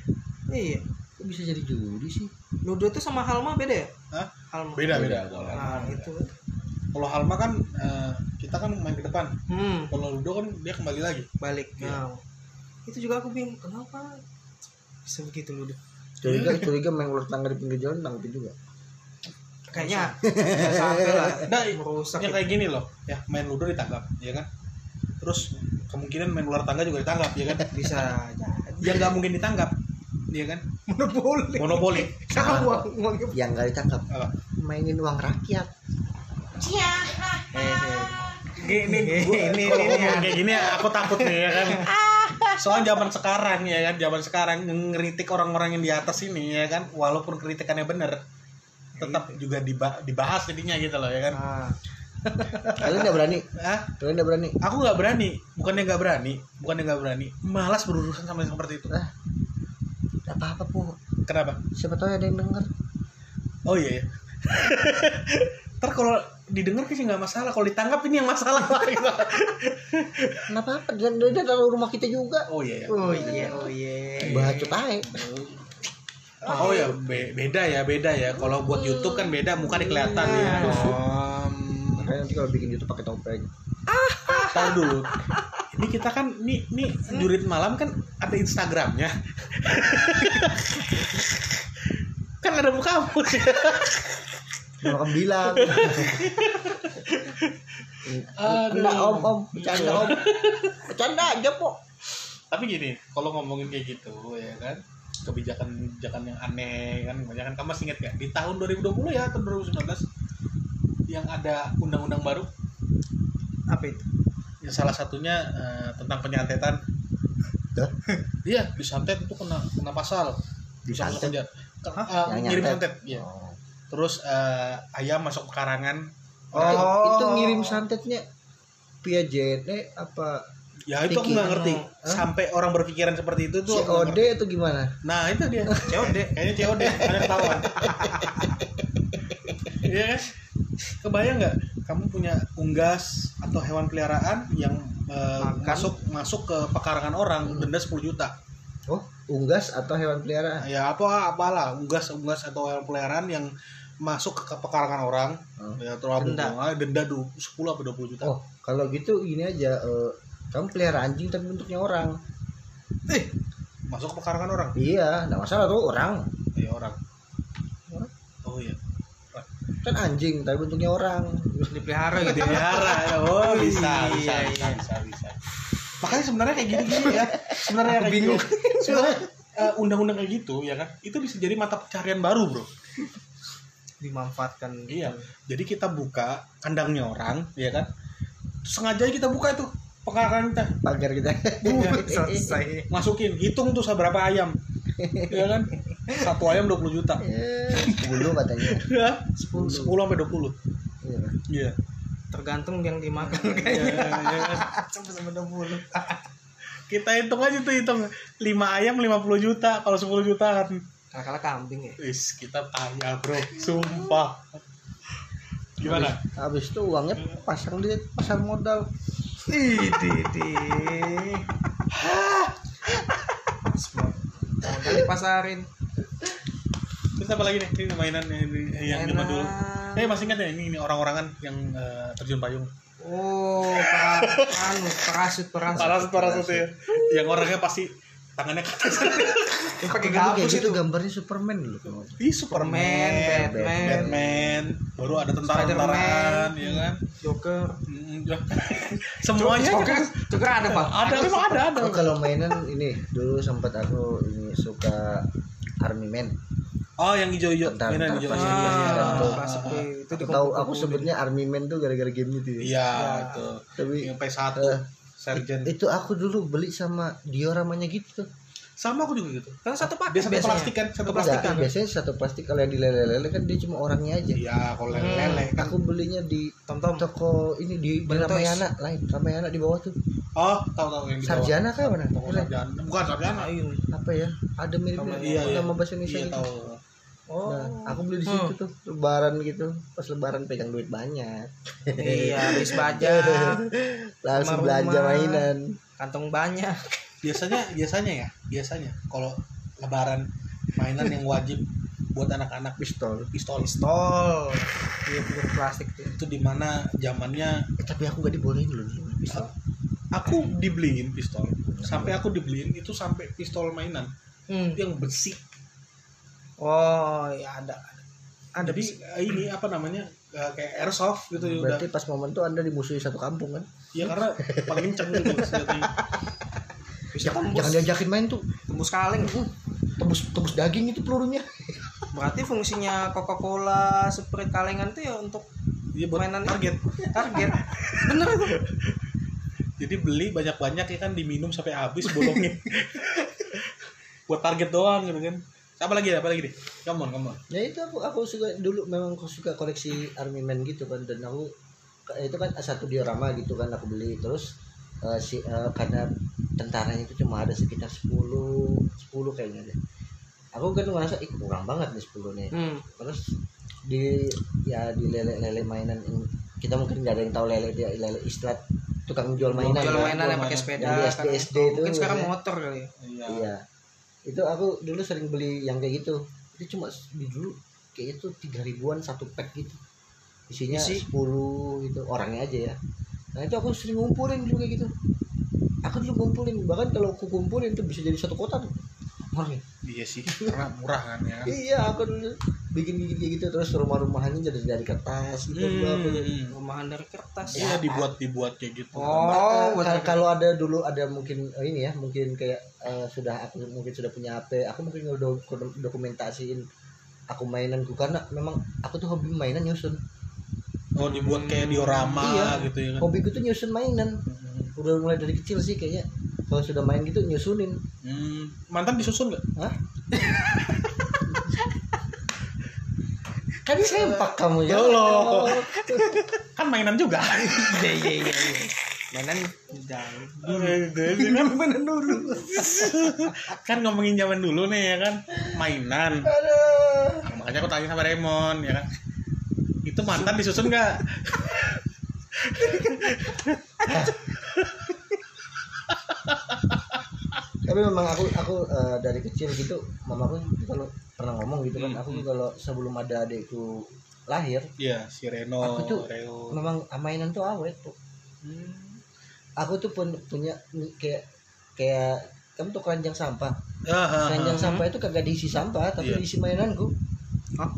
Speaker 3: Iya.
Speaker 1: kok bisa jadi juri sih
Speaker 3: Ludo itu sama Halma beda ya?
Speaker 2: Hah?
Speaker 3: Halma.
Speaker 2: Beda beda.
Speaker 3: Nah, itu.
Speaker 2: Ah. Kalau halma kan eh, kita kan main ke depan.
Speaker 3: Hmm,
Speaker 2: Kalau ludo kan dia kembali lagi.
Speaker 3: balik.
Speaker 2: Iya.
Speaker 3: Nah. Itu juga aku bingung kenapa bisa begitu Ludo.
Speaker 1: curiga curiga main ular tangga di pinggir jalan nangkepin juga
Speaker 3: Kayaknya nggak sampai lah
Speaker 2: Nah,
Speaker 3: merusak.
Speaker 2: yang kayak gini loh ya main ludo ditangkap ya kan terus kemungkinan main ular tangga juga ditangkap ya kan
Speaker 3: bisa jadi
Speaker 2: yang nggak mungkin ditangkap ya kan
Speaker 3: monopoli.
Speaker 2: monopoli
Speaker 3: Sama uang uangnya
Speaker 1: yang gak ditangkap
Speaker 2: Apa?
Speaker 1: mainin uang rakyat
Speaker 3: Gini, ini,
Speaker 2: Kalau ngomong kayak gini aku takut nih ya kan soalnya zaman sekarang ya kan zaman sekarang ngeritik orang-orang yang di atas ini ya kan walaupun kritikannya bener tetap juga diba- dibahas jadinya gitu loh ya kan
Speaker 3: Nah,
Speaker 1: kalian gak berani
Speaker 2: ah
Speaker 1: kalian gak berani
Speaker 2: aku nggak berani bukannya nggak berani bukannya nggak berani malas berurusan sama yang seperti itu
Speaker 1: ah apa apa pun
Speaker 2: kenapa
Speaker 1: siapa tahu ada yang denger
Speaker 2: Oh iya ya. Ntar kalau didengar sih nggak masalah, kalau ditangkap ini yang masalah.
Speaker 1: kenapa apa dan dia taruh rumah kita juga
Speaker 2: oh iya ya.
Speaker 3: oh iya, oh iya.
Speaker 1: bacot aja
Speaker 2: Oh ya be- beda ya beda ya. Kalau buat YouTube kan beda, muka nih kelihatan ya.
Speaker 1: makanya nanti kalau bikin YouTube pakai topeng
Speaker 2: Tahu dulu. Ini kita kan ini ini jurit malam kan ada Instagramnya. kan ada muka aku.
Speaker 1: Belum akan bilang. Enggak om om bercanda om bercanda aja po.
Speaker 2: Tapi gini, kalau ngomongin kayak gitu ya kan kebijakan-kebijakan yang aneh kan banyak kan kamu masih ingat gak di tahun 2020 ya atau 2019 yang ada undang-undang baru
Speaker 3: Apa itu?
Speaker 2: ya salah satunya eh, tentang penyantetan
Speaker 1: Hah?
Speaker 2: iya disantet itu kena kena pasal bisa masuk
Speaker 1: Disantet?
Speaker 2: penjara Ke- eh,
Speaker 1: Yang
Speaker 2: ngirim
Speaker 1: nyantet?
Speaker 2: santet iya. terus eh, ayam masuk pekarangan
Speaker 1: Itu,
Speaker 3: Oh.
Speaker 1: itu ngirim santetnya via JNE E apa
Speaker 2: ya itu aku
Speaker 1: Pikiran.
Speaker 2: nggak ngerti
Speaker 1: Hah?
Speaker 2: sampai orang berpikiran seperti itu tuh aku nggak
Speaker 1: COD
Speaker 2: ngerti.
Speaker 1: itu gimana?
Speaker 2: nah itu dia
Speaker 3: COD.
Speaker 2: kayaknya COD karena ketahuan iya kan kebayang nggak kamu punya unggas atau hewan peliharaan yang eh,
Speaker 3: Makan.
Speaker 2: masuk masuk ke pekarangan orang
Speaker 1: Hmm.
Speaker 2: denda 10 juta
Speaker 1: Oh, unggas atau hewan peliharaan?
Speaker 2: ya apa apalah unggas unggas atau hewan peliharaan yang masuk ke pekarangan orang
Speaker 1: Hmm.
Speaker 2: ya terlalu denda,
Speaker 3: Denda.
Speaker 2: denda du- 10 atau 20 juta
Speaker 1: Oh, kalau gitu gini aja eh, kamu pelihara anjing tapi bentuknya orang.
Speaker 2: masuk ke pekarangan orang
Speaker 1: Iya, enggak masalah tuh orang.
Speaker 2: ya orang
Speaker 1: Orang?
Speaker 2: oh iya
Speaker 1: Kan anjing tapi bentuknya orang.
Speaker 3: Dipelihara gitu ya.
Speaker 2: pelihara ya. oh bisa
Speaker 3: Iya,
Speaker 2: bisa
Speaker 3: iya.
Speaker 2: bisa bisa bisa makanya sebenarnya kayak gini gini ya sebenarnya kayak bingung sebenarnya eh, undang-undang kayak gitu ya kan itu bisa jadi mata pencarian baru bro
Speaker 3: Dimanfaatkan. gitu.
Speaker 2: Iya. jadi kita buka kandangnya orang ya kan sengaja kita buka itu pekarangan kita
Speaker 1: Pagar kita. Iya.
Speaker 3: Udah, Selesai.
Speaker 2: masukin hitung tuh berapa ayam ya kan satu ayam 20 juta
Speaker 1: Eh, Bulu katanya.
Speaker 2: 10 sampai 20
Speaker 1: Iya.
Speaker 2: iya
Speaker 3: Tergantung yang dimakan
Speaker 2: Iya,
Speaker 3: kayaknya.
Speaker 2: iya kan?
Speaker 3: Sampai sampai 20.
Speaker 2: kita hitung aja tuh hitung 5 ayam 50 juta kalau 10 juta kan
Speaker 3: Kalah-kalah kambing ya.
Speaker 2: Wis, kita kaya bro sumpah gimana
Speaker 1: Habis itu uangnya pasang di pasar modal.
Speaker 3: Ih, di di. Modal Oh, dipasarin.
Speaker 2: terus terus apa lagi nih ini mainan yang, di- yang zaman dulu
Speaker 3: Enak.
Speaker 2: eh masih ingat ya ini, ini orang-orangan yang eh, terjun payung
Speaker 3: Oh, pa- anu, parasut, parasut.
Speaker 2: parasut parasut ya yang orangnya pasti tangannya ke atas
Speaker 1: Eh, dulu
Speaker 3: Pakai
Speaker 1: kayak
Speaker 3: gabus
Speaker 1: gitu
Speaker 3: itu.
Speaker 1: gambarnya Superman dulu kalau nggak salah.
Speaker 2: Ih,
Speaker 3: Superman,
Speaker 2: Superman,
Speaker 3: Batman,
Speaker 2: Batman, baru ada tentara-tentaraan, ya kan?
Speaker 3: Joker.
Speaker 2: Mm, udah. Semuanya gitu.
Speaker 3: Joker, Joker ada, Pak.
Speaker 2: ada, memang ada, ada.
Speaker 1: Aku kalau mainan ini dulu sempat aku ini suka Army Man.
Speaker 2: Oh, yang hijau-hijau, Iya,
Speaker 1: Bentar, bentar, Iya,
Speaker 2: mainan hijau
Speaker 1: pas
Speaker 2: hijau
Speaker 1: ini, bentar,
Speaker 3: Ah,
Speaker 1: bentar.
Speaker 3: parasut, eh, itu
Speaker 1: Aku
Speaker 3: di
Speaker 1: tahu
Speaker 3: komputer
Speaker 1: aku
Speaker 3: dulu.
Speaker 1: sebutnya Army Man tuh gara-gara game itu. ya.
Speaker 2: Iya,
Speaker 3: Ya.
Speaker 2: itu.
Speaker 1: Tapi
Speaker 2: Yang P1,
Speaker 1: eh,
Speaker 2: Sergeant.
Speaker 1: itu aku dulu beli sama dioramanya gitu.
Speaker 2: Sama aku juga gitu.
Speaker 3: Kan satu pak
Speaker 2: Dia satu
Speaker 3: biasanya.
Speaker 2: plastik kan, satu plastik
Speaker 1: Enggak,
Speaker 2: kan.
Speaker 1: biasanya satu plastik kalau yang dilele-lele kan dia cuma orangnya aja.
Speaker 2: Iya, kalau
Speaker 3: Hmm.
Speaker 2: lele kan.
Speaker 1: Aku belinya di
Speaker 3: Tom-tom.
Speaker 1: toko ini di, di
Speaker 3: Bentos.
Speaker 1: Ramayana lain. Ramayana di bawah tuh.
Speaker 2: Oh, tahu tahu yang di bawah.
Speaker 1: Sarjana kah mana?
Speaker 2: Toko sarjana. Bukan sarjana.
Speaker 3: Lain.
Speaker 1: Apa ya? Ada mirip
Speaker 3: Ramayana.
Speaker 2: Iya, iya.
Speaker 1: nama bahasa Indonesia
Speaker 2: Iya,
Speaker 1: gitu.
Speaker 2: tahu.
Speaker 3: Oh.
Speaker 1: Nah, aku beli di situ tuh lebaran gitu. Pas lebaran pegang duit banyak.
Speaker 3: Iya, habis baja,
Speaker 1: Langsung
Speaker 3: Rumah-rumah.
Speaker 1: belanja mainan.
Speaker 3: kantong banyak.
Speaker 2: Biasanya biasanya ya, biasanya kalau lebaran mainan yang wajib buat anak-anak
Speaker 1: Pistol.
Speaker 2: pistol
Speaker 3: Pistol. Iya, pistol plastik tuh.
Speaker 2: itu di mana zamannya
Speaker 1: Eh, tapi aku gak dibolehin loh dulu pistol.
Speaker 2: aku dibeliin pistol sampai aku dibeliin itu sampai pistol mainan
Speaker 3: Hmm.
Speaker 2: itu yang besi
Speaker 3: Oh, ya ada.
Speaker 2: jadi
Speaker 3: Ada bis.
Speaker 2: eh, ini apa namanya eh, kayak airsoft gitu ya udah
Speaker 1: Berarti pas momen tuh Anda dimusuhi satu kampung kan?
Speaker 2: ya karena paling kenceng gitu senjatanya
Speaker 3: Bisa
Speaker 1: Jangan,
Speaker 3: tembus.
Speaker 1: jangan diajakin main tuh.
Speaker 3: tembus kaleng.
Speaker 1: Tebus tebus daging itu pelurunya.
Speaker 3: Berarti fungsinya Coca-Cola, Sprite kalengan tuh ya untuk
Speaker 2: Iya, buat
Speaker 3: Mainan ya,
Speaker 2: target
Speaker 3: target. Bener itu.
Speaker 2: jadi beli banyak-banyak ya kan diminum sampai habis bolongnya buat target doang gitu kan apa lagi apa lagi deh come on come on
Speaker 1: Ya itu aku aku suka dulu memang aku suka koleksi Army Man gitu kan dan aku itu kan satu diorama gitu kan aku beli terus eh, si eh, karena tentaranya itu cuma ada sekitar 10 10 kayaknya deh. Aku kan ngerasa ih kurang banget nih 10 nih.
Speaker 3: Hmm.
Speaker 1: Terus di ya di lele-lele mainan ini kita mungkin nggak ada yang tahu lele dia lele istilah tukang jual mainan.
Speaker 3: Iya, Jual
Speaker 1: kan?
Speaker 3: mainan yang pakai
Speaker 2: Yang
Speaker 3: sepeda.
Speaker 1: di
Speaker 3: kan.
Speaker 1: SD-SD itu
Speaker 3: Mungkin sekarang
Speaker 1: biasanya.
Speaker 3: motor kali. ya.
Speaker 2: iya
Speaker 1: Iya. Itu aku dulu sering beli yang kayak gitu. Itu cuma s- di dulu kayak itu tiga ribuan satu pack gitu. Isinya
Speaker 3: Isi?
Speaker 1: 10 gitu orangnya aja ya. Nah itu aku sering ngumpulin dulu kayak gitu. Aku dulu ngumpulin bahkan kalau aku kumpulin itu bisa jadi satu kota tuh.
Speaker 3: ya?
Speaker 1: Orangnya.
Speaker 2: iya sih karena murah kan ya
Speaker 1: Iya aku dulu bikin bikin kayak gitu terus rumah-rumahannya jadi dari kertas gitu. dulu aku.
Speaker 2: Hmm.
Speaker 3: Rumahan dari kertas.
Speaker 2: iya dibuat dibuat kayak gitu
Speaker 3: Oh,
Speaker 1: Nah,
Speaker 3: buat
Speaker 1: kal- kalau ada dulu ada mungkin eh, ini ya mungkin kayak eh, sudah aku mungkin sudah punya HP aku mungkin udah dokumentasiin aku mainanku karena memang aku tuh hobi mainan nyusun
Speaker 2: oh dibuat kayak diorama
Speaker 1: Iya.
Speaker 2: gitu ya kan
Speaker 1: hobiku tuh nyusun mainan udah mulai dari kecil sih kayaknya kalau sudah main gitu nyusunin
Speaker 2: Hmm, mantan disusun nggak?
Speaker 1: Hah? kan sempak kamu ya
Speaker 2: Belum. Kan mainan juga.
Speaker 3: Iya iya iya. iya. Mainan jam.
Speaker 2: mainan dulu. Gitu ya kan ngomongin zaman dulu nih ya kan, mainan.
Speaker 1: Aduh.
Speaker 2: Makanya aku tanya sama Raymond ya kan. Itu mantan disusun nggak?
Speaker 1: tapi memang aku aku eh, dari kecil gitu mamaku kalau pernah ngomong gitu kan
Speaker 2: Hmm,
Speaker 1: aku
Speaker 2: hmm.
Speaker 1: kalau sebelum ada adikku lahir
Speaker 2: Iya, si Reno,
Speaker 1: Aku tuh-
Speaker 2: Reo.
Speaker 1: memang mainan tuh awet tuh
Speaker 2: Hmm.
Speaker 1: aku tuh pun punya kayak kayak kamu tuh keranjang sampah
Speaker 2: Ah, ah,
Speaker 1: keranjang
Speaker 2: ah.
Speaker 1: sampah itu kagak diisi sampah tapi
Speaker 2: Iya.
Speaker 1: diisi mainanku
Speaker 3: Hah?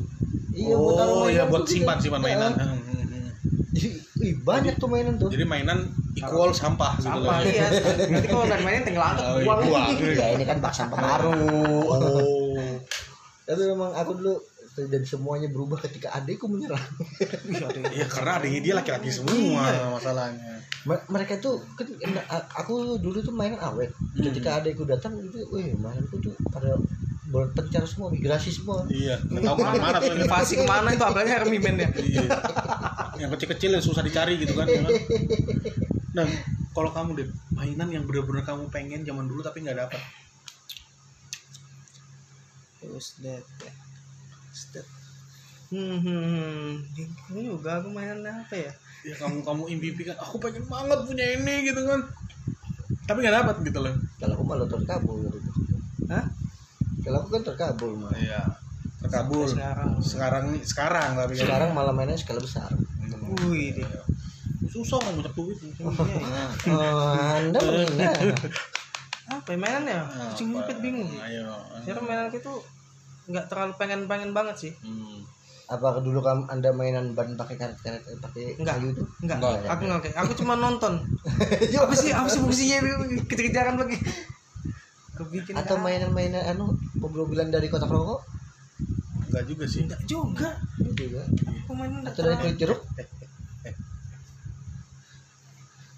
Speaker 1: iya buat taruh
Speaker 2: oh, iya
Speaker 1: mainan
Speaker 2: buat
Speaker 1: tuh gitu.
Speaker 2: simpan simpan
Speaker 1: Iya.
Speaker 2: mainan. Hmm, hmm, hmm.
Speaker 1: Jadi, ih, banyak tuh mainan tuh
Speaker 2: Jadi mainan equal sampah gitu
Speaker 3: Sampah
Speaker 2: loh.
Speaker 3: iya. Nanti kalau udah mainin tinggal angkat
Speaker 2: Oh, iya,
Speaker 3: buang.
Speaker 2: buang.
Speaker 1: ya ini kan bak sampah baru
Speaker 2: Oh.
Speaker 1: tapi memang aku dulu dan semuanya berubah ketika adikku menyerang
Speaker 3: Iya, ada yang-
Speaker 2: Ya karena adiknya dia laki-laki semua Iya, masalahnya.
Speaker 1: Me- mereka tuh kan a- aku dulu tuh mainan awet
Speaker 2: Hmm.
Speaker 1: ketika adikku datang itu wih mainanku tuh pada berpencar semua migrasi semua
Speaker 2: Iya, nggak tahu mana mana tuh
Speaker 3: Invasi kemana itu apalagi Hermi Band ya?
Speaker 2: Iya. yang kecil-kecil yang susah dicari gitu kan. ya kan? Nah, kalau kamu deh mainan yang bener-bener kamu pengen zaman dulu tapi nggak dapat.
Speaker 3: Terus dead Step. Hmm, hmm, hmm. Ini juga aku mainan apa ya?
Speaker 2: Ya kamu kamu impikan, aku pengen banget punya ini gitu kan. Tapi nggak dapat gitu loh.
Speaker 1: kalau aku malah terkabul gitu
Speaker 3: Hah?
Speaker 1: kalau aku kan terkabul mah
Speaker 2: Iya. Kabul.
Speaker 3: Sampai sekarang.
Speaker 2: Sekarang nih, sekarang tapi kan.
Speaker 1: Sekarang malah mainnya skala besar.
Speaker 3: Wih, dia.
Speaker 2: susah nggak banyak duit.
Speaker 3: Iya, iya.
Speaker 1: Oh, anda menghina.
Speaker 3: apa ya, mainannya? Kucing
Speaker 2: Ah, Apa?
Speaker 3: ngipit bingung.
Speaker 2: Ayo.
Speaker 3: Sekarang mainan itu nggak terlalu pengen-pengen banget sih.
Speaker 2: Hmm.
Speaker 1: Apa dulu kamu anda mainan ban pakai karet karet pakai
Speaker 3: Enggak.
Speaker 1: kayu itu?
Speaker 3: Enggak,
Speaker 2: Enggak,
Speaker 1: ya?
Speaker 3: aku enggak kayak. Aku cuma nonton. apa sih? Apa sih fungsinya itu? Kejar-kejaran lagi. Kebikin
Speaker 1: Atau
Speaker 3: nggak-
Speaker 1: mainan-mainan anu mobil-mobilan dari kotak rokok?
Speaker 2: Enggak juga sih.
Speaker 3: Enggak juga.
Speaker 1: Itu juga.
Speaker 3: Aku mainan enggak
Speaker 1: Atau dari
Speaker 3: terlalu,
Speaker 1: kulit jeruk?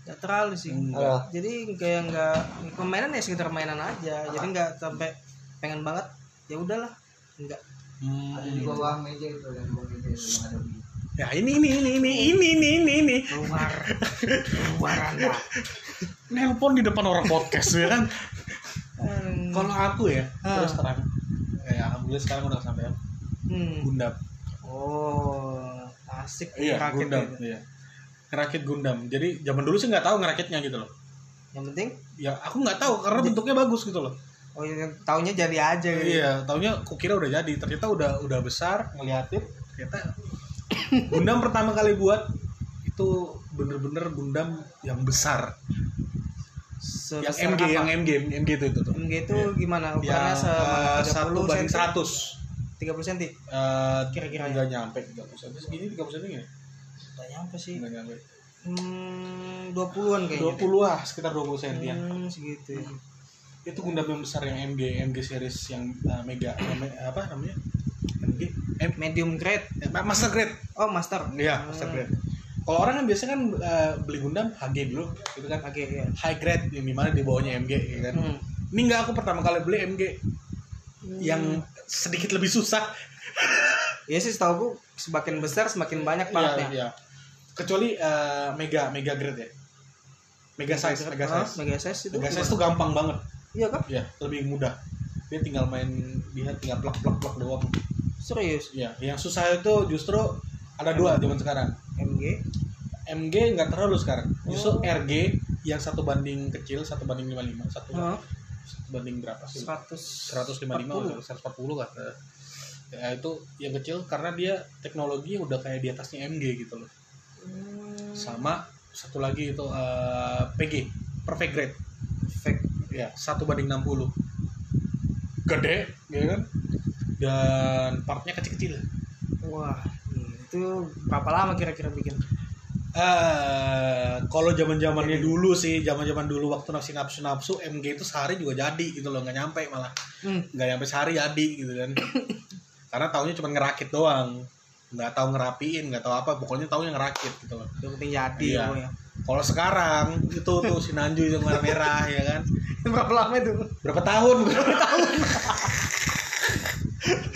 Speaker 3: nggak terlalu sih.
Speaker 1: Ada.
Speaker 3: Jadi kayak enggak pemainan ya sekitar mainan aja. Jadi enggak sampai pengen banget. Ya udahlah. Enggak.
Speaker 2: Hmm.
Speaker 1: bawah meja itu yang bawah meja yang ada.
Speaker 2: Ya ini ini ini ini ini ini ini ini.
Speaker 3: Keluar. Keluar Anda.
Speaker 2: Nelpon di depan orang podcast ya kan.
Speaker 3: Hmm.
Speaker 2: Kalau aku ya,
Speaker 3: Ah.
Speaker 2: terus terang. Eh, alhamdulillah sekarang udah sampai
Speaker 3: Hmm.
Speaker 2: Gundam.
Speaker 3: Oh, asik gitu.
Speaker 2: Iya,
Speaker 3: rakit
Speaker 2: Gundam.
Speaker 3: itu.
Speaker 2: Iya. Ngerakit Gundam. Jadi zaman dulu sih nggak tahu ngerakitnya gitu loh.
Speaker 3: Yang penting
Speaker 2: Ya aku nggak tahu karena bentuknya bagus gitu loh.
Speaker 3: oh ya, taunya jadi aja gitu.
Speaker 2: Iya, taunya kukira udah jadi, ternyata udah udah besar ngeliatin, ternyata Gundam pertama kali buat itu bener-bener Gundam yang besar, yang
Speaker 3: Sebesar
Speaker 2: MG,
Speaker 3: apa?
Speaker 2: yang MG, MG itu itu tuh. Iya.
Speaker 3: MG itu gimana?
Speaker 2: Yang
Speaker 3: Ukurannya
Speaker 2: eh, satu
Speaker 3: sama 30
Speaker 2: banding
Speaker 3: cm,
Speaker 2: seratus.
Speaker 3: 30 cm.
Speaker 2: Kira-kira
Speaker 3: Kira-kira ya?
Speaker 2: nggak nyampe tiga puluh cm. Segini tiga puluh cm nggak?
Speaker 3: Gak nyampe sih.
Speaker 2: Nggak nyampe.
Speaker 3: Hmm, 20-an kayaknya.
Speaker 2: Dua puluh ah, sekitar dua puluh cm ya.
Speaker 3: Hmm, segitu. ya.
Speaker 2: Itu Gundam yang besar yang MG, MG series yang eh, Mega, yang me- apa namanya? MG, M,
Speaker 3: Medium grade.
Speaker 2: eh, Master Grade.
Speaker 3: Oh, master.
Speaker 2: Iya, master grade. Kalau orang kan biasanya kan eh, beli Gundam HG dulu, gitu kan
Speaker 3: Oke, ya.
Speaker 2: high grade yang dimana di bawahnya MG, ya kan.
Speaker 3: Hmm.
Speaker 2: Ini enggak aku pertama kali beli MG yang sedikit lebih susah.
Speaker 3: Ya sih setahu aku semakin besar semakin banyak
Speaker 2: Iya,
Speaker 3: paratnya.
Speaker 2: iya. Kecuali eh, Mega, Mega grade ya. Mega size, Mega
Speaker 3: Ah,
Speaker 2: size.
Speaker 3: Mega size itu.
Speaker 2: Mega size
Speaker 3: gimana?
Speaker 2: tuh gampang banget,
Speaker 3: Iya kan?
Speaker 2: ya, lebih mudah. Dia tinggal main, dia tinggal plak plak plak doang.
Speaker 3: Serius.
Speaker 2: Iya, yang susah itu justru ada dua zaman sekarang.
Speaker 3: MG.
Speaker 2: MG nggak terlalu sekarang. Justru
Speaker 3: Oh.
Speaker 2: RG yang satu banding kecil, satu banding 55, satu
Speaker 3: Heeh.
Speaker 2: satu banding berapa sih?
Speaker 3: 100
Speaker 2: 155 atau 140 kan. Eh, Ya, itu yang kecil karena dia teknologi udah kayak di atasnya MG gitu loh.
Speaker 3: Hmm.
Speaker 2: Sama satu lagi itu eh, PG, perfect grade.
Speaker 3: Perfect.
Speaker 2: Ya, satu banding 60. Gede, ya kan? Dan partnya kecil-kecil.
Speaker 3: Wah, itu berapa lama kira-kira bikin?
Speaker 2: eh kalau zaman zamannya dulu sih, zaman zaman dulu waktu nafsi nafsu nafsu MG itu sehari juga jadi gitu loh, nggak nyampe malah
Speaker 3: Hmm.
Speaker 2: nggak nyampe sehari jadi gitu kan. Karena taunya cuma ngerakit doang, nggak tahu ngerapiin, nggak tahu apa, pokoknya taunya ngerakit gitu loh.
Speaker 3: Yang penting jadi
Speaker 2: Iya.
Speaker 3: pokoknya.
Speaker 2: Kalau sekarang itu tuh si Nanju yang warna merah ya kan,
Speaker 3: Berapa lama itu?
Speaker 2: berapa tahun?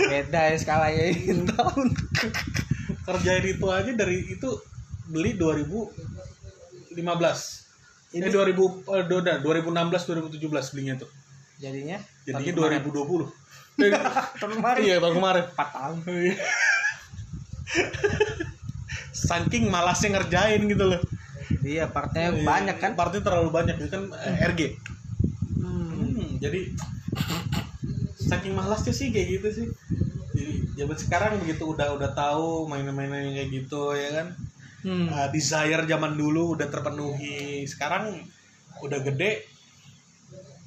Speaker 3: Beda ya skalanya ini tahun.
Speaker 2: Kerjain itu aja dari itu beli 2015. Ini 2000
Speaker 3: Ini
Speaker 2: eh, udah, 2016 2017 belinya tuh.
Speaker 3: jadinya
Speaker 2: Jadinya
Speaker 3: tahun kemarin.
Speaker 2: 2020.
Speaker 3: Tahun kemarin.
Speaker 2: Iya baru kemarin.
Speaker 3: 4 tahun.
Speaker 2: Saking malasnya ngerjain gitu loh.
Speaker 3: Iya, partnya banyak kan?
Speaker 2: Partnya terlalu banyak itu kan eh, RG.
Speaker 3: Hmm.
Speaker 2: Hmm, jadi saking malasnya sih kayak gitu sih. Jadi zaman sekarang begitu udah udah tahu mainan-mainan yang kayak gitu ya kan.
Speaker 3: Hmm.
Speaker 2: Eh, desire zaman dulu udah terpenuhi. Sekarang udah gede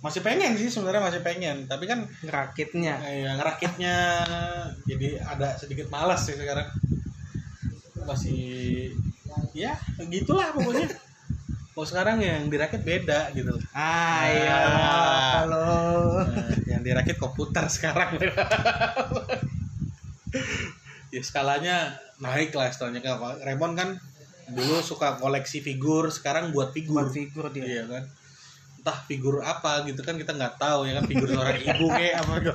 Speaker 2: masih pengen sih sebenarnya masih pengen tapi kan
Speaker 3: Rakitnya.
Speaker 2: eh, ya, ngerakitnya jadi ada sedikit malas sih sekarang masih ya gitulah pokoknya kalau sekarang yang dirakit beda gitu
Speaker 3: Ah, iya.
Speaker 2: Ah.
Speaker 3: Halo.
Speaker 2: Nah, yang dirakit komputer sekarang ya skalanya naik lah istilahnya Kalau Raymond kan dulu suka koleksi figur sekarang buat figur
Speaker 3: Buat figur dia.
Speaker 2: iya kan entah figur apa gitu kan kita nggak tahu ya kan figur seorang ibu kayak apa gitu.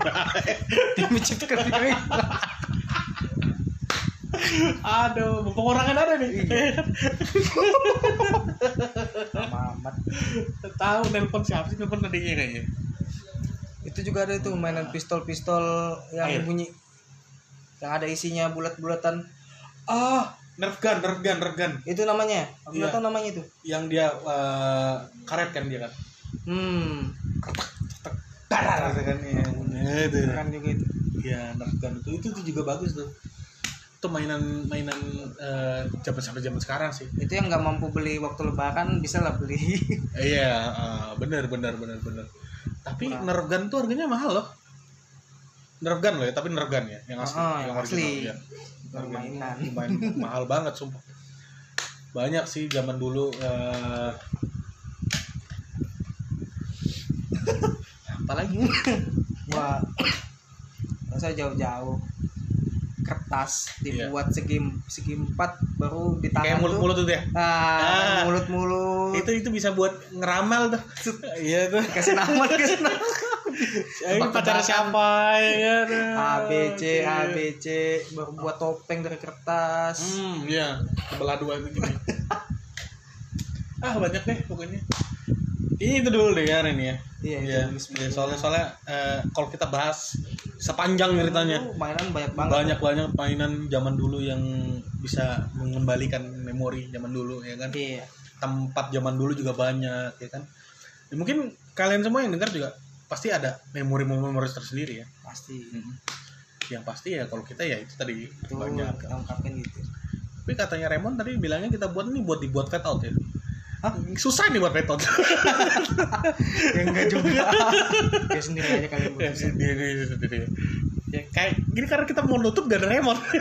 Speaker 3: Dia menciptakan figur ini.
Speaker 2: aduh pengurangan ada nih
Speaker 3: Lama amat.
Speaker 2: tahu nelpon siapa sih nelpon tadinya kayaknya
Speaker 3: Itu juga ada itu mainan pistol-pistol
Speaker 2: Air.
Speaker 3: yang bunyi yang ada isinya bulat-bulatan.
Speaker 2: ah nerf gun nerf gun nerf gun
Speaker 3: Itu namanya. Aku nggak
Speaker 2: Iya.
Speaker 3: tahu namanya itu.
Speaker 2: yang dia eh, karet kan dia kan
Speaker 3: Hmm.
Speaker 2: karet kan ya Eh,
Speaker 3: Iya. Keren juga itu.
Speaker 2: ya nerkan itu itu, itu juga bagus tuh itu mainan mainan eh, zaman sampai zaman sekarang sih
Speaker 3: itu yang nggak mampu beli waktu lebaran bisa lah beli
Speaker 2: iya eh, bener bener bener bener tapi
Speaker 3: Kurang.
Speaker 2: nerf gun tuh harganya mahal loh nerf gun loh ya tapi nerf gun ya yang asli
Speaker 3: Ah,
Speaker 2: yang
Speaker 3: asli.
Speaker 2: original, ya.
Speaker 3: permainan
Speaker 2: lumayan mahal banget sumpah banyak sih zaman dulu eh,
Speaker 3: apalagi wah nggak usah jauh-jauh kertas dibuat segi segi empat baru
Speaker 2: Iya. kayak
Speaker 3: ditahan
Speaker 2: mulut mulut tuh ya Ah.
Speaker 3: ah, mulut mulut
Speaker 2: itu itu bisa buat ngeramal tuh iya tuh
Speaker 3: kasih nama kasih nama
Speaker 2: Eh, ini pacar
Speaker 3: Tebak-tebakan.
Speaker 2: siapa ya kan?
Speaker 3: A B C A B C baru buat topeng dari kertas
Speaker 2: hmm ya sebelah dua itu gini ah banyak deh pokoknya ini itu dulu deh ya Ren ya
Speaker 3: iya itu
Speaker 2: Iya,
Speaker 3: dulu
Speaker 2: iya,
Speaker 3: sebelumnya.
Speaker 2: soalnya soalnya eh, kalau kita bahas sepanjang ceritanya
Speaker 3: Dulu mainan banyak banget
Speaker 2: banyak banyak mainan zaman dulu yang bisa mengembalikan memori zaman dulu ya kan
Speaker 3: iya
Speaker 2: tempat zaman dulu juga banyak ya kan Ya, mungkin kalian semua yang dengar juga pasti ada memori-memori tersendiri ya
Speaker 3: pasti
Speaker 2: yang pasti ya kalau kita ya itu tadi
Speaker 3: itu
Speaker 2: banyak
Speaker 3: kita ungkapin gitu
Speaker 2: tapi katanya Raymond tadi bilangnya kita buat ini buat dibuat fade out ya
Speaker 3: Hah?
Speaker 2: susah nih buat fade out
Speaker 3: ya enggak juga ya sendiri aja kalian
Speaker 2: ya,
Speaker 3: buat
Speaker 2: sendiri sendiri ya kayak gini karena kita mau nutup gak ada Raymond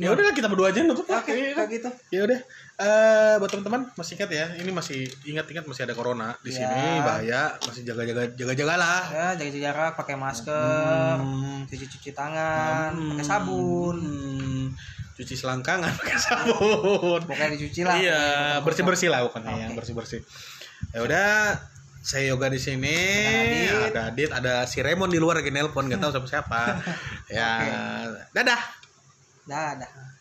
Speaker 2: ya udah kita berdua aja nutup lah.
Speaker 3: oke
Speaker 2: Iya kan?
Speaker 3: kayak gitu
Speaker 2: ya udah eh buat teman-teman masih ingat ya ini masih ingat-ingat masih ada corona di
Speaker 3: Ya.
Speaker 2: sini bahaya masih jaga-jaga jaga-jaga lah
Speaker 3: ya jaga jarak pakai masker
Speaker 2: Hmm.
Speaker 3: cuci cuci tangan
Speaker 2: Hmm.
Speaker 3: Eh, pakai sabun
Speaker 2: Hmm. cuci selangkangan pakai sabun
Speaker 3: pokoknya dicuci lah
Speaker 2: iya bersih bersih lah bukan
Speaker 3: Oke.
Speaker 2: yang bersih bersih ya udah saya yoga di sini
Speaker 3: Dengan Adit.
Speaker 2: ada Adit ada si Raymond di luar lagi nelpon nggak tahu sama siapa ya dadah
Speaker 3: dah dah